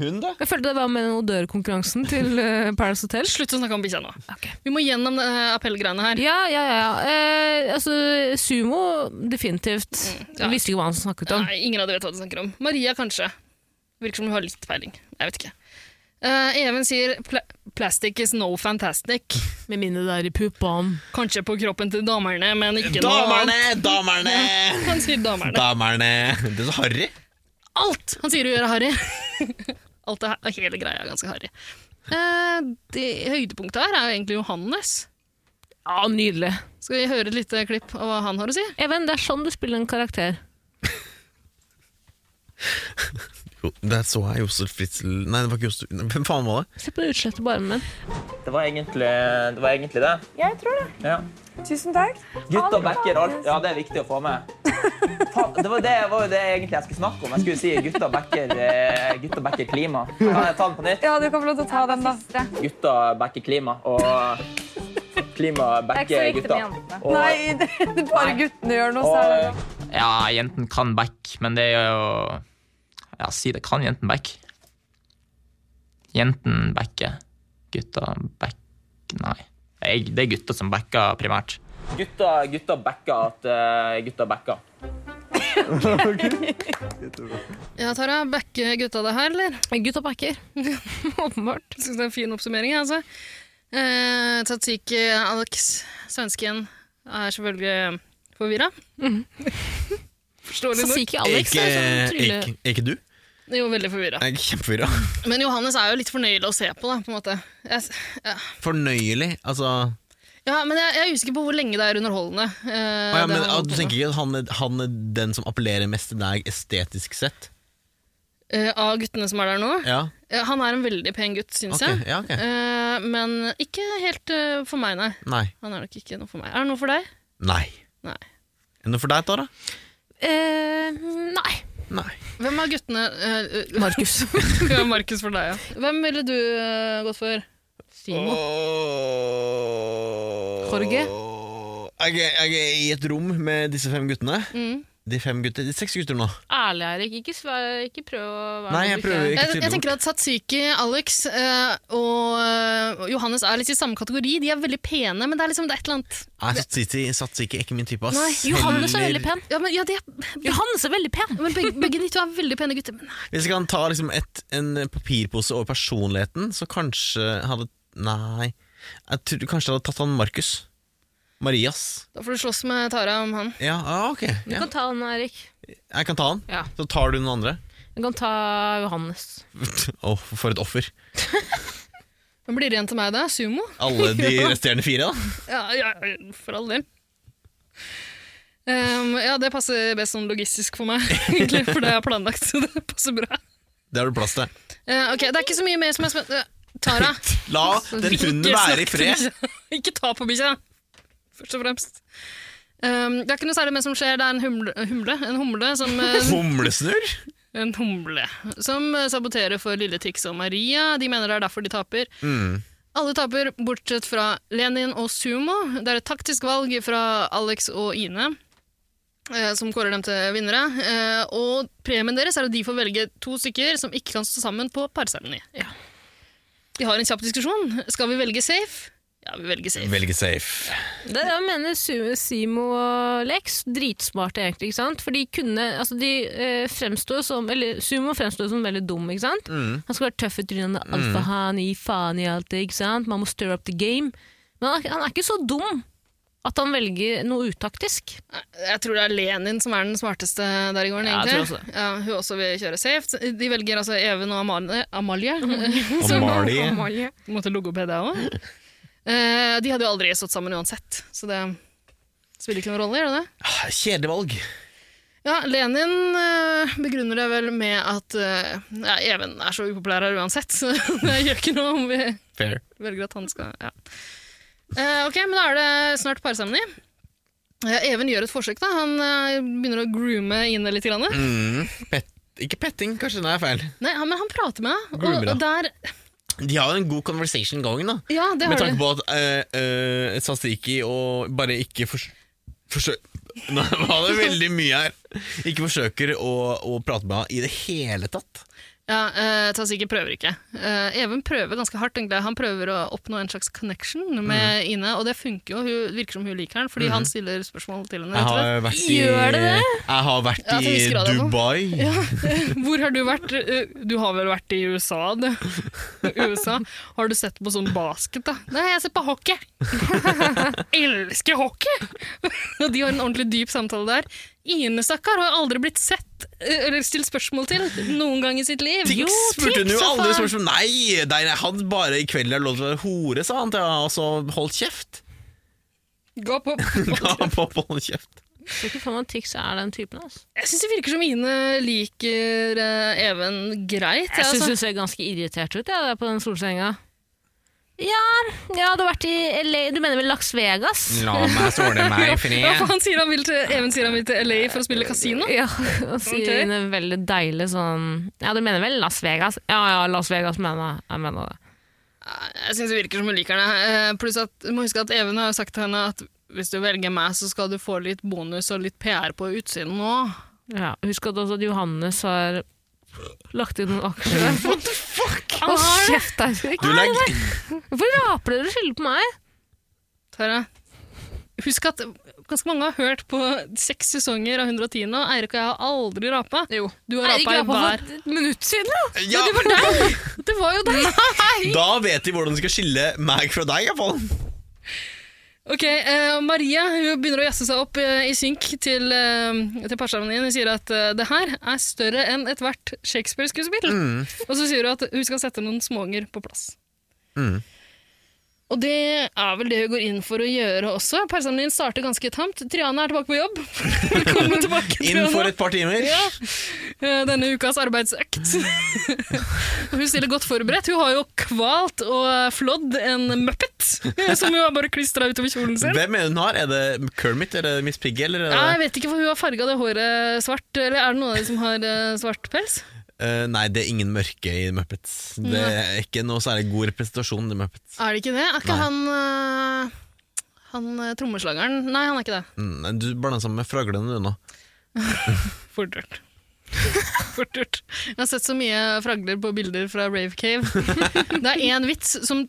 Speaker 1: Hun, da?
Speaker 3: Jeg følte det var med den odørkonkurransen til eh, Paradise Hotel.
Speaker 2: Slutt å snakke om bikkja nå.
Speaker 3: Ok.
Speaker 2: Vi må gjennom det appellgreiene her.
Speaker 3: Ja, ja, ja. Eh, altså, sumo, definitivt.
Speaker 2: ja.
Speaker 3: Jeg visste ikke hva han snakket om.
Speaker 2: Nei, ingen av dere vet hva du snakker om. Maria kanskje. Virker som hun har litt peiling. Jeg vet ikke. Eh, Even sier pla plastic is no fantastic.
Speaker 3: Med mindre det er i puppene.
Speaker 2: Kanskje på kroppen til damerne, men ikke noe
Speaker 1: Damerne!
Speaker 2: annet.
Speaker 1: Damerne!
Speaker 2: Han sier damerne.
Speaker 1: Damerne! Det er så harry.
Speaker 2: Alt han sier å gjøre harry. Alt er, hele greia er ganske harry. Eh, det høydepunktet her er jo egentlig Johannes.
Speaker 3: Ja, nydelig.
Speaker 2: Skal vi høre et lite klipp av hva han har å si?
Speaker 3: Even, det er sånn du spiller en karakter.
Speaker 1: Jo, Der så jeg Josef Fritzel Nei, det var ikke Josef Hvem faen var det?
Speaker 3: Se på utslettet på armen min.
Speaker 5: Det var egentlig det. Var egentlig det.
Speaker 6: Jeg tror det.
Speaker 5: Ja.
Speaker 6: Tusen takk.
Speaker 5: Gutta backer alt. Ja, det er viktig å få med. Faen, det var det, var jo det egentlig jeg skulle snakke om. Jeg skulle si gutta backer, eh, gutta backer klima. Kan jeg ta den på nytt?
Speaker 6: Ja, du kan få lov til å ta den, da.
Speaker 5: Gutta backer klima, og klima backer gutta. Og,
Speaker 6: Nei, det, det bare guttene gjør noe særlig.
Speaker 5: og, ja, jenten kan back, men det er jo Ja, si det. Kan jenten back? Jenten backer. Gutta back... Nei. Jeg, det er gutta som backer primært. Gutta, gutta backer at eh, gutta backer.
Speaker 2: Ja, Tara, backer gutta det her, eller?
Speaker 3: Gutta pakker. Åpenbart.
Speaker 2: Jeg synes det er en fin oppsummering, jeg, altså. Eh, Tatsiki, Alex, svensken, er selvfølgelig forvirra. Mhm. Forståelig nok.
Speaker 3: Sasiki Alex er sånn trylle...
Speaker 1: ikke, ikke du?
Speaker 2: Jo, veldig forvirra.
Speaker 1: Jeg er kjempeforvirra.
Speaker 2: Men Johannes er jo litt fornøyelig å se på, da, på en måte. Jeg, s- ja.
Speaker 1: Fornøyelig. Altså
Speaker 2: ja, men jeg, jeg er usikker på hvor lenge det er underholdende.
Speaker 1: Å
Speaker 2: eh,
Speaker 1: ja,
Speaker 2: det
Speaker 1: men,
Speaker 2: han
Speaker 1: ah,
Speaker 2: holder
Speaker 1: Du
Speaker 2: på med.
Speaker 1: tenker ikke at han er, han er den som appellerer mest til deg estetisk sett?
Speaker 2: Eh, av guttene som er der nå?
Speaker 1: Ja,
Speaker 2: Eh, han er en veldig pen gutt, syns
Speaker 1: ok.
Speaker 2: jeg.
Speaker 1: Ja, ok.
Speaker 2: Eh, men ikke helt eh, for meg, nei.
Speaker 1: Nei.
Speaker 2: Han er nok ikke noe for meg. Er det noe for deg?
Speaker 1: Nei.
Speaker 2: Nei.
Speaker 1: Er det noe for deg, Tara?
Speaker 3: Eh, nei.
Speaker 1: Nei.
Speaker 2: Hvem av guttene eh, eh,
Speaker 3: Markus.
Speaker 2: Hvem er Markus for deg, ja? Hvem ville du eh, gått for?
Speaker 3: Simon.
Speaker 1: Jorge?
Speaker 3: Jorge?
Speaker 1: Jeg er, jeg er i et rom med disse fem guttene.
Speaker 2: Mm.
Speaker 1: De fem gutter, de seks gutter nå.
Speaker 3: Ærlig, Erik. Ikke, svar, ikke prøv å være
Speaker 1: Nei, jeg
Speaker 3: noe du
Speaker 1: prøver ikke.
Speaker 2: Jeg, jeg tenker at Satsiki, Alex eh, og eh, Johannes er litt i samme kategori. De er veldig pene, men det er liksom det er et eller annet
Speaker 1: Jeg satser ikke, satser ikke, ikke min type. ass.
Speaker 2: Nei,
Speaker 3: Johannes er
Speaker 1: Heller-
Speaker 3: veldig pen.
Speaker 2: Ja, men, ja, de er,
Speaker 3: Johannes er veldig pen!
Speaker 2: men begge, begge de to er veldig pene gutter. Men
Speaker 1: Hvis jeg kan ta liksom et, en papirpose over personligheten, så kanskje hadde Nei. Jeg tror kanskje jeg hadde tatt han Markus. Marias.
Speaker 2: da får du slåss med Tara om han.
Speaker 1: Ja, ah, ok.
Speaker 3: Du
Speaker 1: Ja.
Speaker 3: kan ta han, Erik.
Speaker 1: Jeg kan ta han.
Speaker 3: Ja.
Speaker 1: Så tar du den andre.
Speaker 3: Du kan ta Johannes.
Speaker 1: Åh, for et offer.
Speaker 2: Hvem blir det igjen til meg, da? Sumo?
Speaker 1: Alle de resterende fire, da.
Speaker 2: Ja, ja for all del. Ehm, ja, det passer best sånn logistisk for meg, egentlig, for det er planlagt. Så det passer bra.
Speaker 1: Det har du plass til.
Speaker 2: Eh, ok, Det er ikke så mye mer som er spennende. Eh, Tara,
Speaker 1: La den hunden
Speaker 2: ikke
Speaker 1: være i
Speaker 2: snakk til
Speaker 1: fred.
Speaker 2: bikkja. Ikke ta på bikkja, først og fremst. Ehm, det er ikke noe særlig mer som skjer. Det er en humle, humle, en humle som eh,
Speaker 1: Humlesnurr?
Speaker 2: En humle som eh, saboterer for lille Tix og Maria. De mener det er derfor de taper. Alle taper, bortsett fra Lenin og Sumo. Det er et taktisk valg fra Alex og Ine, eh, som kårer dem til vinnere. Eh, og premien deres er at de får velge to stykker som ikke kan stå sammen på parseremoni. De har en kjapp diskusjon. Skal vi velge safe? Ja, vi velger safe.
Speaker 1: Velge safe.
Speaker 3: Det er det jeg mener Su- Simo og Lex. Dritsmarte, egentlig. ikke sant? For de kunne Altså, de eh, fremstår som Eller Sumo fremstår som veldig dum, ikke sant? Han skal være tøff i trynet. Alfahan, gi faen i alt det, ikke sant? Man må stir up the game. Men han, er- han er ikke så dum at han velger noe utaktisk.
Speaker 2: Jeg tror det er Lenin som er den smarteste der i gården,
Speaker 3: Ja, jeg
Speaker 2: egentlig.
Speaker 3: tror også
Speaker 2: Ja, hun også vil kjøre safe. De velger altså Even og Amalie. Amalie.
Speaker 1: Og Marley.
Speaker 2: Måtte logoped jeg òg. Eh, de hadde jo aldri stått sammen uansett, så det spiller ikke noen rolle. gjør det det?
Speaker 1: Ah, Kjedelig valg.
Speaker 2: Ja, Lenin eh, begrunner det vel med at eh, ja, Even er så upopulær her uansett, så det gjør ikke noe om vi
Speaker 1: Fair.
Speaker 2: velger at han skal ja. Eh, Ok, men da er det snart parsemini. Eh, Even gjør et forsøk. da. Han eh, begynner å groome Ine litt. Grann.
Speaker 1: Mm. Pet ikke petting, kanskje det er feil.
Speaker 2: Nei, han- men han prater med henne,
Speaker 1: Groomer,
Speaker 2: og, og der
Speaker 1: De har jo en god conversation going, da.
Speaker 2: Ja, det
Speaker 1: Med
Speaker 2: har
Speaker 1: tanke
Speaker 2: du.
Speaker 1: på at uh, Sastiki og bare ikke fors forsøk... Nå var det veldig mye her. Ikke forsøker å, å prate med henne i det hele tatt.
Speaker 2: Ja, eh, Taziki prøver ikke. Eh, Even prøver ganske hardt. egentlig. Han prøver å oppnå en slags connection med
Speaker 1: Mm.
Speaker 2: Ine, og det funker jo. Hun virker som hun liker han, fordi han stiller spørsmål til henne.
Speaker 1: Jeg
Speaker 2: rett og slett.
Speaker 1: har vært i,
Speaker 3: Gjør det det?
Speaker 1: jeg har vært
Speaker 2: Ja, til
Speaker 1: i
Speaker 2: en viss grad, altså.
Speaker 1: Dubai.
Speaker 2: Hvor har du vært? Eh, Du har vel vært i USA, du. USA. Har du sett på sånn basket, da? Nei, jeg ser på hockey. Elsker hockey! Og de har en ordentlig dyp samtale der. Ine, stakkar, har aldri blitt sett eh, eller stilt spørsmål til noen gang i sitt liv.
Speaker 1: Tix spurte hun jo
Speaker 2: Tix, hva
Speaker 1: aldri
Speaker 2: faen?
Speaker 1: spørsmål Nei, nei, nei, han bare i kveld har lov til å være hore, sa han til henne, og så holdt kjeft.
Speaker 2: Gå på.
Speaker 1: Ga han på på holdt kjeft.
Speaker 3: Jeg tror ikke for meg at Tix er den typen. Altså.
Speaker 2: Jeg syns det virker som Ine liker eh, Even greit.
Speaker 3: Jeg syns
Speaker 2: altså.
Speaker 3: hun ser ganske irritert ut ja, der på den solsenga. Ja, ja, du har vært i LA Du mener vel Las Vegas?
Speaker 1: La meg såle meg fri.
Speaker 2: Ja, for han sier han vil til, Even sier han vil til LA for å spille kasino.
Speaker 3: Ja, og sier
Speaker 2: Ok.
Speaker 3: en veldig deilig sånn Ja, du mener vel Las Vegas? Ja, ja, Las Vegas mener jeg. Jeg mener det.
Speaker 2: Jeg syns det virker som hun liker henne. Eh, Pluss at du må huske at Even har jo sagt til henne at hvis du velger meg, så skal du få litt bonus og litt PR på utsiden nå.
Speaker 3: Ja, husk at også at Johannes har lagt inn noen aksjer. What the fuck? Han har kjeft
Speaker 1: Du
Speaker 3: der.
Speaker 1: legger
Speaker 3: Hvorfor raper dere og skylder på meg?
Speaker 2: Tara. Husk at ganske mange har hørt på seks sesonger av 110 nå. Eirik og jeg har aldri rapa. Jo. Du har
Speaker 3: Eirik
Speaker 2: rapa i
Speaker 3: rapet
Speaker 2: hver.
Speaker 3: for et minutt siden, da.
Speaker 1: ja,
Speaker 2: Det var jo deg!
Speaker 1: Da vet de hvordan de skal skille meg fra deg, iallfall.
Speaker 2: Ok, eh, Maria hun begynner å jazze seg opp eh, i synk til, uh, til parseremonien. Hun sier at eh, det her er større enn ethvert Shakespeare-skuespill. Og så sier hun at hun skal sette noen småunger på plass.
Speaker 1: Mm.
Speaker 2: Og det er vel det hun går inn for å gjøre også. Parseremonien starter ganske tamt. Triana er tilbake på jobb. Velkommen tilbake,
Speaker 1: Inn for
Speaker 2: Triana.
Speaker 1: et par timer.
Speaker 2: Ja, eh, denne ukas arbeidsøkt. Og hun stiller godt forberedt. Hun har jo kvalt og eh, flådd en muppet, eh, som hun har bare klistra utover kjolen sin.
Speaker 1: Hvem er det hun har? Er det Kermit eller er det Miss Piggy? Eller
Speaker 2: Ja,
Speaker 1: er
Speaker 2: jeg vet ikke, for hun har farga det håret svart. Eller er det noen av de som har eh, svart pels?
Speaker 1: det, Eh, nei, det er ingen mørke i Muppets. Det er ikke noe særlig god representasjon i Muppets.
Speaker 2: Er det ikke det? Er ikke
Speaker 1: Nei.
Speaker 2: han eh, Han eh, trommeslageren Nei, han er ikke det.
Speaker 1: Mm, du blander sammen med fraglene, du nå.
Speaker 2: Fort gjort. Fort gjort. Jeg har sett så mye fragler på bilder fra Rave Cave. Det er én vits som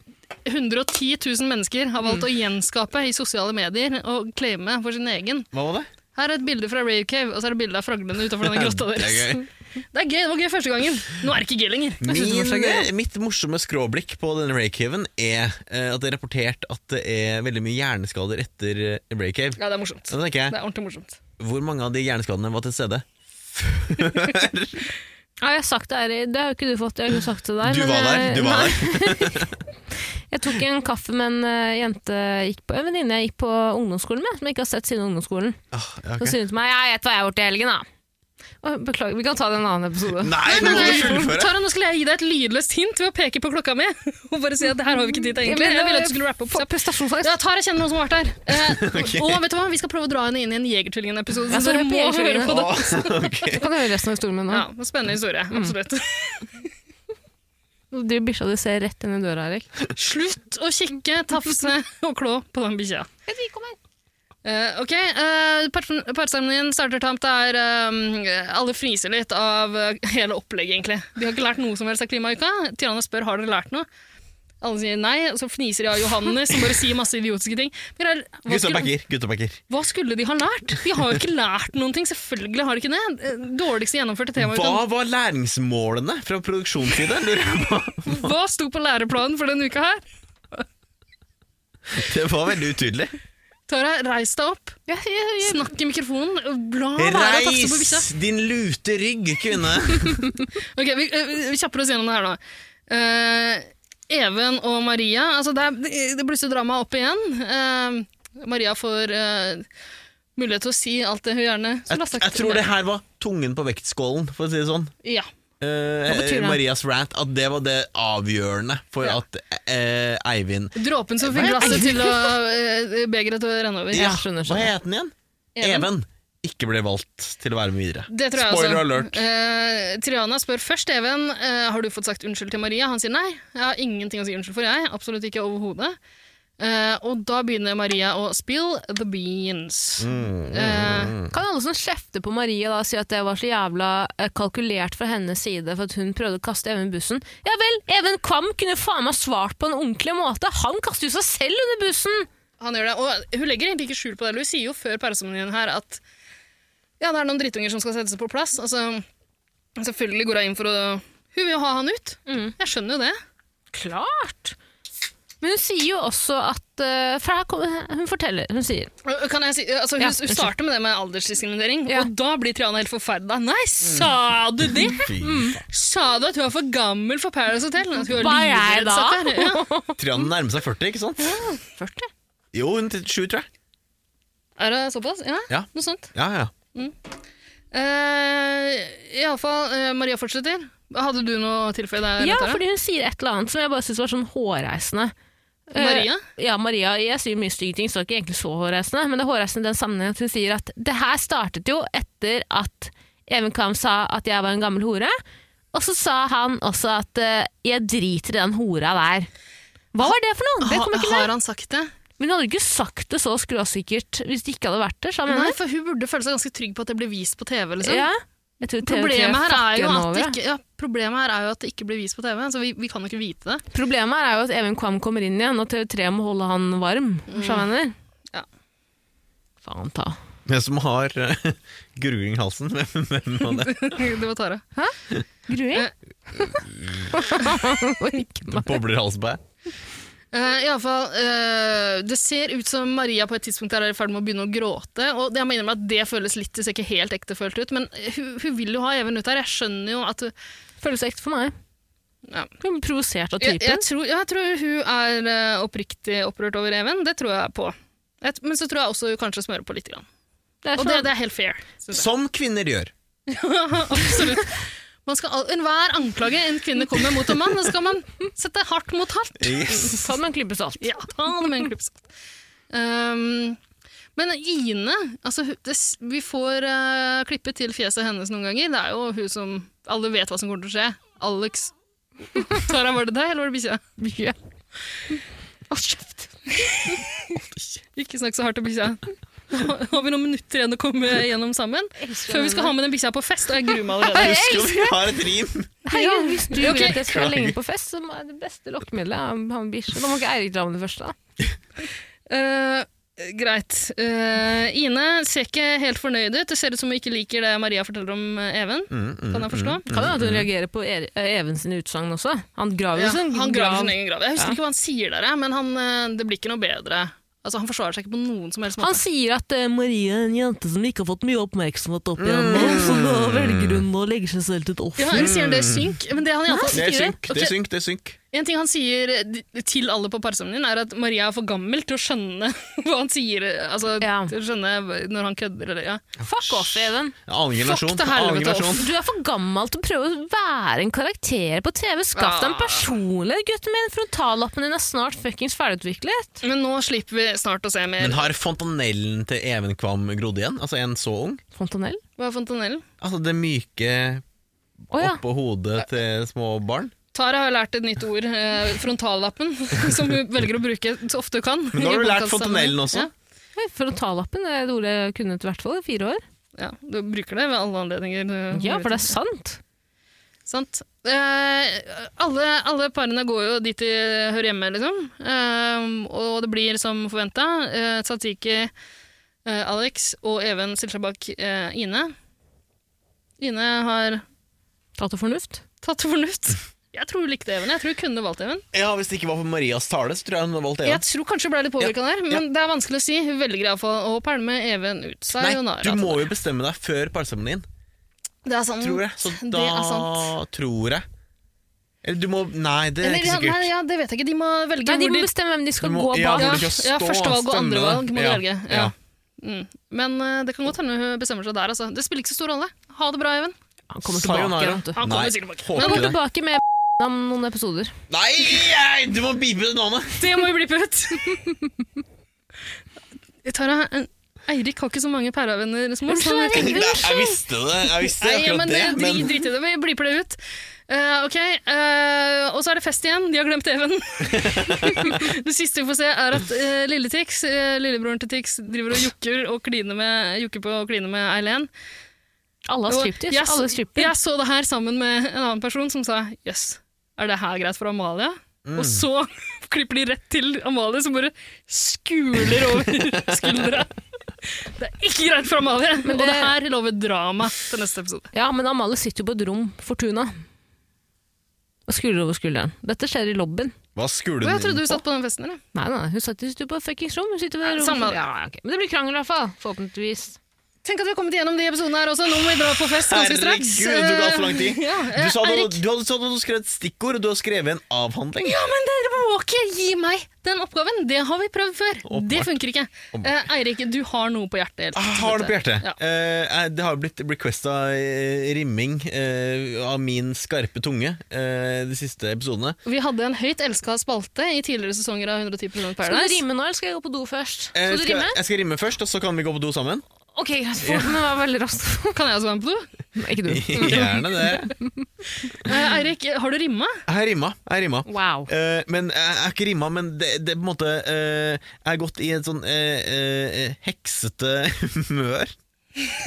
Speaker 2: 110 000 mennesker har valgt å
Speaker 1: Mm.
Speaker 2: gjenskape i sosiale medier og claime for sin egen.
Speaker 1: Hva var det?
Speaker 2: Her er et bilde fra Rave Cave, og så er det bilde av fraglene utenfor denne grotta
Speaker 1: Det er
Speaker 2: deres.
Speaker 1: gøy.
Speaker 2: Det er gøy, det var gøy første gangen. Nå er det ikke gøy lenger. Jeg synes det var så
Speaker 1: Min,
Speaker 2: gøy.
Speaker 1: eh, mitt morsomme skråblikk på denne Raycaven er eh, at det er rapportert at det er veldig mye hjerneskader etter eh, Raycave.
Speaker 2: Ja, det er morsomt.
Speaker 1: Da tenker
Speaker 2: Det
Speaker 1: jeg,
Speaker 2: er ordentlig morsomt.
Speaker 1: Hvor mange av de hjerneskadene var til stede?
Speaker 3: Ja, jeg har sagt det, her, det har jo ikke du fått. Jeg har jo sagt det der.
Speaker 1: Du
Speaker 3: men
Speaker 1: var der!
Speaker 3: jeg-
Speaker 1: du var
Speaker 3: nei.
Speaker 1: der
Speaker 3: Jeg tok en kaffe med en eh, jente, gikk på, en venninne jeg gikk på ungdomsskolen med, som jeg ikke har sett siden ungdomsskolen.
Speaker 1: Ah, ja,
Speaker 3: Så
Speaker 1: ok.
Speaker 3: sier hun til meg 'jeg vet hva jeg har gjort i helgen', da. Og, Beklager, vi kan ta det en annen episode.
Speaker 1: Nei, nå må du fullføre!
Speaker 2: Tara, nå skulle jeg gi deg et lydløst hint ved å peke på klokka mi. Og bare si at det her har vi ikke tid til, egentlig. Jeg ville at du skulle rappe opp.
Speaker 3: Få
Speaker 2: kjapt.
Speaker 3: prestasjonsangst.
Speaker 2: Ja, Tara kjenner noen som har vært der. Eh, Og vet du hva, vi skal prøve å dra henne inn i en Jegertvillingen-episode.
Speaker 3: Ja,
Speaker 2: Så
Speaker 3: så
Speaker 2: dere
Speaker 3: det
Speaker 2: må
Speaker 3: er
Speaker 2: høre på det.
Speaker 1: Ah, ok.
Speaker 3: Du kan høre resten av historien min nå.
Speaker 2: Ja, Spennende historie. Absolutt.
Speaker 3: Du bikkja di ser rett inn i døra, Erik.
Speaker 2: Slutt å kikke, tafse og klå på den bikkja. Eh, ok, eh, part- Partseremonien starter tamt. Det er eh, Alle fniser litt av eh, hele opplegget, egentlig. De har ikke lært noe som helst av klimauka. Tirana spør har dere lært noe. Alle sier nei, og så fniser de av Johannes som bare sier masse idiotiske ting. Men det er- hva,
Speaker 1: Gutta
Speaker 2: skulle,
Speaker 1: backer, gutta backer.
Speaker 2: hva skulle de ha lært? De har jo ikke lært noen ting. Selvfølgelig har de ikke det. Eh, Dårligste gjennomførte temauka.
Speaker 1: Hva var læringsmålene fra produksjonssiden? lurer jeg på?
Speaker 2: Hva sto på læreplanen for denne uka her?
Speaker 1: Det var veldig utydelig.
Speaker 2: Tara, reis deg opp.
Speaker 3: Ja, ja, ja.
Speaker 2: Snakk i mikrofonen. La være å tafse på bikkja.
Speaker 1: Reis din lute rygg, kvinne!
Speaker 2: Ok, vi, eh, vi kjapper oss gjennom det her nå. Eh, Even og Maria, altså det, er, det- det blusser dramaet opp igjen. Eh, Maria får eh, mulighet til å si alt det hun gjerne
Speaker 1: Jeg,
Speaker 2: skulle ha sagt.
Speaker 1: jeg tror det her var tungen på vektskålen, for å si det sånn.
Speaker 2: Ja.
Speaker 1: Eh,
Speaker 3: betyr det?
Speaker 1: Marias rant, at det var det avgjørende for
Speaker 2: Ja.
Speaker 1: at eh, Eivind
Speaker 2: Dråpen som fikk glasset til å eh, begeret til å renne over.
Speaker 1: Ja,
Speaker 3: skjønner, skjønner.
Speaker 1: Hva het den igjen? Even. Ikke ble valgt til å være med videre.
Speaker 2: Det tror jeg
Speaker 1: Spoiler
Speaker 2: også.
Speaker 1: alert.
Speaker 2: Eh, Triana spør først Even eh, har du fått sagt unnskyld til Maria. Han sier nei. Jeg har ingenting å si unnskyld for, jeg. Absolutt ikke overhodet. Eh, og da begynner Maria å spill the beans.
Speaker 1: Mm.
Speaker 2: Eh,
Speaker 3: Kan alle som kjefter på Maria da si at det var så jævla eh, kalkulert fra hennes side for at hun prøvde å kaste Even i bussen? Ja vel, Even Kvam kunne faen meg svart på en ordentlig måte! Han kaster jo seg selv under bussen!
Speaker 2: Han gjør det, og hun legger egentlig ikke skjul på det. eller Hun sier jo før pausemenyen her at ja, det er noen drittunger som skal sette seg på plass. Altså, selvfølgelig går hun inn for å Hun vil jo ha han ut.
Speaker 3: Mm.
Speaker 2: Jeg skjønner jo det.
Speaker 3: Klart! Men hun sier jo også at eh, For her kommer Hun forteller. Hun sier
Speaker 2: Og- og Kan jeg si, altså, hun,
Speaker 3: Ja,
Speaker 2: hun
Speaker 3: unnskyld.
Speaker 2: starter med det med aldersdiskriminering,
Speaker 3: Ja. Mm.
Speaker 2: og da blir Triana helt forferda. Nei, sa du det?!
Speaker 1: Fy faen.
Speaker 2: Sa du at hun er for gammel for Paradise Hotel? At hun er
Speaker 3: Hva er jeg
Speaker 2: livredd
Speaker 3: da?
Speaker 2: satt der? Ja.
Speaker 1: Triana nærmer seg 40, ikke sant?
Speaker 3: 40.
Speaker 1: Jo, hun er 37, tror jeg.
Speaker 2: Er det såpass? Ja,
Speaker 1: Ja.
Speaker 2: noe sånt.
Speaker 1: Ja, ja.
Speaker 2: Eh, Iallfall, eh, Maria fortsetter. Hadde du noe å tilføye der?
Speaker 3: Ja,
Speaker 2: Tara?
Speaker 3: fordi hun sier et eller annet som jeg bare syns var sånn hårreisende. Eh,
Speaker 2: Maria?
Speaker 3: Ja, Maria, jeg sier mye stygge ting, så det er ikke egentlig så hårreisende, men det er hårreisende i den sammenhengen at hun sier at det her startet jo etter at Even Kam sa at jeg var en gammel hore, og så sa han også at eh, jeg driter i den hora der. Hva var det for noe? Det kom
Speaker 2: Ha,
Speaker 3: ikke med.
Speaker 2: har han sagt det?
Speaker 3: Men hun hadde ikke sagt det så skråsikkert hvis det ikke hadde vært der, sa han.
Speaker 2: Nei, for hun burde føle seg ganske trygg på at det blir vist på TV. Liksom.
Speaker 3: Mm. Ja. Jeg tror TV3
Speaker 2: Problemet, her er
Speaker 3: fucker
Speaker 2: jo
Speaker 3: henne
Speaker 2: at
Speaker 3: over,
Speaker 2: det
Speaker 3: ja.
Speaker 2: ikke, ja, problemet her er jo at det ikke blir vist på TV, så vi, vi kan jo ikke vite det.
Speaker 3: Problemet her er jo at Even Kvam kommer inn igjen, og TV3 må holde han varm. skjønner du hva jeg mener?
Speaker 2: Mm. Ja.
Speaker 3: Faen ta.
Speaker 1: Men som har uh, gurgling i halsen. Hvem, hvem var det?
Speaker 2: det var Tara.
Speaker 3: Gruing?
Speaker 2: Eh.
Speaker 1: Det bobler i halsen på deg.
Speaker 2: Uh, i alle fall, eh, det ser ut som Maria på et tidspunkt er i ferd med å begynne å gråte. Og jeg må innrømme at det føles litt, det ser ikke helt ektefølt ut, men hun, hun vil jo ha Even ut her. Jeg skjønner jo at hun
Speaker 3: Føles ekte for meg.
Speaker 2: Ja.
Speaker 3: Jeg blir provosert av
Speaker 2: jeg,
Speaker 3: typen.
Speaker 2: jeg, tror, ja, jeg tror hun er eh, oppriktig opprørt over Even, det tror jeg på. Jeg, men så tror jeg også hun kanskje smører på litt. Grann.
Speaker 3: det er
Speaker 2: Og
Speaker 3: sånn,
Speaker 2: det, det er helt fair. synes jeg.
Speaker 1: Som kvinner gjør.
Speaker 2: Absolutt. Man skal, al- enhver anklage en kvinne kommer mot en mann, da skal man sette hardt mot hardt.
Speaker 1: Yes.
Speaker 3: Ta det med en klype salt.
Speaker 2: Ja, ta det med en klype salt. Um, Men Ine altså, hun- det, s- Vi får eh, klippet til fjeset hennes noen ganger. Det er jo hun som Alle vet hva som kommer til å skje. Alex Tara, var det deg, eller var det bikkja?
Speaker 3: Mye.
Speaker 2: Hold kjeft! Ikke snakk så hardt til bikkja. Nå har vi noen minutter igjen å komme gjennom sammen. Før vi skal ha med den bikkja på fest, og jeg gruer meg allerede.
Speaker 1: Husk at vi har et rim!
Speaker 3: Herregud, hvis du
Speaker 2: Ok.
Speaker 3: vil at jeg skal være lenge på fest, så må det beste lokkemiddelet er å ha en bikkje. Da må ikke Eirik dra med det første. da.
Speaker 2: Eh, greit. Eh, Ine ser ikke helt fornøyd ut. Det ser ut som hun ikke liker det Maria forteller om eh, Even.
Speaker 1: Mm,
Speaker 2: Kan jeg forstå?
Speaker 3: Kan jo at hun reagerer på er Even sine utsagn også. Han graver
Speaker 2: Ja,
Speaker 3: jo sin
Speaker 2: han
Speaker 3: grav.
Speaker 2: graver sin egen grav. Jeg husker
Speaker 3: Ja.
Speaker 2: ikke hva han sier der, jeg, men han, eh, det blir ikke noe bedre. Altså, han forsvarer seg ikke på noen som helst måte.
Speaker 3: Han sier at eh, Marie er en jente som ikke har fått mye oppmerksomhet opp igjennom, så da velger hun å legge seg selv til et
Speaker 2: ja,
Speaker 3: offer.
Speaker 2: eller sier han det er synk? Men det han i alle fall
Speaker 1: Det er
Speaker 2: sier,
Speaker 1: synk, det
Speaker 2: Ok,
Speaker 1: er synk. det er synk
Speaker 2: En ting han sier eh, til alle på parsamlingen din, er at Maria er for gammel til å skjønne hva han sier, eh, altså
Speaker 3: Ja.
Speaker 2: til å skjønne når han kødder eller ja.
Speaker 3: Fuck off, Even.
Speaker 1: Annen generasjon.
Speaker 2: til helvete,
Speaker 1: Annen generasjon.
Speaker 3: Du er for gammel til å prøve å være en karakter på TV. Skaff deg en
Speaker 2: Ah.
Speaker 3: personlighet, gutten min! Frontallappen din er snart fuckings ferdigutviklet.
Speaker 2: Men nå slipper vi snart å se mer.
Speaker 1: Men har fontanellen til Even Kvam grodd igjen? Altså en så ung?
Speaker 3: Fontanell?
Speaker 2: Hva er fontanellen?
Speaker 1: Altså det myke
Speaker 3: Å ja.
Speaker 1: oppå hodet til små barn?
Speaker 2: Tara har lært et nytt ord, eh, frontallappen, som hun velger å bruke så ofte hun kan.
Speaker 1: Men nå har
Speaker 2: i
Speaker 1: du lært
Speaker 2: podkastsammenheng.
Speaker 1: fontanellen også.
Speaker 3: Oi, Frontallappen er et ord jeg kunne i hvert fall i fire år.
Speaker 2: Ja, ja, du bruker det ved alle anledninger. eh,
Speaker 3: Ja, for det er sant.
Speaker 2: Sant. Eh, alle, alle parene går jo dit de hører hjemme, liksom. Eh, og det blir som forventa. Eh, Satiki, eh, Alex og Even stiller seg bak eh, Ine. Ine har
Speaker 3: Tatt og fornuft.
Speaker 2: tatt til fornuft. Jeg tror hun likte Even. Jeg tror hun kunne valgt Even.
Speaker 1: Ja, Hvis det ikke var for Marias tale, så tror jeg hun hadde valgt
Speaker 2: Jeg tror kanskje hun ble litt påvirka der, men det er vanskelig å si. Hun velger iallfall å pælme Even ut.
Speaker 1: Nei,
Speaker 2: Sayonara.
Speaker 1: du må jo bestemme deg før parseremonien,
Speaker 2: altså- Det er sant.
Speaker 1: tror jeg. Så da
Speaker 2: Mm, Det er sant.
Speaker 1: tror jeg Eller du må Nei, det er
Speaker 2: Eller,
Speaker 1: ikke
Speaker 2: ja, nei,
Speaker 1: sikkert.
Speaker 2: ja, det vet jeg ikke. De må velge
Speaker 3: Nei, de må
Speaker 2: hvor
Speaker 3: bestemme hvem de skal
Speaker 1: Du må-
Speaker 3: gå
Speaker 1: ja,
Speaker 3: bak.
Speaker 1: hvor
Speaker 2: Ja,
Speaker 1: du skal
Speaker 2: ja,
Speaker 1: stå,
Speaker 2: første valg og
Speaker 1: stemme
Speaker 2: andre
Speaker 1: det.
Speaker 2: valg må du
Speaker 1: Ja,
Speaker 2: velge. Ja.
Speaker 1: ja.
Speaker 2: Mm. Men eh, det kan godt hende hun bestemmer seg der. Altså. Det spiller ikke så stor rolle. Ha det bra, Even.
Speaker 3: Han kommer tilbake.
Speaker 1: Sayonara.
Speaker 3: vet du.
Speaker 2: Han
Speaker 1: Nei,
Speaker 2: kommer sikkert tilbake.
Speaker 3: Han
Speaker 1: håper
Speaker 3: kommer
Speaker 1: ikke det.
Speaker 3: tilbake med om noen episoder.
Speaker 1: Nei, nei, du må bipe det navnet!
Speaker 2: Det må vi blippe ut! Tara, eh, Eirik har ikke så mange pæravenner som oss. han vet ikke.
Speaker 1: Nei, Jeg visste det, jeg visste
Speaker 2: Nei,
Speaker 1: akkurat
Speaker 2: men
Speaker 1: det,
Speaker 2: det, drit,
Speaker 1: men
Speaker 2: drit i det. Vi blipper det ut. Eh, ok, eh, Og så er det fest igjen. De har glemt Even. det siste vi får se, er at eh, lille Tix, eh, lillebroren til Tix, driver og jukker, og kliner med, jukker på å kline med Eileen.
Speaker 3: Alle har
Speaker 2: Og
Speaker 3: striptease.
Speaker 2: jeg,
Speaker 3: Alle stripper.
Speaker 2: jeg så det her sammen med en annen person som sa Jøss, er det her greit for Amalie? Og så klipper de rett til Amalie, som bare skuler over skuldra. Det er ikke greit for Amalie! Og det her lover drama til neste episode.
Speaker 3: Ja, men Amalie sitter jo på et rom, Fortuna. Og skulder over skulderen. Dette skjer i lobbyen.
Speaker 1: Hva skulle
Speaker 2: Og jeg
Speaker 1: den
Speaker 2: trodde du satt på den festen, eller?
Speaker 3: Nei, nei, hun satt ikke på fuckings rom. Hun sitter ved
Speaker 2: Ja,
Speaker 3: rom.
Speaker 2: samme-
Speaker 3: Ja, ja, ok. Men det blir krangel i hvert fall. Forhåpentligvis.
Speaker 2: Tenk at vi har kommet gjennom de episodene her også. Nå må vi dra på fest ganske straks.
Speaker 1: Herregud, det tok alt for lang tid.
Speaker 2: Eh, Ja,
Speaker 1: Du sa du,
Speaker 2: Erik,
Speaker 1: du hadde sagt at du skrev et stikkord, og du har skrevet en avhandling.
Speaker 2: dere må ikke gi meg den oppgaven. Det har vi prøvd før.
Speaker 1: Åpenbart.
Speaker 2: Det funker ikke. Eh, Eirik, du har noe på hjertet. helt
Speaker 1: Jeg Ah, har det på hjertet.
Speaker 2: Ja.
Speaker 1: Eh, det har blitt requesta rimming eh, av min skarpe tunge eh, de siste episodene.
Speaker 2: Vi hadde en høyt elska spalte i tidligere sesonger av 110 Prolong
Speaker 3: Skal du
Speaker 2: Paradise.
Speaker 3: rime nå, eller skal jeg gå på do først?
Speaker 1: Eh,
Speaker 3: Skal du
Speaker 1: skal,
Speaker 3: rime?
Speaker 1: jeg skal rimme først, og så kan vi gå på do sammen.
Speaker 3: Ok, greit. For, men det var veldig raskt.
Speaker 2: Kan jeg også være med på do?
Speaker 3: Nei, ikke du.
Speaker 1: Gjerne det.
Speaker 2: Eh, Eirik, har du rimma?
Speaker 1: Jeg har rimma. Jeg har rimma.
Speaker 3: Wow.
Speaker 1: Eh, men jeg jeg har ikke rimma, men det, det er på en måte eh, Jeg har gått i et sånn eh, eh, heksete humør.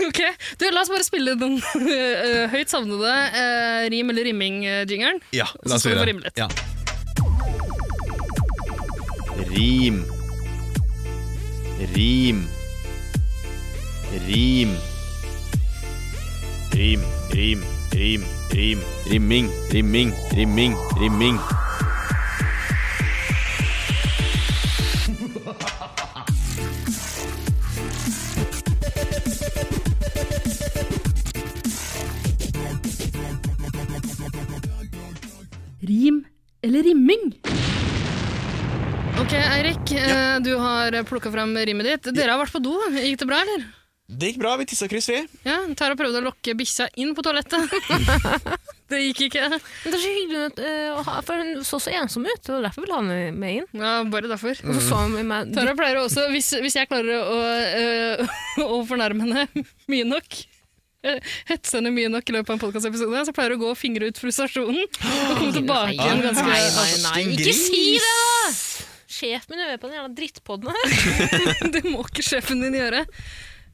Speaker 2: Ok, du, La oss bare spille den eh, høyt savnede eh, rim- eller rimming-jingeren.
Speaker 1: Ja,
Speaker 2: la oss Så skal gjøre vi få det. rime litt.
Speaker 1: Ja. Rim. Rim. Rim. Rim, rim, rim, rim. Rimming, rimming, rimming, rimming.
Speaker 7: Rim eller rimming?
Speaker 2: Ok, Eirik, eh, du har plukka fram rimmet ditt. Dere har vært på do. Gikk det bra, eller?
Speaker 1: Det gikk bra. Vi tissa kryss, vi.
Speaker 2: Ja, Tara prøvde å lokke bikkja inn på toalettet. det gikk ikke.
Speaker 3: Men det er så hyggelig ut, eh, å ha, for hun så så ensom ut, og derfor ville han med inn.
Speaker 2: Ja, bare derfor.
Speaker 3: Og så så han med meg
Speaker 2: Tara pleier også, hvis, hvis jeg klarer å, øh, å fornærme henne mye nok øh, Hetse henne mye nok i løpet av en podkastepisode, så pleier hun å gå og fingre ut frustrasjonen og komme tilbake igjen ganske
Speaker 3: Nei, nei, nei,
Speaker 1: Din
Speaker 3: ikke
Speaker 1: gris.
Speaker 3: si det! da! Sjefen min hører på den jævla drittpodden her.
Speaker 2: Det må ikke sjefen din gjøre.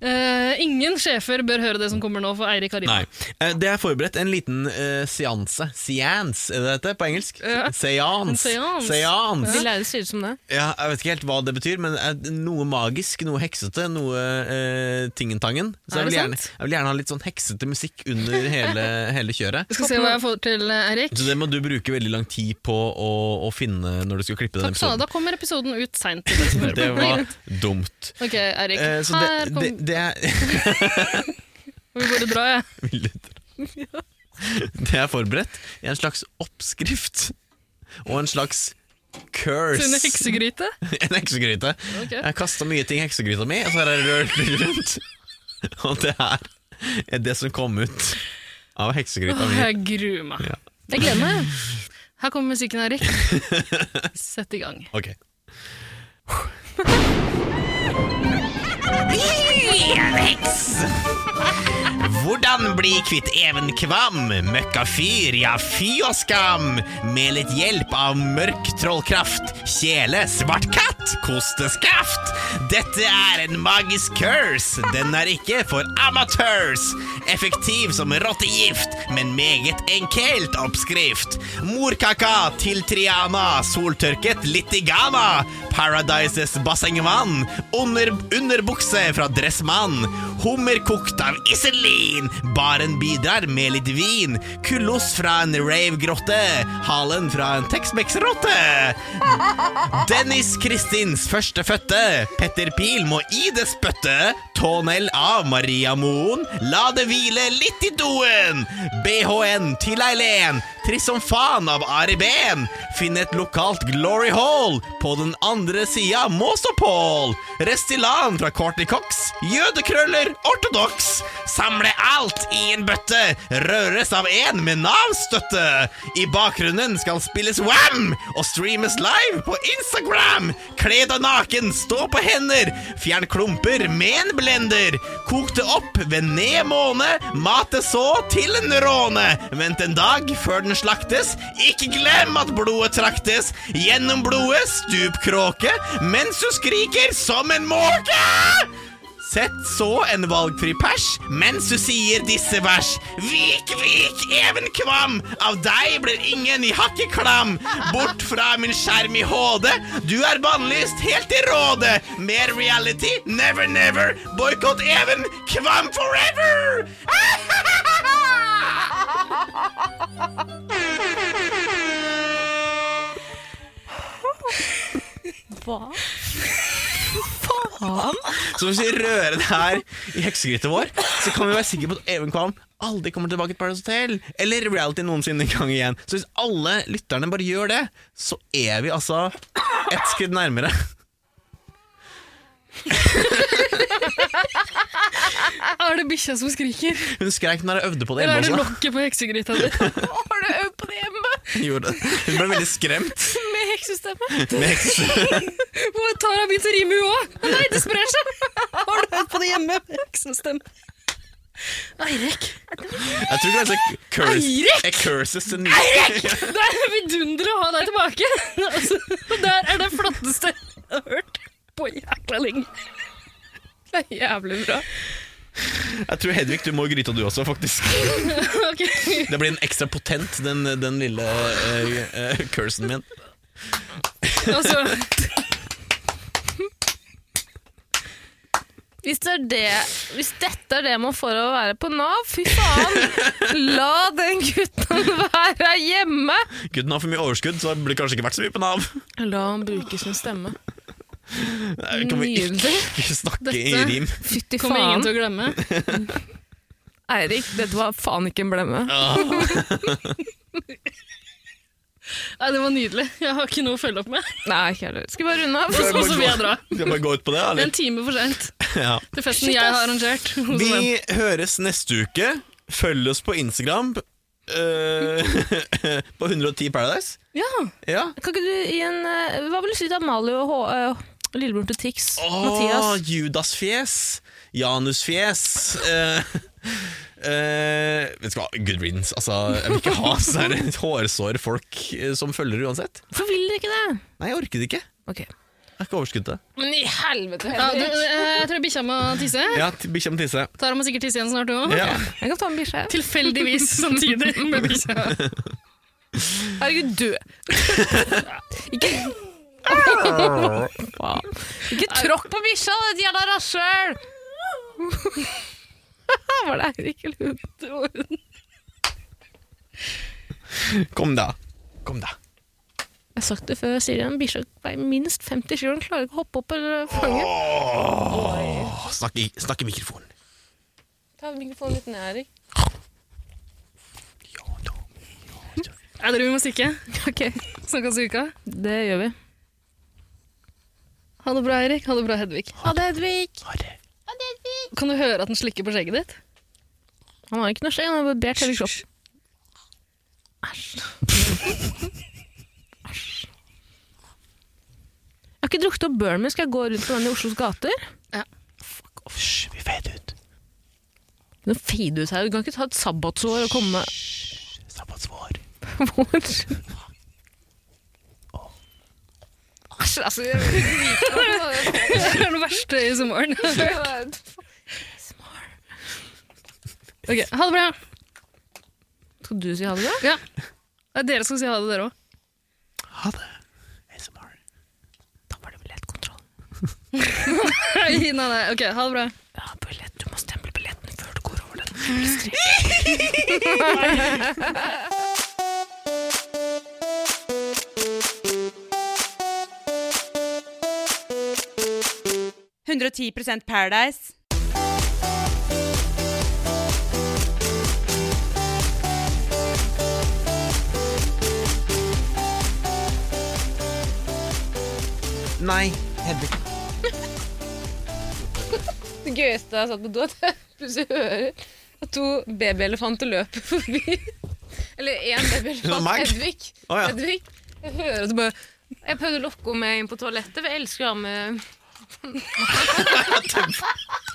Speaker 2: Eh, ingen sjefer bør høre det som kommer nå for Eirik Harima.
Speaker 1: Nei. Eh, Det er forberedt en liten eh, seanse. Seance, er det dette på engelsk?
Speaker 2: Ja. En
Speaker 1: Seans.
Speaker 2: seans.
Speaker 1: Seans.
Speaker 3: De lærde sier det som det.
Speaker 1: Ja, jeg vet ikke helt hva det betyr, men eh, noe magisk, noe heksete, noe eh, tingentangen. Så
Speaker 2: Er
Speaker 1: jeg
Speaker 2: det
Speaker 1: vil, gjerne,
Speaker 2: sant?
Speaker 1: jeg vil gjerne ha litt sånn heksete musikk under hele, hele kjøret.
Speaker 2: Jeg skal se hva jeg får til, eh, Eirik.
Speaker 1: Så det må du bruke veldig lang tid på å, å finne når du skal klippe den
Speaker 2: Takk skal
Speaker 1: episoden.
Speaker 2: du ha. Da kommer episoden ut seint.
Speaker 1: Det var dumt.
Speaker 2: Ok, Eirik.
Speaker 1: Eh, så
Speaker 2: Her
Speaker 1: det,
Speaker 2: kom
Speaker 1: det, det er
Speaker 2: Vi bare drar, jeg.
Speaker 1: Vi lytter. Det er forberedt i en slags oppskrift og en slags curse.
Speaker 2: Til en heksegryte.
Speaker 1: en heksegryte.
Speaker 2: Ok.
Speaker 1: Jeg har kasta mye ting i heksegryta mi, og så har jeg rørt det rundt. Og det her er det som kom ut av heksegryta
Speaker 2: Åh,
Speaker 1: mi.
Speaker 2: jeg gruer meg.
Speaker 1: Ja.
Speaker 2: Jeg gleder meg. Her kommer musikken, Eirik. Sett i gang.
Speaker 1: Ok. Hvordan bli kvitt evenkvam, møkkafyr, ja fy og skam, med litt hjelp av mørk trollkraft, kjele, svart katt, kosteskaft. Dette er en magisk curse, den er ikke for amatørs. Effektiv som rottegift, men meget enkelt oppskrift. Morkaka til Triana, soltørket litt i Ghana. Paradises bassengvann, under, underbukse fra Dressmann. Hummer kokt av Iselin, baren bidrar med litt vin. Kulos fra en rave-grotte, halen fra en Tex-Mex-rotte. Dennis Kristins førstefødte, Petter Pil må i det spytte. Tånell av Maria Moen, la det hvile litt i doen. BHN til Eileen, Trissom Fan av Ari Ben. Finn et lokalt glory hall, på den andre sida må stå Pål. Restilan fra Courtney Cox, jødekrøller, ortodoks. Samle alt i en bøtte, røres av en med Nav-støtte. I bakgrunnen skal spilles Wham! og streames live på Instagram. Kle deg naken, stå på hender, fjern klumper med en blender. Kok det opp ved ned måned, mat det så til en råne. Vent en dag før den slaktes, ikke glem at blodet traktes. Gjennom blodet stup kråke, mens du skriker som en måke! Sett så en valgfri pers mens du sier disse vers. Vik, vik, even kvam, av deg blir ingen i hakkeklam. Bort fra min skjerm i HD, du er bannlyst helt til rådet. Mer reality, never, never. Boikott even, kvam forever!
Speaker 3: Hva faen?
Speaker 1: Så hvis vi rører det her i heksegrytet vår, så kan vi være sikre på at Even Kvam aldri kommer tilbake til Paradise Hotel, eller reality noensinne en gang igjen. Så hvis alle lytterne bare gjør det, så er vi altså ett skritt nærmere.
Speaker 2: Er det bikkja som skriker?
Speaker 1: Hun skrek når jeg øvde på det
Speaker 2: Eller er det
Speaker 1: hjemme også.
Speaker 2: lokket på heksegryta di?
Speaker 3: Har du øvd på det hjemme
Speaker 1: Hun gjorde det. Hun ble veldig skremt
Speaker 3: med heksestemme?
Speaker 1: med hekse.
Speaker 2: Hvor Tara begynte å rime, hun òg! Å Nei, det sprer seg! Har du hørt på det hjemme? Heksestemme. Eirik,
Speaker 1: Jeg tror kanskje curse,
Speaker 2: Eirik!
Speaker 1: er curses den nye.
Speaker 2: det er vidunderlig å ha deg tilbake! Altså, det her er det flotteste jeg har hørt på jækla lenge. Det er jævlig bra.
Speaker 1: Jeg tror Hedvig, du må i gryta du også, faktisk.
Speaker 2: Ok,
Speaker 1: Det blir en ekstra potent, den, den lille eh, eh, cursen min.
Speaker 2: altså,
Speaker 3: Hvis, det er det, hvis dette er det man får av å være på Nav, fy faen! La den gutten være hjemme!
Speaker 1: Gutten har for mye overskudd, så det burde kanskje ikke vært så mye på Nav.
Speaker 3: La han bruke sin stemme.
Speaker 1: Nei, Eh, Kan vi ikke, ikke snakke i
Speaker 2: Dette-
Speaker 1: rim?
Speaker 3: Fytti
Speaker 2: kommer ingen
Speaker 3: faen.
Speaker 2: til å glemme.
Speaker 3: Eirik, dette var faen ikke en blemme.
Speaker 2: Nei, det var nydelig. Jeg har ikke noe å følge opp med. Sånn
Speaker 3: Nei, ikke heller. Skal vi bare runde av?
Speaker 2: Så, så vil jeg dra.
Speaker 1: Skal jeg bare gå ut på det,
Speaker 2: Det er
Speaker 1: eller?
Speaker 2: En time for sent
Speaker 1: Ja.
Speaker 2: til festen jeg har arrangert. hos venn.
Speaker 1: Vi høres neste uke. Følg oss på Instagram. eh, på 110 Paradise.
Speaker 2: Ja.
Speaker 1: Ja.
Speaker 3: Kan ikke du gi en eh, Hva vil du si til Amalie og H eh, Lillebroren til Tix?
Speaker 1: Åh,
Speaker 3: Mathias?
Speaker 1: Judas-fjes. Janus-fjes. Eh, eh, vet du hva, good riddance. Altså, jeg vil ikke ha sånne hårsår folk eh, som følger uansett.
Speaker 3: Hvorfor vil dere ikke det?
Speaker 1: Nei, jeg orker det ikke.
Speaker 3: Ok.
Speaker 1: Jeg har ikke overskudd til det.
Speaker 3: Men i helvete!
Speaker 2: Ja, du, eh, jeg tror bikkja må tisse.
Speaker 1: Ja, t- Bikkja må tisse.
Speaker 2: Tara må sikkert tisse igjen snart òg.
Speaker 1: Ja.
Speaker 3: Jeg kan ta med bikkja. jeg.
Speaker 2: Tilfeldigvis samtidig med bikkja.
Speaker 3: Herregud, dø! ikke Faen. Ikke tråkk på bikkja, ditt jævla rasshøl! Var det Eirik eller hun? Det var hun.
Speaker 1: Kom, da. Kom, da.
Speaker 3: Jeg har sagt det før, jeg sier det, men bikkja veier minst 50 kilo. Den klarer ikke å hoppe opp eller fange.
Speaker 1: Åh, Snakk i, snakk i mikrofonen.
Speaker 3: Ta mikrofonen litt ned, Eirik.
Speaker 1: Ja, da.
Speaker 2: Jeg tror vi må stikke.
Speaker 3: Ok,
Speaker 2: Snakkes i uka.
Speaker 3: det gjør vi.
Speaker 2: Ha det bra, Eirik. Ha det bra, Hedvig.
Speaker 3: Ha det, Edvig!
Speaker 1: Ha det.
Speaker 2: Kan du høre at den slikker på skjegget ditt?
Speaker 3: Han har ikke noe skjegg, han har barbert hele kroppen. Æsj. Æsj. Jeg har ikke drukket opp Burn, men skal jeg gå rundt med den i Oslos gater?
Speaker 1: Hysj, vi feit ut.
Speaker 3: Nå fade ut her, du kan ikke ta et sabbatsår og komme
Speaker 1: Sabbatsvår.
Speaker 3: Hvor? Æsj, altså jeg vil ikke vite hva det
Speaker 2: Det er det verste i sommeren.
Speaker 3: er.
Speaker 2: Ok, Ha det bra.
Speaker 3: Skal du si ha det bra?
Speaker 2: Ja. Nei, Dere skal si ha det, dere òg.
Speaker 1: Ha det. ASMR.
Speaker 3: Da var det billettkontroll.
Speaker 2: Nei, nei, nei. Ok, ha det bra.
Speaker 3: Ja, billett. Du må stemple billetten før du går over den.
Speaker 4: Paradise.
Speaker 1: Nei, Hedvig.
Speaker 3: Det gøyeste jeg har satt på do, at jeg plutselig hører at to babyelefanter løper forbi. Eller én
Speaker 1: Det var
Speaker 3: babyelefant.
Speaker 1: meg.
Speaker 3: Hedvig.
Speaker 1: Å, ja.
Speaker 3: Hedvig. Jeg hører at du bare Jeg prøvde å lokke henne med inn på toalettet, for jeg elsker å ha med